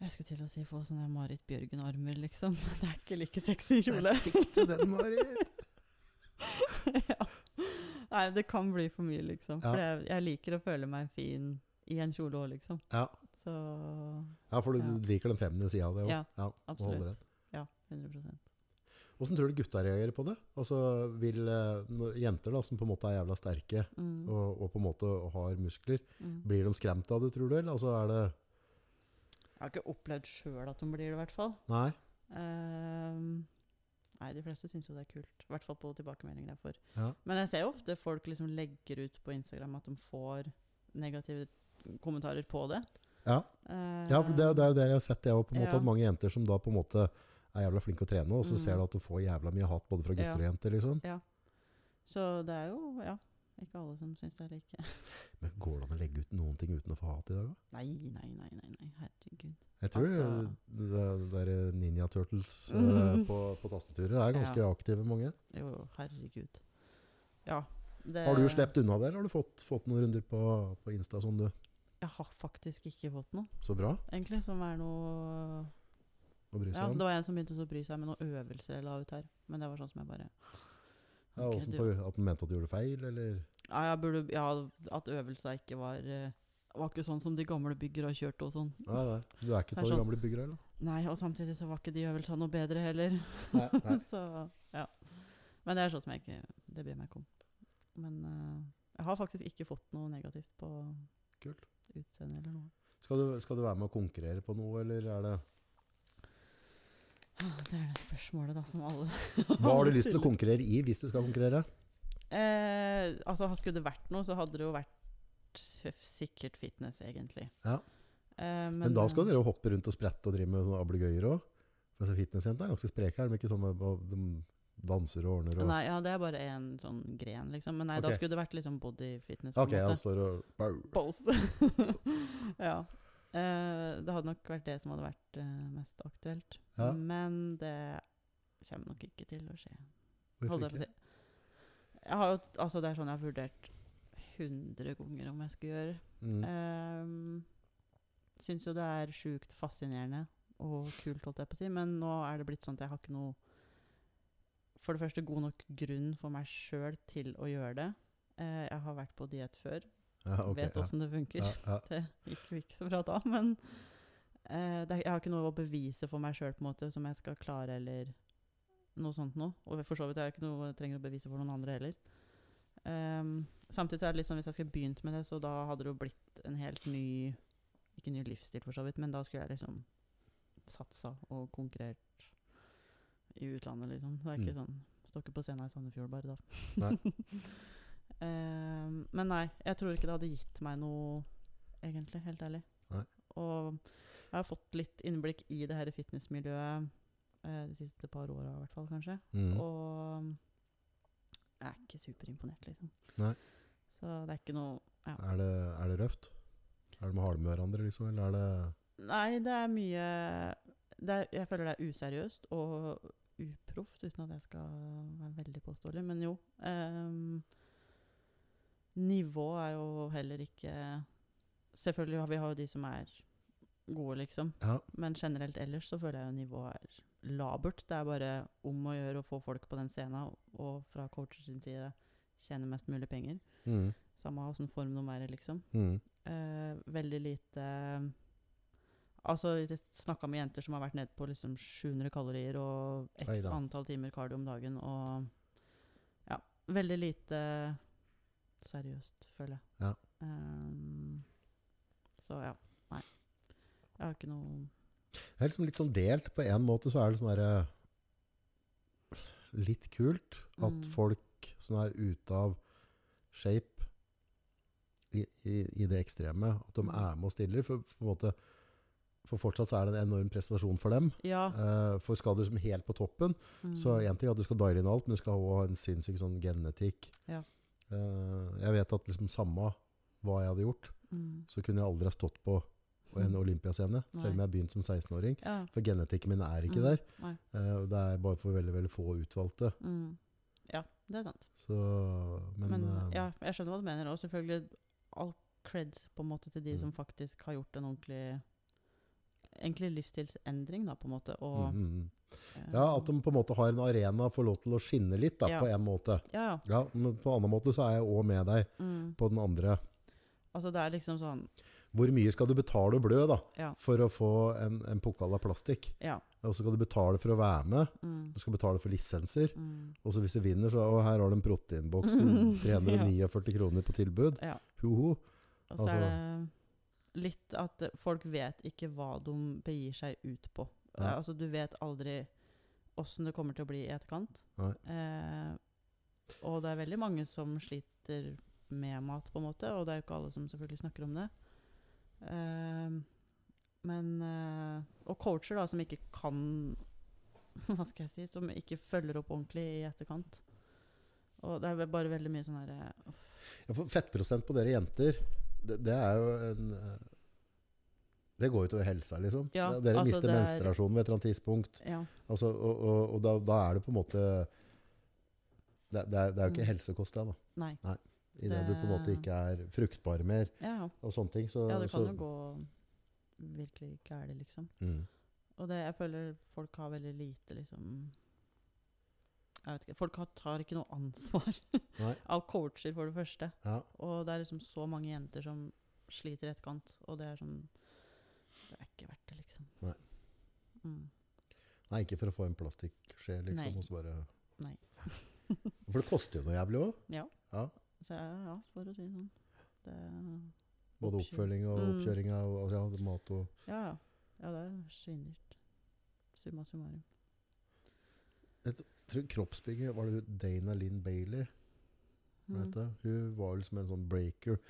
[SPEAKER 1] Jeg skulle til å si få sånne Marit Bjørgen-armer, liksom. Det er ikke like sexy kjole.
[SPEAKER 2] den, Marit.
[SPEAKER 1] ja. Nei, det kan bli for mye, liksom.
[SPEAKER 2] Ja.
[SPEAKER 1] For jeg, jeg liker å føle meg fin i en kjole òg, liksom.
[SPEAKER 2] Ja.
[SPEAKER 1] Så
[SPEAKER 2] Ja, for du
[SPEAKER 1] Ja.
[SPEAKER 2] du liker den feminine sida av det òg.
[SPEAKER 1] Ja,
[SPEAKER 2] og holder
[SPEAKER 1] absolutt.
[SPEAKER 2] det.
[SPEAKER 1] Ja, 100
[SPEAKER 2] Hvordan tror du gutta reagerer på det? Altså, vil eh, når- Jenter da, som på en måte er jævla sterke
[SPEAKER 1] mm,
[SPEAKER 2] og, og på en måte har muskler,
[SPEAKER 1] mm.
[SPEAKER 2] blir de skremt av det, tror du? Eller altså, er det
[SPEAKER 1] Jeg har ikke opplevd sjøl at hun blir det, i hvert fall.
[SPEAKER 2] Nei?
[SPEAKER 1] Ehm, nei, de fleste syns jo det er kult. I hvert fall på tilbakemeldinger jeg får.
[SPEAKER 2] Ja.
[SPEAKER 1] Men jeg ser jo ofte folk liksom legger ut på Instagram at de får negative kommentarer på det.
[SPEAKER 2] Ja. Ja, for det,
[SPEAKER 1] Ehm,
[SPEAKER 2] det er jo det jeg har sett. Jeg har på en måte
[SPEAKER 1] Ja.
[SPEAKER 2] hatt mange jenter som da på en måte er jævla flinke å trene, og så
[SPEAKER 1] Mm.
[SPEAKER 2] ser du at du får jævla mye hat både fra gutter
[SPEAKER 1] Ja.
[SPEAKER 2] og jenter. liksom.
[SPEAKER 1] Ehm, Så det er jo ja, ikke alle som syns det er like
[SPEAKER 2] Men Går det an å legge ut noen ting uten å få hat i dag? da?
[SPEAKER 1] Nei, nei, nei, nei, nei herregud.
[SPEAKER 2] Jeg tror
[SPEAKER 1] Altså-
[SPEAKER 2] det, det der Ninja Turtles eh,
[SPEAKER 1] Mhm.
[SPEAKER 2] på, på tastaturet er ganske aktive mange.
[SPEAKER 1] Jo, jo, herregud. Ja. Det,
[SPEAKER 2] Har du sluppet unna det, eller har du fått, fått noen runder på, på Insta som du
[SPEAKER 1] Jeg har faktisk ikke fått noe,
[SPEAKER 2] Så bra
[SPEAKER 1] egentlig, som er noe
[SPEAKER 2] å bry seg
[SPEAKER 1] Ja,
[SPEAKER 2] om?
[SPEAKER 1] det var en som begynte å bry seg med noen øvelser jeg la ut her. Men det var sånn som jeg bare
[SPEAKER 2] Ja,
[SPEAKER 1] Ok,
[SPEAKER 2] hvordan
[SPEAKER 1] du-
[SPEAKER 2] på- at den mente at du gjorde feil, eller
[SPEAKER 1] Ja, jeg burde, ja at øvelsa ikke var eh, Var ikke sånn som de gamle bygger har kjørt og sånn.
[SPEAKER 2] Nei, nei. Du er ikke
[SPEAKER 1] Det er
[SPEAKER 2] av de
[SPEAKER 1] sånn-
[SPEAKER 2] gamle byggere, eller?
[SPEAKER 1] Nei, og samtidig så var ikke de øvelsene noe bedre heller.
[SPEAKER 2] Nei, nei.
[SPEAKER 1] så ja. Men det er sånn som jeg ikke Det bryr jeg meg ikke om. Men eh, jeg har faktisk ikke fått noe negativt på
[SPEAKER 2] Kult.
[SPEAKER 1] utseendet eller noe.
[SPEAKER 2] Skal du, skal du være med og konkurrere på noe, eller er det
[SPEAKER 1] Ah, Det er det spørsmålet, da, som alle
[SPEAKER 2] Hva har du lyst til å konkurrere i, hvis du skal konkurrere?
[SPEAKER 1] Eh, altså, skulle det vært noe, så hadde det jo vært s- sikkert fitness, egentlig.
[SPEAKER 2] Ja.
[SPEAKER 1] Eh, men,
[SPEAKER 2] Men, da skal dere jo hoppe rundt og sprette og drive med sånne ablegøyer òg. Altså, Fitnessjentene er ganske spreke, er de ikke sånn med og de danser og ordner og
[SPEAKER 1] Nei, ja, det er bare en sånn gren, liksom. Men nei, da
[SPEAKER 2] Ok.
[SPEAKER 1] skulle det vært liksom body fitness. på en
[SPEAKER 2] Ok, altså. han
[SPEAKER 1] måte.
[SPEAKER 2] står og Bau.
[SPEAKER 1] Pose. ja. Eh, det hadde nok vært det som hadde vært eh, mest aktuelt.
[SPEAKER 2] Ja.
[SPEAKER 1] Men det kommer nok ikke til å skje.
[SPEAKER 2] Hvorfor
[SPEAKER 1] Holdt jeg på å
[SPEAKER 2] ikke?
[SPEAKER 1] si. Jeg har jo, t- altså, det er sånn jeg har vurdert 100 ganger om jeg skulle gjøre.
[SPEAKER 2] Mm.
[SPEAKER 1] Um, Syns jo det er sjukt fascinerende og kult, holdt jeg på å si, men nå er det blitt sånn at jeg har ikke noe For det første god nok grunn for meg sjøl til å gjøre det. Eh, jeg har vært på diett før,
[SPEAKER 2] Ja, Ah, ok,
[SPEAKER 1] vet åssen det funker.
[SPEAKER 2] ja, ja,
[SPEAKER 1] Det gikk jo ikke så bra da, men eh, det, er- jeg har ikke noe å bevise for meg sjøl som jeg skal klare, eller noe sånt noe. Og for så vidt har jeg ikke noe jeg trenger å bevise for noen andre heller. Ehm, samtidig så er det litt sånn hvis jeg skulle begynt med det, så da hadde det jo blitt en helt ny Ikke ny livsstil, for så vidt, men da skulle jeg liksom satsa og konkurrert i utlandet, liksom. Det er ikke sånn Står ikke på scenen i Sandefjord bare da.
[SPEAKER 2] Mm. Nei.
[SPEAKER 1] Ehm, men nei, jeg tror ikke det hadde gitt meg noe egentlig, helt ærlig.
[SPEAKER 2] Nei.
[SPEAKER 1] Og jeg har fått litt innblikk i det her fitnessmiljøet eh, de siste par åra, i hvert fall, kanskje.
[SPEAKER 2] ja. Mm.
[SPEAKER 1] Og jeg er ikke superimponert, liksom.
[SPEAKER 2] Nei.
[SPEAKER 1] Så det er ikke noe ja.
[SPEAKER 2] Er, det, er det røft? Er de harde med hverandre, liksom? Eller er det
[SPEAKER 1] Nei, det er mye det er, Jeg føler det er useriøst og uproft, uten at jeg skal være veldig påståelig, men jo. ehm, Um, Nivået er jo heller ikke Selvfølgelig har vi har jo de som er gode, liksom.
[SPEAKER 2] Ja.
[SPEAKER 1] Men generelt ellers så føler jeg jo nivået er labert. Det er bare om å gjøre å få folk på den scenen, og fra coaches sin side tjene mest mulig penger.
[SPEAKER 2] Mm.
[SPEAKER 1] Samme åssen form de er i, liksom.
[SPEAKER 2] Mm.
[SPEAKER 1] Eh, veldig lite Altså, jeg snakka med jenter som har vært nede på liksom 700 kalorier og
[SPEAKER 2] Oi
[SPEAKER 1] x
[SPEAKER 2] da.
[SPEAKER 1] antall timer kardio om dagen, og Ja. Veldig lite seriøst, føler jeg.
[SPEAKER 2] Ja.
[SPEAKER 1] Ehm, så ja. Nei. Jeg har ikke noe
[SPEAKER 2] Det er liksom litt sånn delt. På en måte så er det sånn derre Litt kult at
[SPEAKER 1] Mm.
[SPEAKER 2] folk som er ute av shape i, i, i det ekstreme, at de
[SPEAKER 1] Mm.
[SPEAKER 2] er med og stiller. For, på en måte, for fortsatt så er det en enorm prestasjon for dem.
[SPEAKER 1] Ja.
[SPEAKER 2] Eh, for skal du liksom helt på toppen,
[SPEAKER 1] Mm.
[SPEAKER 2] så én ting er at du skal diale inn alt, men du skal også ha en sinnssyk sånn genetikk.
[SPEAKER 1] Ja.
[SPEAKER 2] Eh, jeg vet at liksom samme hva jeg hadde gjort,
[SPEAKER 1] mm.
[SPEAKER 2] så kunne jeg aldri ha stått på en olympiascene, selv om
[SPEAKER 1] Nei.
[SPEAKER 2] jeg begynte som 16-åring.
[SPEAKER 1] Ja.
[SPEAKER 2] For genetikken min er ikke
[SPEAKER 1] Mm,
[SPEAKER 2] der.
[SPEAKER 1] nei.
[SPEAKER 2] Eh, og det er bare for veldig veldig få utvalgte.
[SPEAKER 1] Mm. Ja, det er sant.
[SPEAKER 2] Så, men
[SPEAKER 1] Men
[SPEAKER 2] eh,
[SPEAKER 1] ja, jeg skjønner hva du mener. Og selvfølgelig all cred på en måte til de
[SPEAKER 2] Mm.
[SPEAKER 1] som faktisk har gjort en ordentlig Egentlig livsstilsendring, da, på en måte. Og,
[SPEAKER 2] mm, mm, mm.
[SPEAKER 1] eh,
[SPEAKER 2] ja, at de på en måte har en arena for lov til å skinne litt, da,
[SPEAKER 1] Ja.
[SPEAKER 2] på en måte.
[SPEAKER 1] ja, ja.
[SPEAKER 2] Ja, men på en annen måte så er jeg òg med deg
[SPEAKER 1] Mm.
[SPEAKER 2] på den andre.
[SPEAKER 1] Altså, det er liksom sånn
[SPEAKER 2] Hvor mye skal du betale og blø da,
[SPEAKER 1] Ja.
[SPEAKER 2] for å få en, en pokal av plastikk?
[SPEAKER 1] Ja.
[SPEAKER 2] Og så skal du betale for å være med.
[SPEAKER 1] Mm,
[SPEAKER 2] Du skal betale for lisenser.
[SPEAKER 1] mm,
[SPEAKER 2] Og så hvis du vinner, så Å, her har du en proteinboks med 349 kroner på tilbud.
[SPEAKER 1] ja.
[SPEAKER 2] Hoho.
[SPEAKER 1] Og så
[SPEAKER 2] Altså-
[SPEAKER 1] er det litt at eh, folk vet ikke hva de begir seg ut på. Eh,
[SPEAKER 2] Ja.
[SPEAKER 1] Altså, du vet aldri åssen det kommer til å bli i etterkant.
[SPEAKER 2] Nei.
[SPEAKER 1] Eh, og det er veldig mange som sliter med mat, på en måte, og det er jo ikke alle som selvfølgelig snakker om det. Eh, men eh, Og coacher, da, som ikke kan Hva skal jeg si? Som ikke følger opp ordentlig i etterkant. Og det er vel bare veldig mye sånn herre
[SPEAKER 2] Ja, for fettprosent på dere jenter, det, det er jo en eh, Det går jo utover helsa, liksom.
[SPEAKER 1] Ja,
[SPEAKER 2] De- dere
[SPEAKER 1] altså,
[SPEAKER 2] mister
[SPEAKER 1] det er-
[SPEAKER 2] menstruasjon ved et eller annet tidspunkt.
[SPEAKER 1] eh, Ja.
[SPEAKER 2] Altså, og og, og da, da er det på en måte Det, det, er, det er jo ikke helsekost, det, da.
[SPEAKER 1] Nei.
[SPEAKER 2] I det du på en
[SPEAKER 1] Mm.
[SPEAKER 2] måte
[SPEAKER 1] Det-
[SPEAKER 2] ikke er fruktbar mer
[SPEAKER 1] Ja, ja.
[SPEAKER 2] og sånne ting. Så,
[SPEAKER 1] Ja, det kan
[SPEAKER 2] så,
[SPEAKER 1] jo gå virkelig gærent, liksom.
[SPEAKER 2] Mm.
[SPEAKER 1] Og det, jeg føler folk har veldig lite liksom Jeg vet ikke Folk har, tar ikke noe ansvar
[SPEAKER 2] Nei.
[SPEAKER 1] av coacher, for det første.
[SPEAKER 2] Ja.
[SPEAKER 1] Og det er liksom så mange jenter som sliter i etterkant, og det er sånn Det er ikke verdt det, liksom.
[SPEAKER 2] Nei.
[SPEAKER 1] Mm.
[SPEAKER 2] Nei, ikke for å få en plastikkskje, liksom.
[SPEAKER 1] Nei.
[SPEAKER 2] Og så bare
[SPEAKER 1] Nei.
[SPEAKER 2] For det koster jo noe jævlig òg.
[SPEAKER 1] Så ja, ja, for å si det sånn. Det,
[SPEAKER 2] Både
[SPEAKER 1] Oppkjøring.
[SPEAKER 2] oppfølging og
[SPEAKER 1] Mm.
[SPEAKER 2] oppkjøring av og ja, mat og
[SPEAKER 1] ja, ja. Ja, det er svindyrt. Summa summarum.
[SPEAKER 2] Jeg tror Kroppsbygget var det hun Dana Lynn Bailey. Hva
[SPEAKER 1] Mm.
[SPEAKER 2] heter det? Hun var liksom en sånn breaker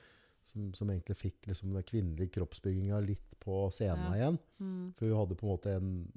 [SPEAKER 2] som, som egentlig fikk liksom den kvinnelige kroppsbygginga litt på scenen
[SPEAKER 1] Ja.
[SPEAKER 2] igjen.
[SPEAKER 1] Mm.
[SPEAKER 2] For hun hadde på en måte en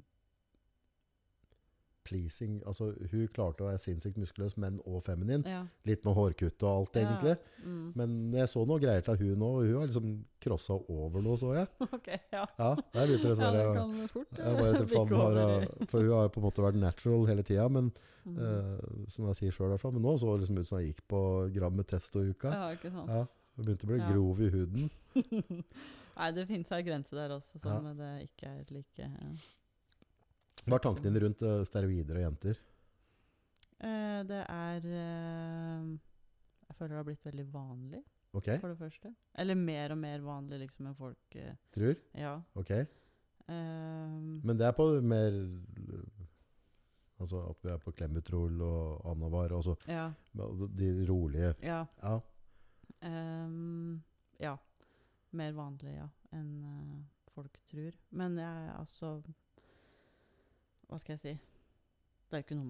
[SPEAKER 2] pleasing Altså, hun klarte å være sinnssykt muskuløs, men òg feminin.
[SPEAKER 1] Ja.
[SPEAKER 2] Litt med hårkutt og alt,
[SPEAKER 1] Ja.
[SPEAKER 2] egentlig.
[SPEAKER 1] Mm.
[SPEAKER 2] Men jeg så noe greier til hun òg, og hun har liksom crossa over noe, så jeg.
[SPEAKER 1] OK, ja.
[SPEAKER 2] Ja, der begynte det sånn
[SPEAKER 1] Ja, det
[SPEAKER 2] her,
[SPEAKER 1] kan fort
[SPEAKER 2] jeg bare etter faen har, For hun har jo på en måte vært natural hele tida, men
[SPEAKER 1] Mm.
[SPEAKER 2] eh, som jeg sier selv i hvert fall, men nå så det liksom ut som hun gikk på gram med testo-uka.
[SPEAKER 1] Ja, ikke sant.
[SPEAKER 2] Ja, Hun begynte å bli
[SPEAKER 1] Ja.
[SPEAKER 2] grov i huden.
[SPEAKER 1] Nei, det finnes ei grense der også
[SPEAKER 2] Ja.
[SPEAKER 1] som det ikke er like
[SPEAKER 2] Hva er tankene dine rundt eh, steroider og jenter?
[SPEAKER 1] Eh, Det er eh, Jeg føler det har blitt veldig vanlig,
[SPEAKER 2] Ok,
[SPEAKER 1] for det første. Eller mer og mer vanlig, liksom, enn folk eh,
[SPEAKER 2] tror?
[SPEAKER 1] Ja.
[SPEAKER 2] Ok.
[SPEAKER 1] Eh,
[SPEAKER 2] Men det er på mer eh, Altså at vi er på Klemutrol og Anavar og så
[SPEAKER 1] ja.
[SPEAKER 2] de rolige
[SPEAKER 1] Ja.
[SPEAKER 2] Ja.
[SPEAKER 1] Ehm, ja. Mer vanlig, ja, enn eh, folk tror. Men jeg altså Hva skal jeg si? Det er jo ikke noe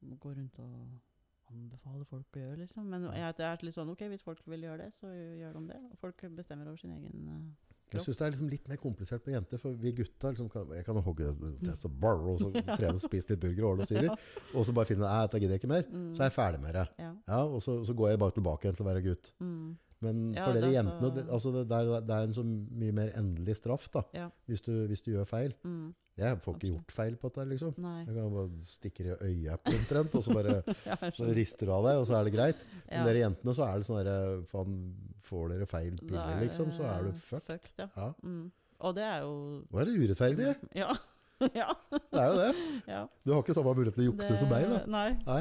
[SPEAKER 1] man går rundt og anbefaler folk å gjøre, liksom. Men jeg, det er litt sånn OK, hvis folk vil gjøre det, så gjør de det. Og folk bestemmer over sin egen eh,
[SPEAKER 2] Jeg syns det er liksom litt mer komplisert på jenter, for vi gutta liksom kan, Jeg kan hogge test og barr, og så trene og spise litt burger og ål og syrer, og så bare finne Nei, dette gidder jeg ikke mer.
[SPEAKER 1] mm,
[SPEAKER 2] Så er jeg ferdig med det.
[SPEAKER 1] Ja.
[SPEAKER 2] Ja, og så, så går jeg bare tilbake igjen til å være gutt.
[SPEAKER 1] Mm,
[SPEAKER 2] Men
[SPEAKER 1] Ja,
[SPEAKER 2] for dere
[SPEAKER 1] det er
[SPEAKER 2] jentene
[SPEAKER 1] så-
[SPEAKER 2] det, altså det, det, er, det er en så mye mer endelig straff da,
[SPEAKER 1] Ja.
[SPEAKER 2] hvis, du, hvis du gjør feil.
[SPEAKER 1] mm,
[SPEAKER 2] Jeg får ikke
[SPEAKER 1] Absolutt.
[SPEAKER 2] gjort feil på dette, liksom.
[SPEAKER 1] nei.
[SPEAKER 2] Jeg kan bare stikke det i øyet på omtrent, og så bare
[SPEAKER 1] Ja, jeg
[SPEAKER 2] så
[SPEAKER 1] skjønner.
[SPEAKER 2] rister du av deg, og så er det greit. Men
[SPEAKER 1] Ja.
[SPEAKER 2] dere jentene, så er det sånn der, faen, får dere feil
[SPEAKER 1] Da
[SPEAKER 2] piller, liksom, så er du fucked.
[SPEAKER 1] fucked ja.
[SPEAKER 2] Ja.
[SPEAKER 1] Mm. Og det er jo
[SPEAKER 2] Nå er det urettferdig.
[SPEAKER 1] Ja. ja.
[SPEAKER 2] Det er jo det.
[SPEAKER 1] ja.
[SPEAKER 2] Du har ikke samme mulighet til å jukse som meg, da.
[SPEAKER 1] Nei.
[SPEAKER 2] Nei.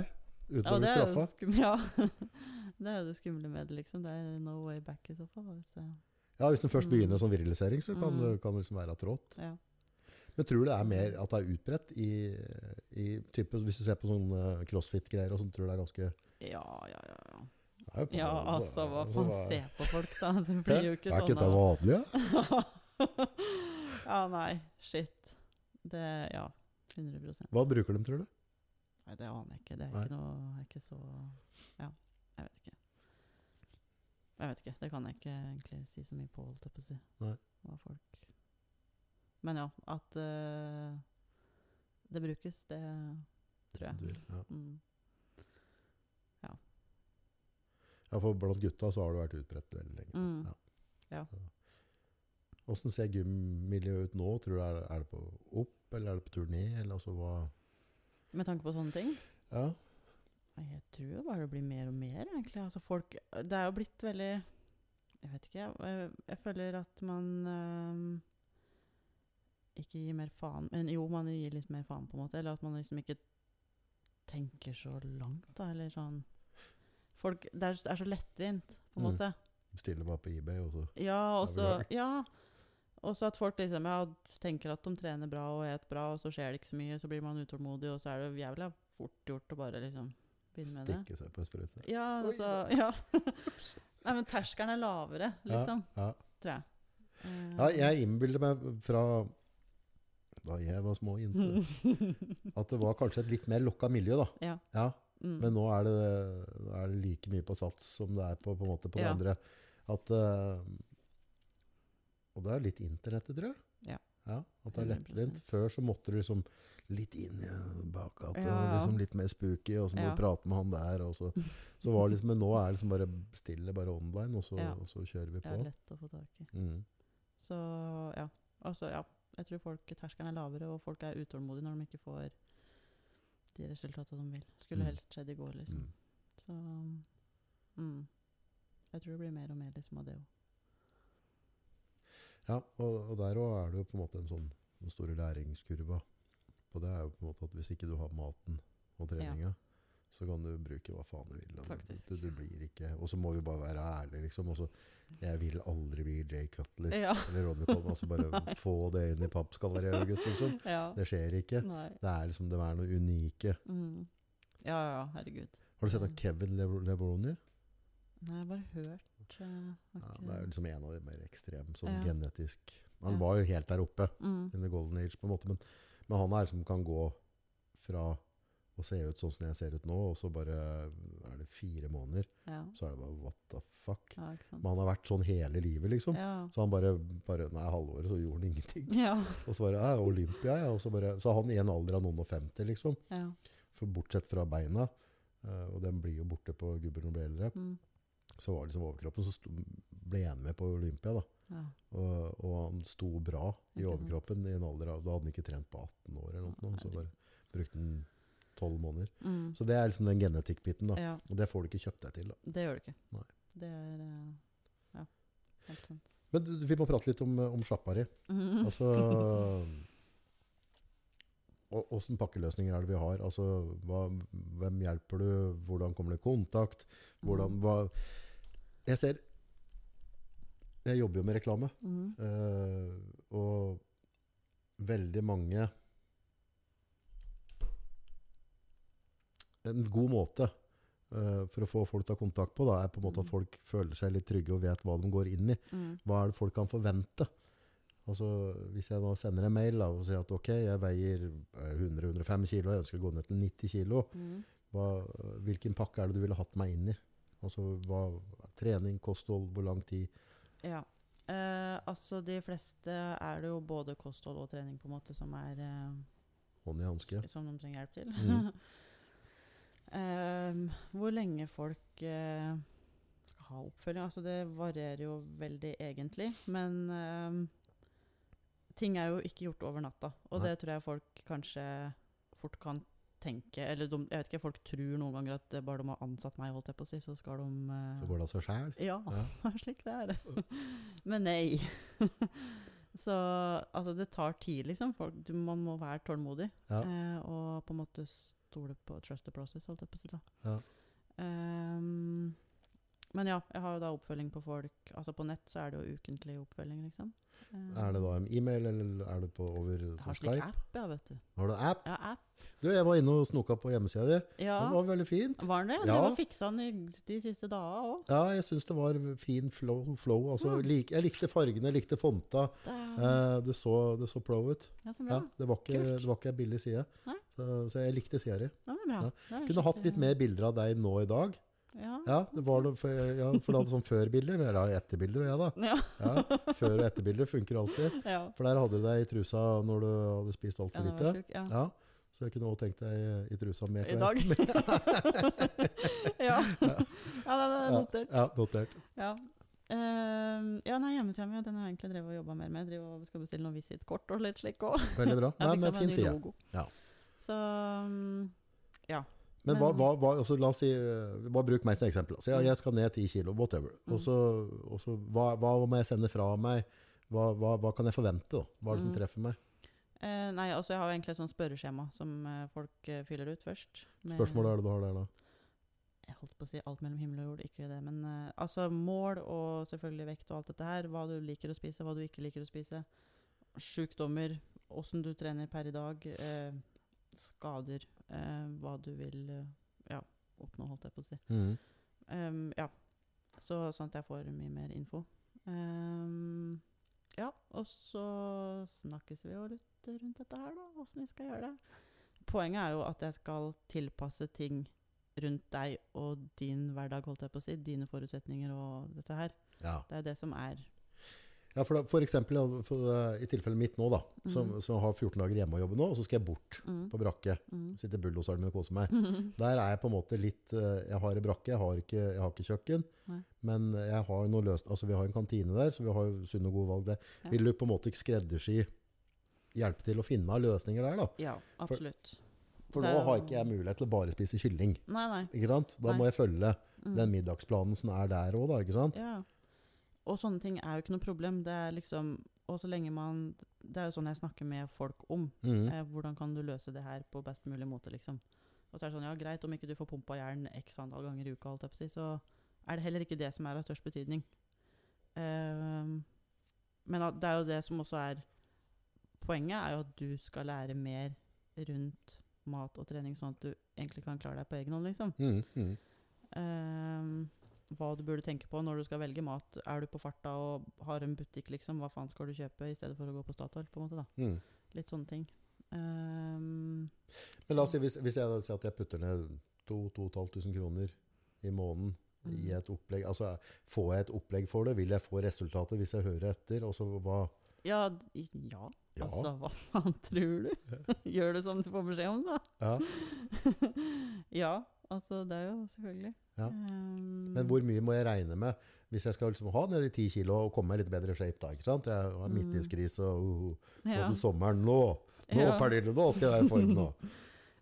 [SPEAKER 2] Uten
[SPEAKER 1] Ja, det
[SPEAKER 2] å bli
[SPEAKER 1] er jo
[SPEAKER 2] straffa.
[SPEAKER 1] skum, ja. det er jo det skumle med det, liksom. Det er no way back i så fall. hvis det-
[SPEAKER 2] Ja, hvis den først
[SPEAKER 1] Mm.
[SPEAKER 2] begynner som virilisering, så kan
[SPEAKER 1] Mm.
[SPEAKER 2] det kan det liksom være trått.
[SPEAKER 1] Ja.
[SPEAKER 2] Men tror du det er mer at det er utbredt i, i type, Hvis du ser på sånne eh, crossfit-greier og sånn, tror du det er ganske
[SPEAKER 1] Ja, ja, ja. ja.
[SPEAKER 2] det er jo på-
[SPEAKER 1] Ja, altså, hva
[SPEAKER 2] altså,
[SPEAKER 1] faen
[SPEAKER 2] hva-
[SPEAKER 1] se på folk, da. Det blir jo ikke
[SPEAKER 2] Er ikke
[SPEAKER 1] sånn.
[SPEAKER 2] dette vanlig? Ja?
[SPEAKER 1] da. ja, nei. Shit. Det Ja. 100
[SPEAKER 2] Hva bruker de, tror du?
[SPEAKER 1] Nei, det aner jeg ikke. Det er
[SPEAKER 2] Nei.
[SPEAKER 1] ikke noe er ikke så Ja, jeg vet ikke. Jeg vet ikke. Det kan jeg ikke egentlig si så mye på, holdt jeg på å si.
[SPEAKER 2] Nei.
[SPEAKER 1] Hva folk Men ja, at eh, det brukes, det tror jeg.
[SPEAKER 2] Du- Ja.
[SPEAKER 1] Mm.
[SPEAKER 2] ja, for blant gutta så har det vært utbredt veldig lenge.
[SPEAKER 1] Mm.
[SPEAKER 2] Ja.
[SPEAKER 1] Ja.
[SPEAKER 2] Åssen ser gymmiljøet ut nå? Tror du er, er det på opp, eller er det på tur ned? Eller altså hva
[SPEAKER 1] Med tanke på sånne ting?
[SPEAKER 2] Ja.
[SPEAKER 1] Nei, Jeg tror jo bare det blir mer og mer, egentlig. Altså, folk, det er jo blitt veldig Jeg vet ikke. Jeg, jeg føler at man øhm, ikke gir mer faen Men jo, man gir litt mer faen, på en måte. Eller at man liksom ikke tenker så langt, da. Eller sånn Folk, Det er, det er så lettvint, på en
[SPEAKER 2] Mm.
[SPEAKER 1] måte.
[SPEAKER 2] Bestiller bare på eBay, og så
[SPEAKER 1] Ja, og
[SPEAKER 2] Det er
[SPEAKER 1] så
[SPEAKER 2] vel
[SPEAKER 1] ja. Også at folk liksom, ja, tenker at de trener bra og et bra, og så skjer det ikke så mye. Så blir man utålmodig, og så er det jævla fort gjort å bare liksom begynne med det.
[SPEAKER 2] stikker seg på en sprøyte.
[SPEAKER 1] Ja,
[SPEAKER 2] Oi,
[SPEAKER 1] altså ja. Nei, men terskelen er lavere, liksom.
[SPEAKER 2] Ja.
[SPEAKER 1] Tror jeg. Eh,
[SPEAKER 2] Ja, jeg innbilder meg fra da jeg var små jente, at det var kanskje et litt mer lukka miljø. da.
[SPEAKER 1] Ja. mm.
[SPEAKER 2] Men nå er det, nå er det like mye på sats som det er på, på, en måte på det
[SPEAKER 1] Ja.
[SPEAKER 2] andre. At, eh, og det er litt internettet, tror jeg.
[SPEAKER 1] Ja.
[SPEAKER 2] at det er lettvint.
[SPEAKER 1] 100%.
[SPEAKER 2] Før så måtte du liksom litt inn i bakgata,
[SPEAKER 1] Ja,
[SPEAKER 2] og
[SPEAKER 1] ja.
[SPEAKER 2] liksom litt mer spooky, og så må
[SPEAKER 1] Ja.
[SPEAKER 2] du prate med han der. og så, så var det liksom, Men nå er det liksom bare stille, bare online, og så,
[SPEAKER 1] Ja.
[SPEAKER 2] og så kjører vi
[SPEAKER 1] det
[SPEAKER 2] på.
[SPEAKER 1] er lett å få tak i.
[SPEAKER 2] Mm.
[SPEAKER 1] Så ja. Altså, ja. Jeg tror folk, terskelen er lavere, og folk er utålmodige når de ikke får de resultatene de vil.
[SPEAKER 2] Mm.
[SPEAKER 1] Skulle helst skjedd i går, liksom.
[SPEAKER 2] Mm.
[SPEAKER 1] Så mm. Jeg tror det blir mer og mer liksom av det òg.
[SPEAKER 2] Ja, og, og der òg er det jo på en måte en sånn den store læringskurva. Og det er jo på en måte at hvis ikke du har maten og treninga, så kan du bruke hva faen du vil. og det-
[SPEAKER 1] Faktisk.
[SPEAKER 2] Du, du blir ikke Og så må vi bare være ærlige, liksom. Og så Jeg vil aldri bli Jay Cutler
[SPEAKER 1] Ja.
[SPEAKER 2] eller Ronny Coleman. Altså bare få det inn i pappskalleriet, August, liksom.
[SPEAKER 1] ja.
[SPEAKER 2] Det skjer ikke.
[SPEAKER 1] Nei.
[SPEAKER 2] Det er liksom, de er noe unike.
[SPEAKER 1] Mm. Ja, ja, herregud.
[SPEAKER 2] Har du sett av Kevin Lev- Levroni?
[SPEAKER 1] Nei, jeg har bare hørt eh,
[SPEAKER 2] Ja,
[SPEAKER 1] akkurat-
[SPEAKER 2] det er jo liksom en av de mer ekstreme, sånn
[SPEAKER 1] Ja.
[SPEAKER 2] genetisk Han
[SPEAKER 1] Ja.
[SPEAKER 2] var jo helt der oppe.
[SPEAKER 1] mm.
[SPEAKER 2] in the golden age, på en måte. Men, men han er som kan gå fra å se ut sånn som jeg ser ut nå, og så bare er det fire måneder,
[SPEAKER 1] Ja.
[SPEAKER 2] så er det bare what the fuck.
[SPEAKER 1] ja, ikke sant.
[SPEAKER 2] Men han har vært sånn hele livet, liksom.
[SPEAKER 1] Ja.
[SPEAKER 2] Så han bare, bare Nei, halvåret, så gjorde han ingenting.
[SPEAKER 1] Ja.
[SPEAKER 2] Og så bare ja, Olympia, ja. Og så bare Så han i en alder av noen og femti, liksom.
[SPEAKER 1] ja.
[SPEAKER 2] For bortsett fra beina, eh, og den blir jo borte på gubben når han blir eldre,
[SPEAKER 1] Mm.
[SPEAKER 2] så var det liksom overkroppen. Så sto, ble han med på Olympia, da.
[SPEAKER 1] ja.
[SPEAKER 2] Og, og han sto bra i
[SPEAKER 1] Ikke sant.
[SPEAKER 2] overkroppen i en alder av Da hadde han ikke trent på 18 år, eller noe, så bare brukte han 12 måneder.
[SPEAKER 1] Mm.
[SPEAKER 2] Så det er liksom den genetikkbiten. da.
[SPEAKER 1] ja.
[SPEAKER 2] Og det får du ikke kjøpt deg til. da.
[SPEAKER 1] Det gjør du ikke.
[SPEAKER 2] Nei.
[SPEAKER 1] Det er eh, Ja, helt sant.
[SPEAKER 2] Men du, vi må prate litt om, om sjappa di.
[SPEAKER 1] Mm.
[SPEAKER 2] Altså og- Åssen pakkeløsninger er det vi har? Altså, hva, Hvem hjelper du? Hvordan kommer du i kontakt?
[SPEAKER 1] Mm.
[SPEAKER 2] Hvordan, hva Jeg ser Jeg jobber jo med reklame.
[SPEAKER 1] Mm.
[SPEAKER 2] Eh, og veldig mange En god måte eh, for å få folk til å ha kontakt på, da, er på en måte
[SPEAKER 1] Mm.
[SPEAKER 2] at folk føler seg litt trygge og vet hva de går inn i.
[SPEAKER 1] Mm.
[SPEAKER 2] Hva er det folk kan forvente? Altså, hvis jeg nå sender en mail da, og sier at ok, jeg veier eh, 100-105 kilo, jeg ønsker å gå ned til 90 kilo,
[SPEAKER 1] Mm.
[SPEAKER 2] hva, hvilken pakke er det du ville hatt meg inn i? Altså, hva, trening, kosthold, hvor lang tid?
[SPEAKER 1] Ja. Eh, altså, de fleste er det jo både kosthold og trening på en måte som er eh,
[SPEAKER 2] Hånd i hanske?
[SPEAKER 1] som de trenger hjelp til.
[SPEAKER 2] Mhm.
[SPEAKER 1] Ehm, hvor lenge folk eh, skal ha oppfølging altså Det varierer jo veldig, egentlig. Men ehm, ting er jo ikke gjort over natta, og
[SPEAKER 2] Nei.
[SPEAKER 1] det tror jeg folk kanskje fort kan tenke Eller de, jeg vet ikke, folk tror noen ganger at eh, bare de har ansatt meg, holdt jeg på å si, så skal de eh,
[SPEAKER 2] Så går det av seg sjæl.
[SPEAKER 1] Ja,
[SPEAKER 2] Ja.
[SPEAKER 1] det er slik det er. Men nei. Så altså, det tar tid, liksom. Folk, du, man må være tålmodig.
[SPEAKER 2] Ja.
[SPEAKER 1] Eh, og på en måte stole på trust the process, holdt jeg på å si. da.
[SPEAKER 2] Ja.
[SPEAKER 1] Ehm, men ja, jeg har jo da oppfølging på folk. Altså På nett så er det jo ukentlig oppfølging, liksom. Eh,
[SPEAKER 2] Er det da en e-mail, eller er det på over
[SPEAKER 1] Jeg
[SPEAKER 2] på
[SPEAKER 1] har slik
[SPEAKER 2] Skype?
[SPEAKER 1] app, ja, vet du.
[SPEAKER 2] Har du app?
[SPEAKER 1] Ja, app.
[SPEAKER 2] Du, jeg var inne og snoka på hjemmesida di.
[SPEAKER 1] Ja,
[SPEAKER 2] Det var veldig fint.
[SPEAKER 1] var den det?
[SPEAKER 2] Ja.
[SPEAKER 1] Du har fiksa den i de siste dagene òg.
[SPEAKER 2] Ja, jeg syns det var fin flow. flow altså,
[SPEAKER 1] Mm.
[SPEAKER 2] lik, jeg likte fargene, jeg likte fonta. Eh, det, så, det så pro ut.
[SPEAKER 1] Ja, så bra.
[SPEAKER 2] Ja, det, var ikke,
[SPEAKER 1] Kult.
[SPEAKER 2] det var ikke ei billig side.
[SPEAKER 1] Nei.
[SPEAKER 2] Så, så jeg likte sida di.
[SPEAKER 1] Ja, det er bra.
[SPEAKER 2] Ja.
[SPEAKER 1] Det er
[SPEAKER 2] Kunne hatt
[SPEAKER 1] skikkelig-
[SPEAKER 2] litt mer bilder av deg nå i dag.
[SPEAKER 1] Ja.
[SPEAKER 2] Ja, det var noe, for, ja, for du hadde sånn før-bilder. Men jeg har etterbilder, og jeg, da.
[SPEAKER 1] Ja.
[SPEAKER 2] Ja, Før- og etterbilder funker alltid.
[SPEAKER 1] ja.
[SPEAKER 2] For der hadde du deg i trusa når du hadde spist
[SPEAKER 1] Ja,
[SPEAKER 2] altfor
[SPEAKER 1] det var
[SPEAKER 2] lite.
[SPEAKER 1] sjukt. Ja.
[SPEAKER 2] Ja, så jeg kunne òg tenkt deg i trusa med
[SPEAKER 1] I dag. ja. ja, det er notert.
[SPEAKER 2] Ja, notert.
[SPEAKER 1] Ja. Ehm, ja, nei, hjemmesida mi den har jeg egentlig drevet og jobba mer med. Jeg driver og skal bestille noen visittkort og litt slik òg.
[SPEAKER 2] Veldig bra. Nei,
[SPEAKER 1] sånn
[SPEAKER 2] men fin side. Ja.
[SPEAKER 1] Så mm, ja.
[SPEAKER 2] Men hva,
[SPEAKER 1] Men-
[SPEAKER 2] hva, hva altså, la oss si, eh, bare bruk meg som eksempel.
[SPEAKER 1] Mm.
[SPEAKER 2] Så, ja, jeg skal ned 10 kilo, whatever. Og så, og så hva, hva må jeg sende fra meg? Hva, hva, hva kan jeg forvente? da? Hva er det som
[SPEAKER 1] Mm.
[SPEAKER 2] treffer meg?
[SPEAKER 1] Eh, nei, altså jeg har jo egentlig et sånt spørreskjema som eh, folk eh, fyller ut først. med-
[SPEAKER 2] Spørsmålet er det du har der da.
[SPEAKER 1] Jeg holdt på å si alt mellom himmel og jord, ikke det. Men eh, altså mål og selvfølgelig vekt og alt dette her. Hva du liker å spise, hva du ikke liker å spise. Sjukdommer, åssen du trener per i dag. eh, skader. eh, hva du vil eh, ja, oppnå, holdt jeg på å si.
[SPEAKER 2] Mm.
[SPEAKER 1] Em, Ehm, ja. Så sånn at jeg får mye mer info. Em, ja, og så snakkes vi jo litt rundt dette her, da. Åssen vi skal gjøre det. Poenget er jo at jeg skal tilpasse ting rundt deg og din hverdag, holdt jeg på å si. Dine forutsetninger og dette her.
[SPEAKER 2] Ja.
[SPEAKER 1] Det er det som er
[SPEAKER 2] ja, for, da, for eksempel ja, for, eh, i tilfellet mitt nå, da, som,
[SPEAKER 1] Mhm.
[SPEAKER 2] som har 14 dager hjemme å jobbe nå, og så skal jeg bort
[SPEAKER 1] mm,
[SPEAKER 2] på brakke.
[SPEAKER 1] mm.
[SPEAKER 2] Sitter i bulldoseren min og koser meg. Der er jeg på en måte litt eh, Jeg har en brakke, jeg har ikke, jeg har ikke kjøkken.
[SPEAKER 1] Nei.
[SPEAKER 2] Men jeg har noe løst Altså vi har en kantine der, så vi har jo sunne og gode valg der.
[SPEAKER 1] Ja.
[SPEAKER 2] Vil du på en måte ikke skreddersy Hjelpe til å finne løsninger der, da?
[SPEAKER 1] Ja, absolutt.
[SPEAKER 2] For
[SPEAKER 1] Det
[SPEAKER 2] nå
[SPEAKER 1] er
[SPEAKER 2] har
[SPEAKER 1] jo-
[SPEAKER 2] ikke jeg mulighet til å bare spise kylling.
[SPEAKER 1] Nei, nei.
[SPEAKER 2] Ikke sant? Da må
[SPEAKER 1] Nei.
[SPEAKER 2] jeg følge
[SPEAKER 1] Mm.
[SPEAKER 2] den middagsplanen som er der òg, da. Ikke sant?
[SPEAKER 1] Ja. Og sånne ting er jo ikke noe problem. Det er liksom Og så lenge man Det er jo sånn jeg snakker med folk om.
[SPEAKER 2] Mm.
[SPEAKER 1] Eh, hvordan kan du løse det her på best mulig måte, liksom. Og så er det sånn, ja greit, om ikke du får pumpa jern x antall ganger i uka, holdt jeg på å si, så er det heller ikke det som er av størst betydning. Ehm, men at det er jo det som også er Poenget er jo at du skal lære mer rundt mat og trening, sånn at du egentlig kan klare deg på egen hånd, liksom.
[SPEAKER 2] Mm. Mm.
[SPEAKER 1] Ehm, hva du burde tenke på når du skal velge mat. Er du på farta og har en butikk, liksom, hva faen skal du kjøpe i stedet for å gå på Statoil, på en måte, da.
[SPEAKER 2] Mm.
[SPEAKER 1] Litt sånne ting. Ehm,
[SPEAKER 2] Men la oss si hvis, hvis jeg da sier at jeg putter ned 2500 kroner i måneden i
[SPEAKER 1] Mm.
[SPEAKER 2] et opplegg Altså får jeg et opplegg for det? Vil jeg få resultater hvis jeg hører etter? Og så hva
[SPEAKER 1] ja, d- i- ja,
[SPEAKER 2] Ja.
[SPEAKER 1] altså hva faen tror du? Gjør du som du får beskjed om, da.
[SPEAKER 2] ja.
[SPEAKER 1] ja, altså det er jo selvfølgelig.
[SPEAKER 2] Ja.
[SPEAKER 1] Ehm,
[SPEAKER 2] Men hvor mye må jeg regne med hvis jeg skal liksom ha ned de ti kilo og komme meg i litt bedre shape da? ikke sant? Jeg har midtlivskrise og uh, nå
[SPEAKER 1] Mm. ja.
[SPEAKER 2] til sommeren nå. Nå,
[SPEAKER 1] Ja.
[SPEAKER 2] Pernille, nå skal jeg være i form nå.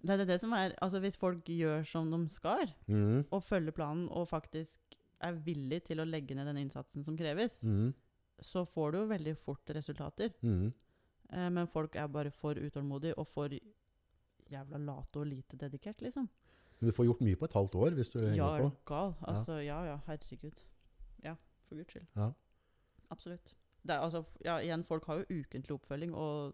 [SPEAKER 1] Det er det- det som er Altså hvis folk gjør som de skal,
[SPEAKER 2] Mm,
[SPEAKER 1] og følger planen, og faktisk er villig til å legge ned den innsatsen som kreves,
[SPEAKER 2] mm,
[SPEAKER 1] så får du jo veldig fort resultater.
[SPEAKER 2] mm.
[SPEAKER 1] Eh, men folk er bare for utålmodige og for jævla late og lite dedikert, liksom.
[SPEAKER 2] Men du får gjort mye på et halvt år hvis du henger
[SPEAKER 1] Ja, er
[SPEAKER 2] på.
[SPEAKER 1] du gal? Altså, ja. ja herregud. Ja, for guds skyld.
[SPEAKER 2] Ja.
[SPEAKER 1] Absolutt. Det er, altså, f- ja, igjen, folk har jo ukentlig oppfølging, og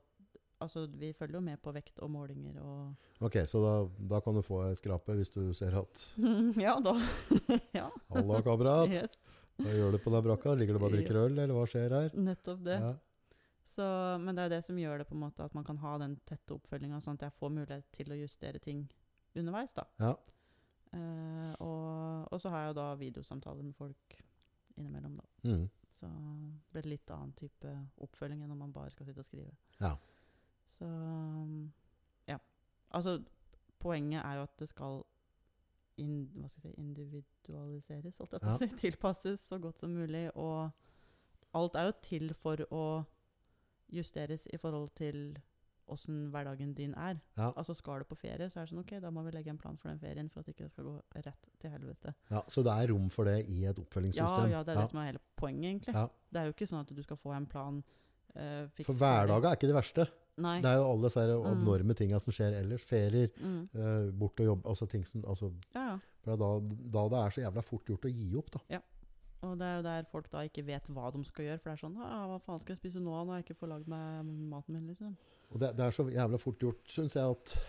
[SPEAKER 1] altså, vi følger jo med på vekt og målinger og
[SPEAKER 2] Ok, så da, da kan du få ei skrape hvis du ser at
[SPEAKER 1] Ja da. ja.
[SPEAKER 2] Halla, kamerat!
[SPEAKER 1] Yes,
[SPEAKER 2] Hva gjør du på den brakka? Ligger du bare og drikker øl, eller hva skjer her?
[SPEAKER 1] nettopp det.
[SPEAKER 2] Ja.
[SPEAKER 1] Så, men det er det som gjør det på en måte at man kan ha den tette oppfølginga, sånn at jeg får mulighet til å justere ting underveis. da.
[SPEAKER 2] Ja.
[SPEAKER 1] Eh, og, og så har jeg jo da videosamtaler med folk innimellom, da.
[SPEAKER 2] Mm.
[SPEAKER 1] Så blir det litt annen type oppfølging enn om man bare skal sitte og skrive.
[SPEAKER 2] Ja.
[SPEAKER 1] Så ja. Altså, poenget er jo at det skal in, hva skal jeg si, individualiseres, holdt jeg på
[SPEAKER 2] Ja.
[SPEAKER 1] å si. Tilpasses så godt som mulig. Og alt er jo til for å justeres i forhold til åssen hverdagen din er.
[SPEAKER 2] Ja.
[SPEAKER 1] Altså Skal du på ferie, så er det sånn ok, da må vi legge en plan for den ferien for at ikke det skal gå rett til helvete.
[SPEAKER 2] Ja, så det er rom for det i et
[SPEAKER 1] Ja,
[SPEAKER 2] oppfølgingssystem?
[SPEAKER 1] ja, det er det som er hele poenget, egentlig.
[SPEAKER 2] Ja.
[SPEAKER 1] Det er jo ikke sånn at du skal få en plan eh, fiks
[SPEAKER 2] For
[SPEAKER 1] ferdig.
[SPEAKER 2] hverdagen er ikke det verste.
[SPEAKER 1] Nei.
[SPEAKER 2] Det er jo alle disse her
[SPEAKER 1] Mm.
[SPEAKER 2] abnorme tinga som skjer ellers. Ferier,
[SPEAKER 1] Mm.
[SPEAKER 2] eh, bort og jobb altså ting som, altså,
[SPEAKER 1] Ja, ja.
[SPEAKER 2] for da, da det er så jævla fort gjort å gi opp, da.
[SPEAKER 1] Og det er jo der folk da ikke vet hva de skal gjøre. For det er sånn «Ah, Hva faen skal jeg spise nå når jeg ikke får lagd meg maten min? liksom?
[SPEAKER 2] Og det, det er så jævla fort gjort, syns jeg, at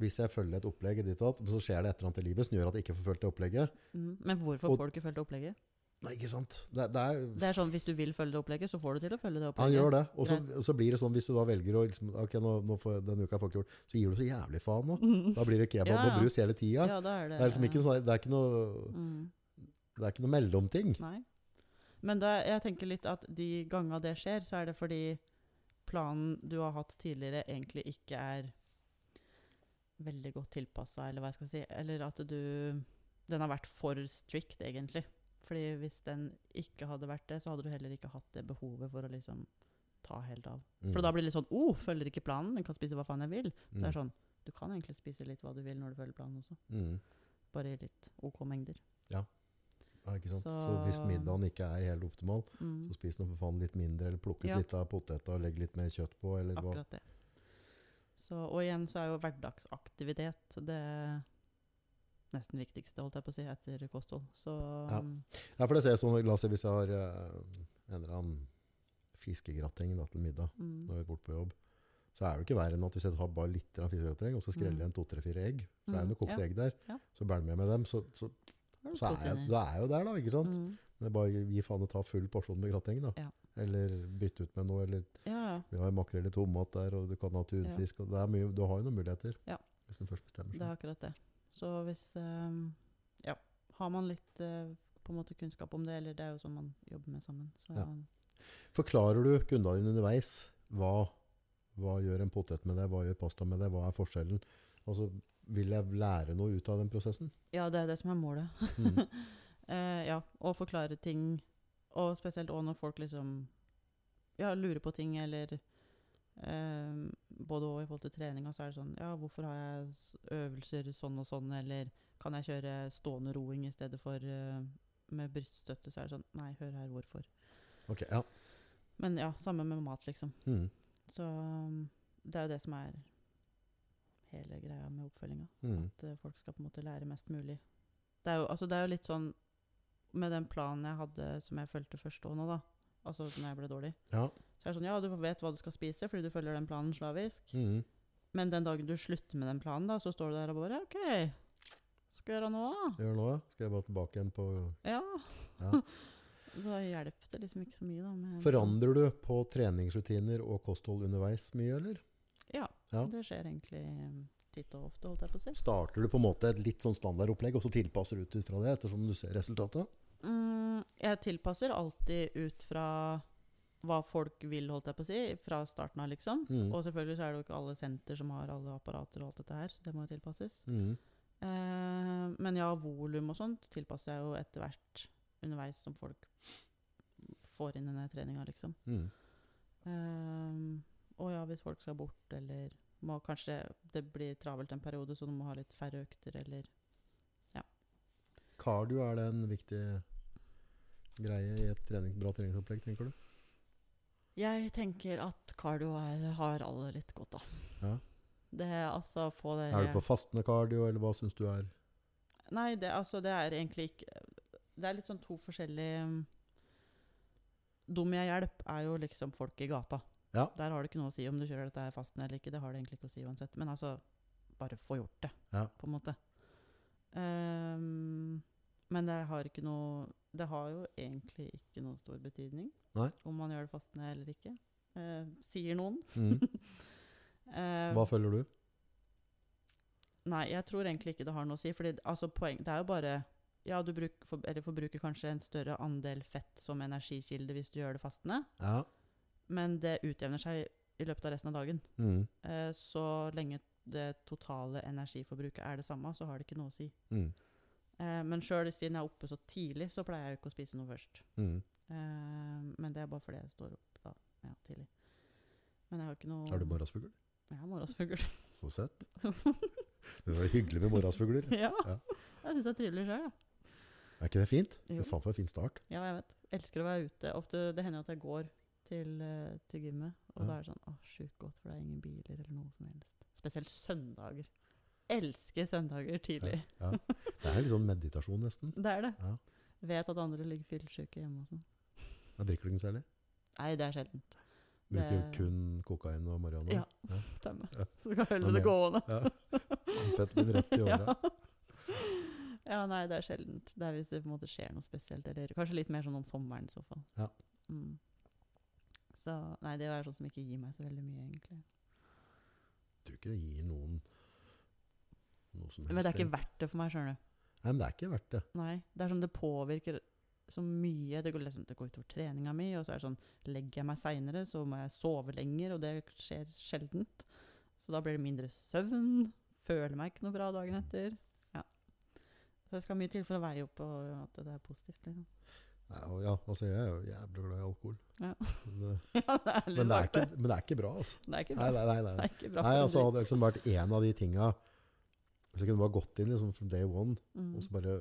[SPEAKER 2] hvis jeg følger et opplegg, i ditt og datt, så skjer det et eller annet i livet som gjør at jeg ikke får fulgt det opplegget.
[SPEAKER 1] Mm. Men hvorfor
[SPEAKER 2] Og-
[SPEAKER 1] får du ikke fulgt opplegget?
[SPEAKER 2] Nei, ikke sant? Det, det er,
[SPEAKER 1] Det er sånn, Hvis du vil følge det opplegget, så får du til å følge det
[SPEAKER 2] han
[SPEAKER 1] opplegget.
[SPEAKER 2] gjør det. Og så, og så blir det sånn, hvis du da velger å liksom, Ok, nå, nå får, denne uka får jeg ikke gjort, så gir du så jævlig faen nå.
[SPEAKER 1] Mm.
[SPEAKER 2] Da blir det kebab
[SPEAKER 1] Ja, ja.
[SPEAKER 2] og brus hele tida.
[SPEAKER 1] Ja, da er det
[SPEAKER 2] Det er liksom ikke noe, sånn- det er ikke noe,
[SPEAKER 1] mm.
[SPEAKER 2] det er ikke noe mellomting.
[SPEAKER 1] Nei. Men da, jeg tenker litt at de gangene det skjer, så er det fordi planen du har hatt tidligere, egentlig ikke er veldig godt tilpassa, eller hva jeg skal si. Eller at du Den har vært for strict, egentlig. Fordi hvis den ikke hadde vært det, så hadde du heller ikke hatt det behovet for å liksom ta helt av.
[SPEAKER 2] Mm.
[SPEAKER 1] For da blir det litt sånn oh, følger ikke planen, den kan spise hva faen jeg vil. Det er sånn, Du kan egentlig spise litt hva du vil når du følger planen også.
[SPEAKER 2] Mm.
[SPEAKER 1] Bare i litt OK mengder.
[SPEAKER 2] Ja, ikke sant? Så,
[SPEAKER 1] Så-
[SPEAKER 2] hvis middagen ikke er helt optimal,
[SPEAKER 1] Mm,
[SPEAKER 2] så spis nå for faen litt mindre, eller plukk ut
[SPEAKER 1] Ja.
[SPEAKER 2] litt av poteta og legg litt mer kjøtt på, eller hva.
[SPEAKER 1] akkurat det. Så, og igjen så er jo hverdagsaktivitet det nesten viktigste, holdt jeg på å si, etter kosthold. Så
[SPEAKER 2] Ja.
[SPEAKER 1] mm,
[SPEAKER 2] Ja, for det ser jeg sånn, la oss si hvis jeg har eh, en eller annen fiskegrateng da, til middag,
[SPEAKER 1] mm,
[SPEAKER 2] når jeg er borte på jobb, så er det jo ikke verre enn at hvis jeg har bare litt grann fiskegrateng, og så skreller jeg en to-tre-fire egg, for det er jo noen
[SPEAKER 1] Mm,
[SPEAKER 2] kokte
[SPEAKER 1] ja.
[SPEAKER 2] egg der,
[SPEAKER 1] Ja.
[SPEAKER 2] så bærer jeg med dem, så, så,
[SPEAKER 1] har du
[SPEAKER 2] så er jeg,
[SPEAKER 1] proteiner.
[SPEAKER 2] da er jeg jo der da, ikke sant?
[SPEAKER 1] Mm.
[SPEAKER 2] Det er bare gi faen og ta full porsjon med grateng da.
[SPEAKER 1] Ja.
[SPEAKER 2] Eller bytte ut med noe, eller
[SPEAKER 1] Ja, ja.
[SPEAKER 2] vi har makrell i tomat der, og du kan ha tunfisk, og det er mye, du har jo noen muligheter.
[SPEAKER 1] Ja.
[SPEAKER 2] Hvis du først bestemmer
[SPEAKER 1] Det
[SPEAKER 2] seg.
[SPEAKER 1] er akkurat det. Så hvis ehm, Ja. Har man litt eh, på en måte kunnskap om det, eller det er jo sånn man jobber med sammen. Så
[SPEAKER 2] Ja. Forklarer du kundene dine underveis hva, hva gjør en potet med deg, hva gjør pasta med deg, hva er forskjellen? Altså, vil jeg lære noe ut av den prosessen?
[SPEAKER 1] ja, det er det som er målet.
[SPEAKER 2] Mm.
[SPEAKER 1] Eh, ja, og forklare ting. Og spesielt også når folk liksom ja, lurer på ting, eller eh, Både og i forhold til treninga, så er det sånn Ja, hvorfor har jeg s- øvelser sånn og sånn, eller kan jeg kjøre stående roing i stedet for eh, med bryststøtte? Så er det sånn Nei, hør her, hvorfor?
[SPEAKER 2] Ok, ja.
[SPEAKER 1] Men ja, samme med mat, liksom.
[SPEAKER 2] Mm.
[SPEAKER 1] Så um, det er jo det som er hele greia med oppfølginga
[SPEAKER 2] Mm.
[SPEAKER 1] at eh, folk skal på en måte lære mest mulig. Det er jo, altså, det er jo litt sånn Med den planen jeg hadde som jeg fulgte først òg nå, da, altså når jeg ble dårlig
[SPEAKER 2] Ja.
[SPEAKER 1] Så er det sånn Ja, du vet hva du skal spise fordi du følger den planen slavisk.
[SPEAKER 2] Mm.
[SPEAKER 1] Men den dagen du slutter med den planen, da, så står du der og bare OK, skal jeg gjøre noe da?
[SPEAKER 2] Gjør nå, ja. Skal jeg bare tilbake igjen på...
[SPEAKER 1] Ja.
[SPEAKER 2] Ja.
[SPEAKER 1] så hjelper det liksom ikke så mye, da. Med
[SPEAKER 2] Forandrer du på treningsrutiner og kosthold underveis mye, eller?
[SPEAKER 1] Ja.
[SPEAKER 2] Ja.
[SPEAKER 1] Det skjer egentlig eh, titt og ofte, holdt jeg på å si.
[SPEAKER 2] Starter du på en måte et litt sånn standardopplegg, og så tilpasser du ut ut fra det, ettersom du ser resultatet?
[SPEAKER 1] Mm, jeg tilpasser alltid ut fra hva folk vil, holdt jeg på å si, fra starten av, liksom.
[SPEAKER 2] Mm.
[SPEAKER 1] Og selvfølgelig så er det jo ikke alle senter som har alle apparater og alt dette her, så det må jo tilpasses.
[SPEAKER 2] Mm.
[SPEAKER 1] Eh, men ja, volum og sånt tilpasser jeg jo etter hvert underveis som folk får inn denne treninga, liksom.
[SPEAKER 2] Mm.
[SPEAKER 1] Eh, og ja, hvis folk skal bort, eller må kanskje det blir travelt en periode, så du må ha litt færre økter, eller
[SPEAKER 2] Cardio er det en viktig greie i et trening, bra treningsopplegg, tenker du?
[SPEAKER 1] Jeg tenker at cardio er, har alle litt godt av.
[SPEAKER 2] Ja.
[SPEAKER 1] Det er altså få det
[SPEAKER 2] Er du på fastende cardio, eller hva syns du er
[SPEAKER 1] Nei, det, altså, det er egentlig ikke Det er litt sånn to forskjellige um, Dum jeg hjelp er jo liksom folk i gata.
[SPEAKER 2] Ja.
[SPEAKER 1] Der har det ikke noe å si om du kjører dette her fasten eller ikke. Det har det egentlig ikke å si uansett. Men altså, bare få gjort det,
[SPEAKER 2] Ja.
[SPEAKER 1] på en måte. Ehm, men det har ikke noe Det har jo egentlig ikke noe stor betydning
[SPEAKER 2] Nei.
[SPEAKER 1] om man gjør det fastende eller ikke. Eh, sier noen.
[SPEAKER 2] mm.
[SPEAKER 1] Eh,
[SPEAKER 2] Hva følger du?
[SPEAKER 1] Nei, jeg tror egentlig ikke det har noe å si. Fordi, altså, poeng, det er jo bare Ja, du bruk, for, eller forbruker kanskje en større andel fett som energikilde hvis du gjør det fastende,
[SPEAKER 2] Ja.
[SPEAKER 1] men det utjevner seg i løpet av resten av dagen.
[SPEAKER 2] Mm.
[SPEAKER 1] Eh, så lenge det totale energiforbruket er det samme, så har det ikke noe å si.
[SPEAKER 2] Mm.
[SPEAKER 1] Eh, men sjøl siden jeg er oppe så tidlig, så pleier jeg jo ikke å spise noe først.
[SPEAKER 2] Mm.
[SPEAKER 1] Eh, men det er bare fordi jeg står opp da, ja, tidlig. Men jeg har ikke noe
[SPEAKER 2] Er du morgenspugler?
[SPEAKER 1] Ja, morgensfugl.
[SPEAKER 2] Så søtt. Det var hyggelig med morgensfugler.
[SPEAKER 1] ja. Jeg syns det er trivelig sjøl, da.
[SPEAKER 2] Er ikke det fint?
[SPEAKER 1] Jo.
[SPEAKER 2] Fy faen, for en fin start.
[SPEAKER 1] Ja, jeg vet. Elsker å være ute. Ofte det hender at jeg går til, eh, til gymmet, og
[SPEAKER 2] Ja.
[SPEAKER 1] da er det sånn Å, sjukt godt, for det er ingen biler eller noe som helst. Spesielt søndager. Elsker søndager tidlig.
[SPEAKER 2] Ja. Det er litt sånn meditasjon, nesten.
[SPEAKER 1] Det er det.
[SPEAKER 2] Ja.
[SPEAKER 1] Vet at andre ligger fyllesyke hjemme og sånn.
[SPEAKER 2] Da drikker du ikke noe særlig.
[SPEAKER 1] Nei, det er sjeldent.
[SPEAKER 2] Bruker
[SPEAKER 1] Det-
[SPEAKER 2] kun kokain og marihuana.
[SPEAKER 1] Ja. Stemmer.
[SPEAKER 2] Ja.
[SPEAKER 1] Så kan jeg holde
[SPEAKER 2] Men
[SPEAKER 1] det
[SPEAKER 2] jeg-
[SPEAKER 1] gående.
[SPEAKER 2] Ja. Amfetamin rett i åra.
[SPEAKER 1] Ja. ja, nei, det er sjeldent. Det er hvis det på en måte skjer noe spesielt. Eller kanskje litt mer sånn om sommeren i så fall.
[SPEAKER 2] Ja.
[SPEAKER 1] Mm. Så nei, det er sånn som ikke gir meg så veldig mye, egentlig.
[SPEAKER 2] Tror ikke det gir noen noe som helst.
[SPEAKER 1] Men det er ikke
[SPEAKER 2] egentlig.
[SPEAKER 1] verdt det for meg, skjønner du.
[SPEAKER 2] Nei, men det er ikke verdt det.
[SPEAKER 1] Nei. Det er sånn det påvirker så mye. Det går liksom det går utover treninga mi, og så er det sånn Legger jeg meg seinere, så må jeg sove lenger, og det skjer sjeldent. Så da blir det mindre søvn. Føler meg ikke noe bra dagen etter. Ja. Så det skal mye til for å veie opp og at det er positivt, liksom.
[SPEAKER 2] Nei, og ja, altså jeg er jo jævlig glad i alkohol.
[SPEAKER 1] Ja.
[SPEAKER 2] Men, det-
[SPEAKER 1] Ja, det er litt
[SPEAKER 2] men, det er
[SPEAKER 1] sagt,
[SPEAKER 2] ikke, men det er ikke bra, altså.
[SPEAKER 1] Det er ikke bra.
[SPEAKER 2] Nei, nei, nei. nei.
[SPEAKER 1] Det er ikke bra
[SPEAKER 2] Nei,
[SPEAKER 1] for en
[SPEAKER 2] altså
[SPEAKER 1] dritt.
[SPEAKER 2] hadde det liksom vært en av de tinga Hvis jeg kunne bare gått inn liksom from day one
[SPEAKER 1] Mm,
[SPEAKER 2] og så bare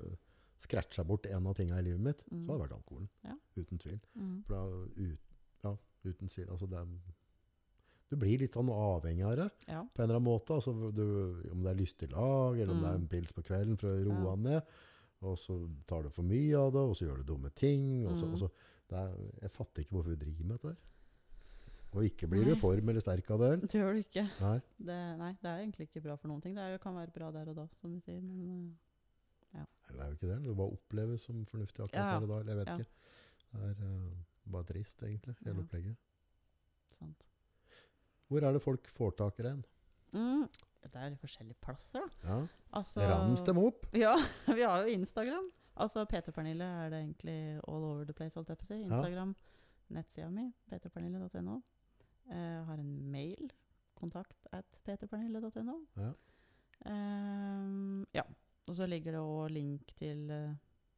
[SPEAKER 2] scratcha bort en av tinga i livet mitt,
[SPEAKER 1] Mm.
[SPEAKER 2] så hadde det vært alkoholen.
[SPEAKER 1] Ja.
[SPEAKER 2] Uten tvil.
[SPEAKER 1] mm.
[SPEAKER 2] For da ut, ja, uten si, altså det er, Du blir litt sånn avhengig av det
[SPEAKER 1] Ja.
[SPEAKER 2] på en eller annen måte. Altså, du, om det er lystig lag, eller om det er en
[SPEAKER 1] Mm.
[SPEAKER 2] pils på kvelden for å roe
[SPEAKER 1] Ja.
[SPEAKER 2] han ned. Og så tar du for mye av det, og så gjør du dumme ting. Og så,
[SPEAKER 1] Mm.
[SPEAKER 2] og så, det er, jeg fatter ikke hvorfor vi driver med dette. her. Og ikke blir du i
[SPEAKER 1] Nei.
[SPEAKER 2] form eller sterk av det. eller?
[SPEAKER 1] Det gjør det ikke.
[SPEAKER 2] Nei.
[SPEAKER 1] Det, nei, det er egentlig ikke bra for noen ting. Det er, jo- kan være bra der og da, som vi sier. Men
[SPEAKER 2] Eller det er jo ikke det. Det bare oppleves som fornuftig akkurat
[SPEAKER 1] Ja,
[SPEAKER 2] her og da. Eller jeg vet
[SPEAKER 1] ja.
[SPEAKER 2] ikke. Det er eh, bare trist, egentlig, hele
[SPEAKER 1] Ja.
[SPEAKER 2] opplegget.
[SPEAKER 1] eh, sant.
[SPEAKER 2] Hvor er det folk får tak i rein?
[SPEAKER 1] Mm. Det er litt forskjellige plasser, da.
[SPEAKER 2] Ja.
[SPEAKER 1] Altså,
[SPEAKER 2] Rams dem opp!
[SPEAKER 1] Ja, vi har jo Instagram. Altså PT-Pernille er det egentlig all over the place, holdt jeg på å si. Instagram, nettsida mi, ptpernille.no. Eh, har en mail, kontakt at ptpernille.no.
[SPEAKER 2] Ja.
[SPEAKER 1] Ehm, ja. Og så ligger det òg link til eh,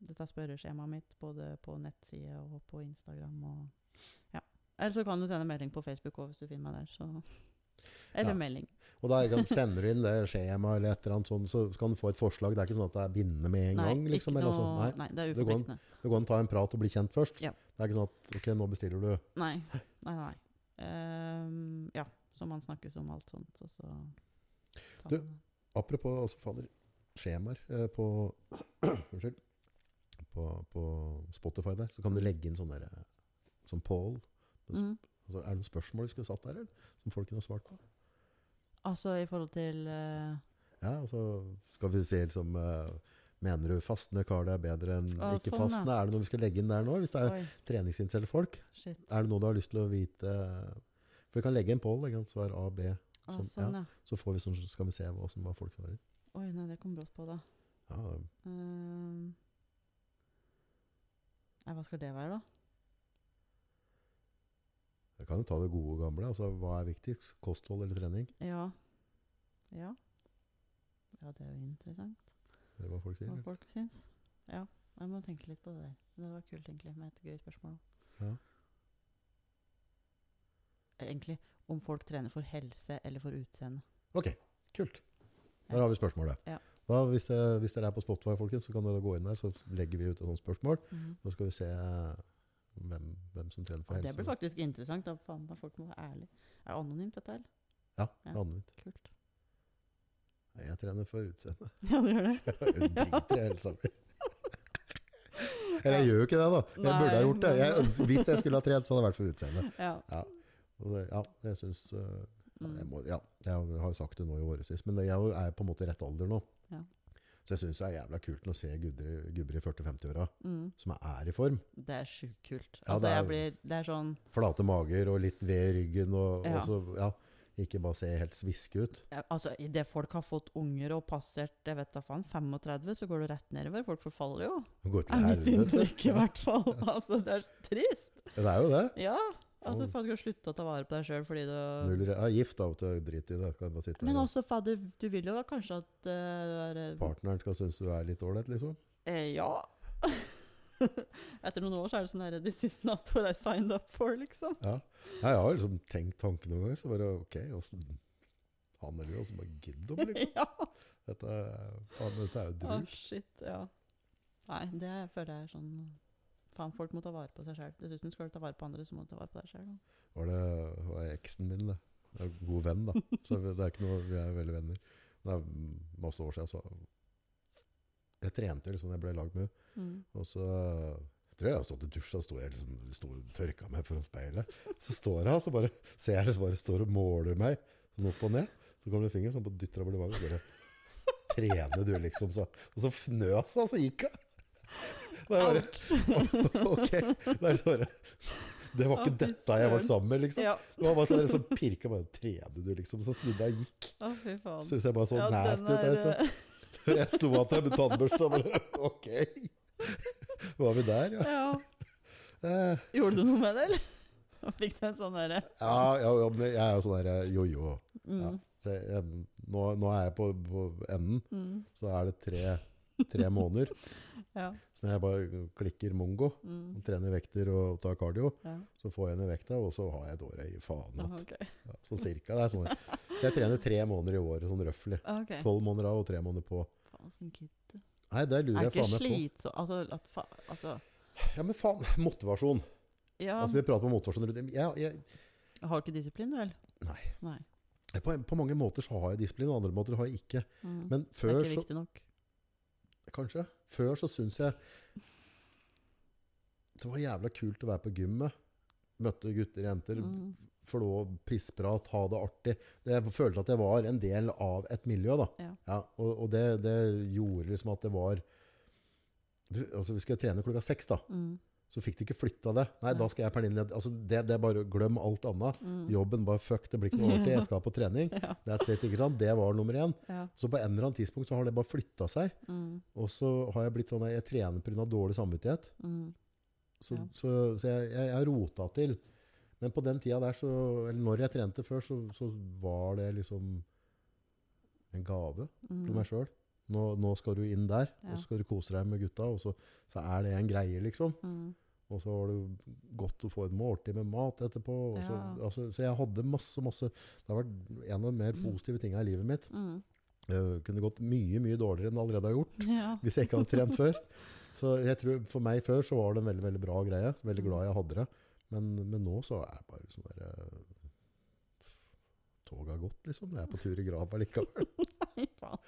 [SPEAKER 1] dette spørreskjemaet mitt, både på nettside og på Instagram. Og, ja. Eller så kan du sende melding på Facebook òg, hvis du finner meg der. Så. Eller
[SPEAKER 2] Ja.
[SPEAKER 1] melding.
[SPEAKER 2] Og da kan, sender du inn det skjemaet eller et eller annet sånt, så kan du få et forslag. Det er ikke sånn at det er bindende med en gang. liksom.
[SPEAKER 1] ikke
[SPEAKER 2] Eller
[SPEAKER 1] noe,
[SPEAKER 2] sånn.
[SPEAKER 1] nei, det er
[SPEAKER 2] det går an.
[SPEAKER 1] uforpliktende.
[SPEAKER 2] Nei. Det går an å ta en prat og bli kjent først.
[SPEAKER 1] Ja.
[SPEAKER 2] Det er ikke sånn at ok, nå bestiller du.
[SPEAKER 1] Nei. Nei, nei. nei. Ehm, ja, så man snakkes om alt sånt, og så tar
[SPEAKER 2] Du-
[SPEAKER 1] man det.
[SPEAKER 2] Apropos altså, fader, skjemaer eh, på Unnskyld. På, på Spotify der, så kan du legge inn sånn der eh, som Paul.
[SPEAKER 1] mm.
[SPEAKER 2] Altså, er det noen spørsmål du skulle satt der, eller? Som folk kunne svart på?
[SPEAKER 1] Altså i forhold til eh,
[SPEAKER 2] Ja, og så skal vi se liksom eh, Mener du fastende kar det er bedre enn
[SPEAKER 1] Å,
[SPEAKER 2] ikke
[SPEAKER 1] sånn, ja.
[SPEAKER 2] fastende? Er det noe vi skal legge inn der nå? Hvis det er
[SPEAKER 1] Oi,
[SPEAKER 2] treningsinteresserte folk,
[SPEAKER 1] shit.
[SPEAKER 2] er det noe du har lyst til å vite? For vi kan legge en poll, ikke sant? svar A, B.
[SPEAKER 1] Ah,
[SPEAKER 2] Sånn,
[SPEAKER 1] sånn, ja.
[SPEAKER 2] Så får vi sånn, så skal vi se hva som var folk svarer.
[SPEAKER 1] Oi, nei, det kom brått på, da.
[SPEAKER 2] Ja, det-
[SPEAKER 1] Ehm, nei, hva skal det være, da?
[SPEAKER 2] jeg kan jo ta det gode og gamle. Altså, hva er viktigst? Kosthold eller trening?
[SPEAKER 1] Ja. Ja. Ja, det er jo interessant
[SPEAKER 2] Det er hva folk sier.
[SPEAKER 1] hva
[SPEAKER 2] eller?
[SPEAKER 1] folk syns. Ja, jeg må tenke litt på det der. Men Det var kult, egentlig, med et gøy spørsmål.
[SPEAKER 2] Ja.
[SPEAKER 1] Egentlig om folk trener for helse eller for utseende.
[SPEAKER 2] Ok, kult. Der har vi spørsmålet.
[SPEAKER 1] Ja.
[SPEAKER 2] Da, hvis, det, hvis dere er på Spotify, folkens, så kan dere gå inn der, så legger vi ut et sånt spørsmål. Nå skal vi se eh, hvem, hvem som trener for
[SPEAKER 1] Ja, det
[SPEAKER 2] helse.
[SPEAKER 1] blir faktisk interessant. Da. Faen, da folk må være ærlige. Er det anonymt, dette, eller?
[SPEAKER 2] Ja,
[SPEAKER 1] Ja.
[SPEAKER 2] anvendt.
[SPEAKER 1] Kult.
[SPEAKER 2] Nei, Jeg trener for utseende.
[SPEAKER 1] Ja, det gjør det.
[SPEAKER 2] Jeg driter i helsa mi. Eller jeg gjør jo ikke det, da. Jeg
[SPEAKER 1] Nei,
[SPEAKER 2] burde ha gjort det. Jeg,
[SPEAKER 1] men-
[SPEAKER 2] øns- hvis jeg skulle ha trent, så hadde det vært for utseende.
[SPEAKER 1] Ja.
[SPEAKER 2] Og det- Ja, jeg syns øh, jeg,
[SPEAKER 1] Mm.
[SPEAKER 2] må, ja, jeg har jo sagt det nå i årevis, men jeg er jo på en måte i rett alder nå.
[SPEAKER 1] Ja.
[SPEAKER 2] Så jeg syns det er jævla kult når jeg ser gubber gubber i 40-50-åra
[SPEAKER 1] Mm.
[SPEAKER 2] som er i form.
[SPEAKER 1] Det er sjukt kult.
[SPEAKER 2] Ja,
[SPEAKER 1] Altså,
[SPEAKER 2] det er-
[SPEAKER 1] jeg blir Det er sånn
[SPEAKER 2] Flate mager og litt ved i ryggen. Og,
[SPEAKER 1] Ja.
[SPEAKER 2] og så, ja, ikke bare se helt sviske ut.
[SPEAKER 1] ja, Altså, idet folk har fått unger og passert jeg vet da faen, 35, så går det rett nedover. Folk forfaller jo.
[SPEAKER 2] Gå
[SPEAKER 1] Er
[SPEAKER 2] til
[SPEAKER 1] mitt
[SPEAKER 2] helvete.
[SPEAKER 1] inntrykk, i hvert fall. Altså, det er trist.
[SPEAKER 2] Det er jo det.
[SPEAKER 1] Ja. Altså,
[SPEAKER 2] Faen.
[SPEAKER 1] folk skal slutte å ta vare på deg sjøl fordi du
[SPEAKER 2] Null, re- ja, gift av og til, drit i det. Kan bare sitte
[SPEAKER 1] Men
[SPEAKER 2] her.
[SPEAKER 1] også, fader, du vil jo kanskje at eh, du er eh,
[SPEAKER 2] Partneren skal synes du er litt ålreit, liksom.
[SPEAKER 1] Eh, ja. Etter noen år så er det sånn der This is not what I signed up for, liksom.
[SPEAKER 2] Ja. Nei, jeg har liksom tenkt tanken noen ganger. Så bare OK, åssen han eller hun som bare gidder om, liksom.
[SPEAKER 1] ja.
[SPEAKER 2] Dette, er- faen, dette er jo
[SPEAKER 1] Å,
[SPEAKER 2] drult.
[SPEAKER 1] shit. Ja. Nei, det føler jeg er sånn Faen, folk må ta vare på seg sjøl. Dessuten skal du ta vare på andre, så må du ta vare på deg sjøl.
[SPEAKER 2] Var det var eksen min, det. Jeg er en god venn, da. Så vi- det er ikke noe, vi er veldig venner. Det er masse år siden, så Jeg trente jo liksom, jeg ble i lag med henne.
[SPEAKER 1] Mm.
[SPEAKER 2] Og så tror jeg jeg har stått i dusja, sto jeg liksom, sto, tørka meg foran speilet. Så står jeg, og så bare ser jeg det, så bare står og måler meg sånn opp og ned. Så kommer det en finger sånn på dytter over det bare Trene du, liksom. Så. Og så fnøs hun, og så gikk hun. Det er bare Ok. Det, er så bare, det var
[SPEAKER 1] Å,
[SPEAKER 2] ikke
[SPEAKER 1] fy
[SPEAKER 2] dette jeg ble
[SPEAKER 1] søren.
[SPEAKER 2] sammen med, liksom.
[SPEAKER 1] Ja.
[SPEAKER 2] Det var bare sånn, så pirka bare Trene du, liksom. Så snudde jeg og gikk.
[SPEAKER 1] Å, fy faen.
[SPEAKER 2] Så jeg bare så
[SPEAKER 1] Ja, den
[SPEAKER 2] nasty ut.
[SPEAKER 1] er,
[SPEAKER 2] der i stund. Jeg sto at jeg med tannbørste og bare Ok. Var vi der, ja?
[SPEAKER 1] eh, ja.
[SPEAKER 2] Eh,
[SPEAKER 1] Gjorde du noe med det, eller? Og Fikk du en sånn derre
[SPEAKER 2] Ja, ja, ja men jeg er jo sånn der eh, jojo.
[SPEAKER 1] mm,
[SPEAKER 2] Ja. Så jeg, jeg, nå, nå er jeg på, på enden,
[SPEAKER 1] mm,
[SPEAKER 2] så er det tre, tre måneder.
[SPEAKER 1] Ja.
[SPEAKER 2] Så når jeg bare klikker mongo,
[SPEAKER 1] Mm,
[SPEAKER 2] trener vekter og tar cardio,
[SPEAKER 1] ja.
[SPEAKER 2] så får jeg ned vekta, og så har jeg et år i faen at
[SPEAKER 1] Ok.
[SPEAKER 2] ja, Så cirka. Det er sånn. Så jeg trener tre måneder i året, sånn røffelig.
[SPEAKER 1] Ok.
[SPEAKER 2] Tolv måneder av og tre måneder på.
[SPEAKER 1] Faen, sånn kid.
[SPEAKER 2] Nei, det lurer
[SPEAKER 1] Er
[SPEAKER 2] jeg
[SPEAKER 1] ikke
[SPEAKER 2] faen meg på.
[SPEAKER 1] slitsom Altså, at fa, altså
[SPEAKER 2] Ja, men faen. Motivasjon.
[SPEAKER 1] Ja.
[SPEAKER 2] Altså, vi prater om motivasjon rundt jeg, jeg,
[SPEAKER 1] Har du ikke disiplin, du, eller?
[SPEAKER 2] Nei.
[SPEAKER 1] Nei.
[SPEAKER 2] På, på mange måter så har jeg disiplin, og andre måter har jeg ikke.
[SPEAKER 1] Mm.
[SPEAKER 2] Men
[SPEAKER 1] det
[SPEAKER 2] før
[SPEAKER 1] er ikke
[SPEAKER 2] så,
[SPEAKER 1] viktig nok.
[SPEAKER 2] kanskje, før så syns jeg det var jævla kult å være på gymmet. Møtte gutter, jenter,
[SPEAKER 1] Mm.
[SPEAKER 2] flå, pissprat, ha det artig. Jeg følte at jeg var en del av et miljø, da.
[SPEAKER 1] Ja.
[SPEAKER 2] og og det, det gjorde liksom at det var du, altså, Vi skal trene klokka seks, da.
[SPEAKER 1] Mm.
[SPEAKER 2] Så fikk du ikke flytta det. Nei, da skal jeg Pernille ned. Altså, det, det er bare å glemme alt annet.
[SPEAKER 1] Mm.
[SPEAKER 2] Jobben bare fuck, det blir ikke noe artig. Jeg skal på trening.
[SPEAKER 1] Ja.
[SPEAKER 2] That's it, ikke sant? Det var nummer én.
[SPEAKER 1] Ja.
[SPEAKER 2] Så på en eller annen tidspunkt så har det bare flytta seg.
[SPEAKER 1] Mm.
[SPEAKER 2] Og så har jeg blitt sånn at jeg trener pga. dårlig samvittighet.
[SPEAKER 1] Mm.
[SPEAKER 2] Så,
[SPEAKER 1] Ja.
[SPEAKER 2] så, så jeg, jeg, jeg rota til. Men på den tida der, så, eller når jeg trente før, så, så var det liksom en gave
[SPEAKER 1] Mm.
[SPEAKER 2] for meg sjøl. Nå, nå skal du inn der,
[SPEAKER 1] Ja.
[SPEAKER 2] og så skal du kose deg med gutta. Og så, så er det en greie, liksom.
[SPEAKER 1] Mm.
[SPEAKER 2] Og så var det godt å få et måltid med mat etterpå. Og så,
[SPEAKER 1] Ja.
[SPEAKER 2] altså, så jeg hadde masse, masse Det har vært en av de mer positive tinga i livet mitt.
[SPEAKER 1] Mm.
[SPEAKER 2] Det kunne gått mye, mye dårligere enn det allerede har gjort.
[SPEAKER 1] Ja.
[SPEAKER 2] hvis jeg ikke hadde trent før. Så jeg tror For meg før så var det en veldig veldig bra greie. Veldig glad jeg hadde det. Men, men nå så er jeg bare sånn der eh, Toget har gått, liksom. Jeg er på tur i grava likevel.
[SPEAKER 1] Fy faen.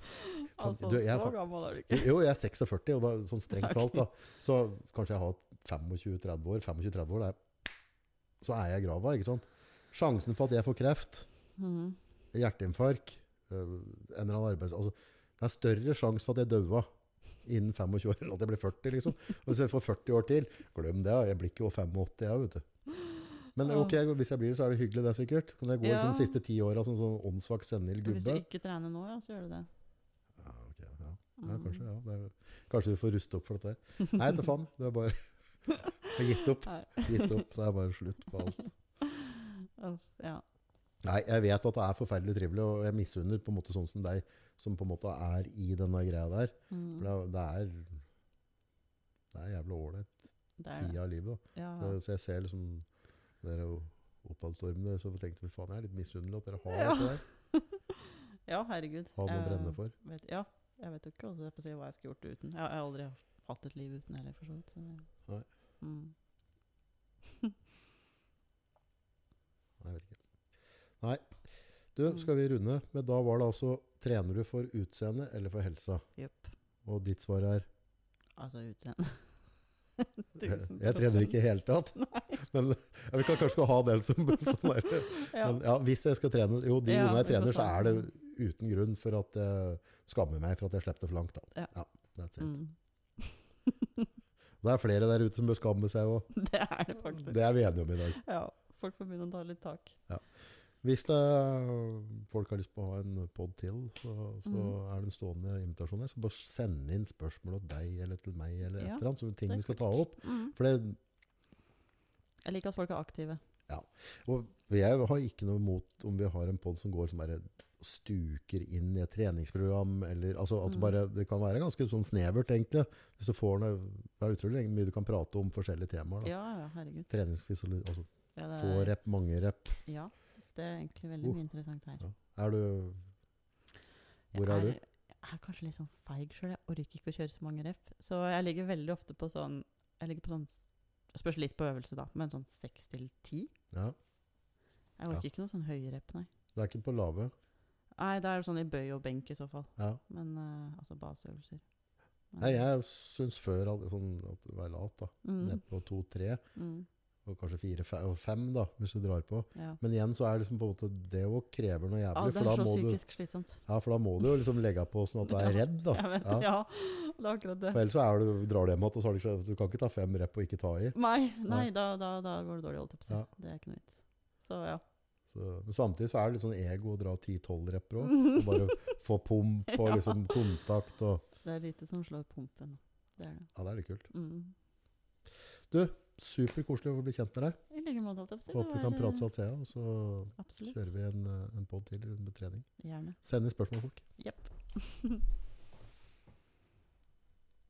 [SPEAKER 2] Fan,
[SPEAKER 1] Altså,
[SPEAKER 2] du, jeg er
[SPEAKER 1] så
[SPEAKER 2] fa-
[SPEAKER 1] gammel er du ikke.
[SPEAKER 2] Jo, jeg er 46, og da, sånn strengt
[SPEAKER 1] Ok.
[SPEAKER 2] talt, da. Så kanskje jeg har 25-30 år. 25-30 år, det er, Så er jeg i grava, ikke sant? Sjansen for at jeg får kreft,
[SPEAKER 1] Mm.
[SPEAKER 2] hjerteinfarkt, eh, en eller annen arbeids... Altså, det er større sjanse for at jeg daua innen 25 år enn at jeg blir 40. liksom. Og Hvis jeg får 40 år til, glem det. Jeg blir ikke jo 85, jeg, vet du. Men ok, hvis jeg blir det, så er det hyggelig, det, sikkert. Kan jeg gå
[SPEAKER 1] Ja.
[SPEAKER 2] liksom, de siste ti åra som sånn åndssvak senil
[SPEAKER 1] Hvis du
[SPEAKER 2] gubbe?
[SPEAKER 1] ikke trener nå, ja, så gjør du det. Mm.
[SPEAKER 2] Ja, ok, ja. ja, kanskje. ja. Det er, kanskje vi får ruste opp for dette her. Nei, til faen. Det er bare Jeg har gitt opp.
[SPEAKER 1] Nei.
[SPEAKER 2] Gitt opp. Det er bare slutt på alt.
[SPEAKER 1] Uff, Ja.
[SPEAKER 2] Nei, jeg vet at det er forferdelig trivelig, og jeg misunner på en måte sånn som deg, som på en måte er i denne greia der.
[SPEAKER 1] Mm.
[SPEAKER 2] For det, er- det er det er jævlig ålreit
[SPEAKER 1] Det er det.
[SPEAKER 2] tida av livet. da.
[SPEAKER 1] Ja,
[SPEAKER 2] Så, så jeg ser liksom dere oppadstormene, så tenkte vi faen, jeg er litt misunnelig at dere har
[SPEAKER 1] Ja.
[SPEAKER 2] dette der.
[SPEAKER 1] ja herregud.
[SPEAKER 2] Ha noe å brenne
[SPEAKER 1] Jeg
[SPEAKER 2] for.
[SPEAKER 1] Vet, ja, jeg vet jo ikke altså, jeg får si hva jeg skulle gjort uten. Jeg, jeg har aldri hatt et liv uten heller, for så vidt. Så, det-
[SPEAKER 2] Nei.
[SPEAKER 1] Mm.
[SPEAKER 2] Nei, jeg vet ikke. Nei. Du, skal vi runde? Men da var det altså Trener du for utseende eller for helsa?
[SPEAKER 1] Jepp.
[SPEAKER 2] Og ditt svar er
[SPEAKER 1] Altså utseende.
[SPEAKER 2] Jeg,
[SPEAKER 1] Tusen
[SPEAKER 2] jeg trener
[SPEAKER 1] prosent.
[SPEAKER 2] ikke i hele tatt. Men ja, vi kan kanskje ha den som sånn der.
[SPEAKER 1] Ja.
[SPEAKER 2] Men ja, hvis jeg skal trene Jo, de
[SPEAKER 1] Ja,
[SPEAKER 2] gangene
[SPEAKER 1] vi får
[SPEAKER 2] jeg trener, så
[SPEAKER 1] ta
[SPEAKER 2] er det
[SPEAKER 1] den.
[SPEAKER 2] uten grunn for at jeg skammer meg for at jeg slipper det for langt. Da.
[SPEAKER 1] Ja.
[SPEAKER 2] that's it.
[SPEAKER 1] Mm.
[SPEAKER 2] Det er flere der ute som bør skamme seg òg.
[SPEAKER 1] Det er det faktisk.
[SPEAKER 2] Det er vi enige om i dag.
[SPEAKER 1] Ja, folk får begynne å ta litt tak.
[SPEAKER 2] Hvis det, folk har lyst på å ha en pod til, så, så
[SPEAKER 1] Mm.
[SPEAKER 2] er det en stående invitasjon der. Så bare send inn spørsmål til deg eller til meg eller et
[SPEAKER 1] Ja,
[SPEAKER 2] eller annet. Så ting
[SPEAKER 1] det er
[SPEAKER 2] vi skal ta
[SPEAKER 1] kult.
[SPEAKER 2] opp. For det,
[SPEAKER 1] Jeg liker at folk er aktive.
[SPEAKER 2] og jeg har ikke noe imot om vi har en pod som går som bare stuker inn i et treningsprogram. Eller, altså at
[SPEAKER 1] Mm.
[SPEAKER 2] bare, det kan være ganske sånn snevert, egentlig. Hvis du får noe, det er utrolig mye du kan prate om forskjellige temaer. Da.
[SPEAKER 1] Ja, ja, herregud.
[SPEAKER 2] Treningsfysiologi, altså
[SPEAKER 1] Ja, det
[SPEAKER 2] få
[SPEAKER 1] er,
[SPEAKER 2] rep, mange rep.
[SPEAKER 1] ja, det er egentlig veldig
[SPEAKER 2] Uh.
[SPEAKER 1] mye interessant her.
[SPEAKER 2] Er du
[SPEAKER 1] Jeg
[SPEAKER 2] Hvor er du?
[SPEAKER 1] Jeg er kanskje litt sånn feig sjøl. Jeg orker ikke å kjøre så mange rep. Så jeg ligger veldig ofte på sånn Jeg ligger på sånn s- Det spørs litt på øvelse, da, men sånn seks til ti.
[SPEAKER 2] Ja.
[SPEAKER 1] Jeg orker ikke noe sånn høye rep, nei.
[SPEAKER 2] Det er ikke på lave.
[SPEAKER 1] Nei, da er det sånn i bøy og benk i så fall.
[SPEAKER 2] Ja.
[SPEAKER 1] Men eh, altså baseøvelser. Men-
[SPEAKER 2] Nei, jeg syns før at, sånn, at du er lat, da.
[SPEAKER 1] mm,
[SPEAKER 2] Ned på to-tre,
[SPEAKER 1] mm,
[SPEAKER 2] og kanskje fire-fem, da, hvis du drar på.
[SPEAKER 1] ja.
[SPEAKER 2] Men igjen så er det liksom på en måte det òg krever noe
[SPEAKER 1] ja,
[SPEAKER 2] jævlig.
[SPEAKER 1] det er
[SPEAKER 2] for, da
[SPEAKER 1] så
[SPEAKER 2] må du,
[SPEAKER 1] psykisk slitsomt.
[SPEAKER 2] ja, for da må du jo liksom legge på sånn at du er
[SPEAKER 1] Ja,
[SPEAKER 2] redd, da.
[SPEAKER 1] Jeg vet det. Ja. det er akkurat det.
[SPEAKER 2] For ellers så er du, drar du hjem igjen, og så har du ikke Du kan ikke ta fem rep og ikke ta i.
[SPEAKER 1] Nei, nei
[SPEAKER 2] Nei.
[SPEAKER 1] da, da, da går det dårlig, holdt jeg på å si.
[SPEAKER 2] Ja.
[SPEAKER 1] Det er ikke noe vits. Så ja.
[SPEAKER 2] Så, men samtidig så er det litt sånn ego å dra ti-tolv repper òg. Bare få pump og
[SPEAKER 1] Mm. Ja.
[SPEAKER 2] liksom kontakt og
[SPEAKER 1] Det er lite som slår pumpen. Det er det.
[SPEAKER 2] Ja, det er litt kult.
[SPEAKER 1] Mm.
[SPEAKER 2] Superkoselig å bli kjent med deg.
[SPEAKER 1] I like måte, holdt jeg på å si. Det
[SPEAKER 2] Håper vi kan
[SPEAKER 1] var,
[SPEAKER 2] prate
[SPEAKER 1] eh,
[SPEAKER 2] sånn siden, og så
[SPEAKER 1] Absolutt.
[SPEAKER 2] kjører vi en, eh, en podd til med trening.
[SPEAKER 1] Gjerne.
[SPEAKER 2] Send inn spørsmål, folk.
[SPEAKER 1] Jepp.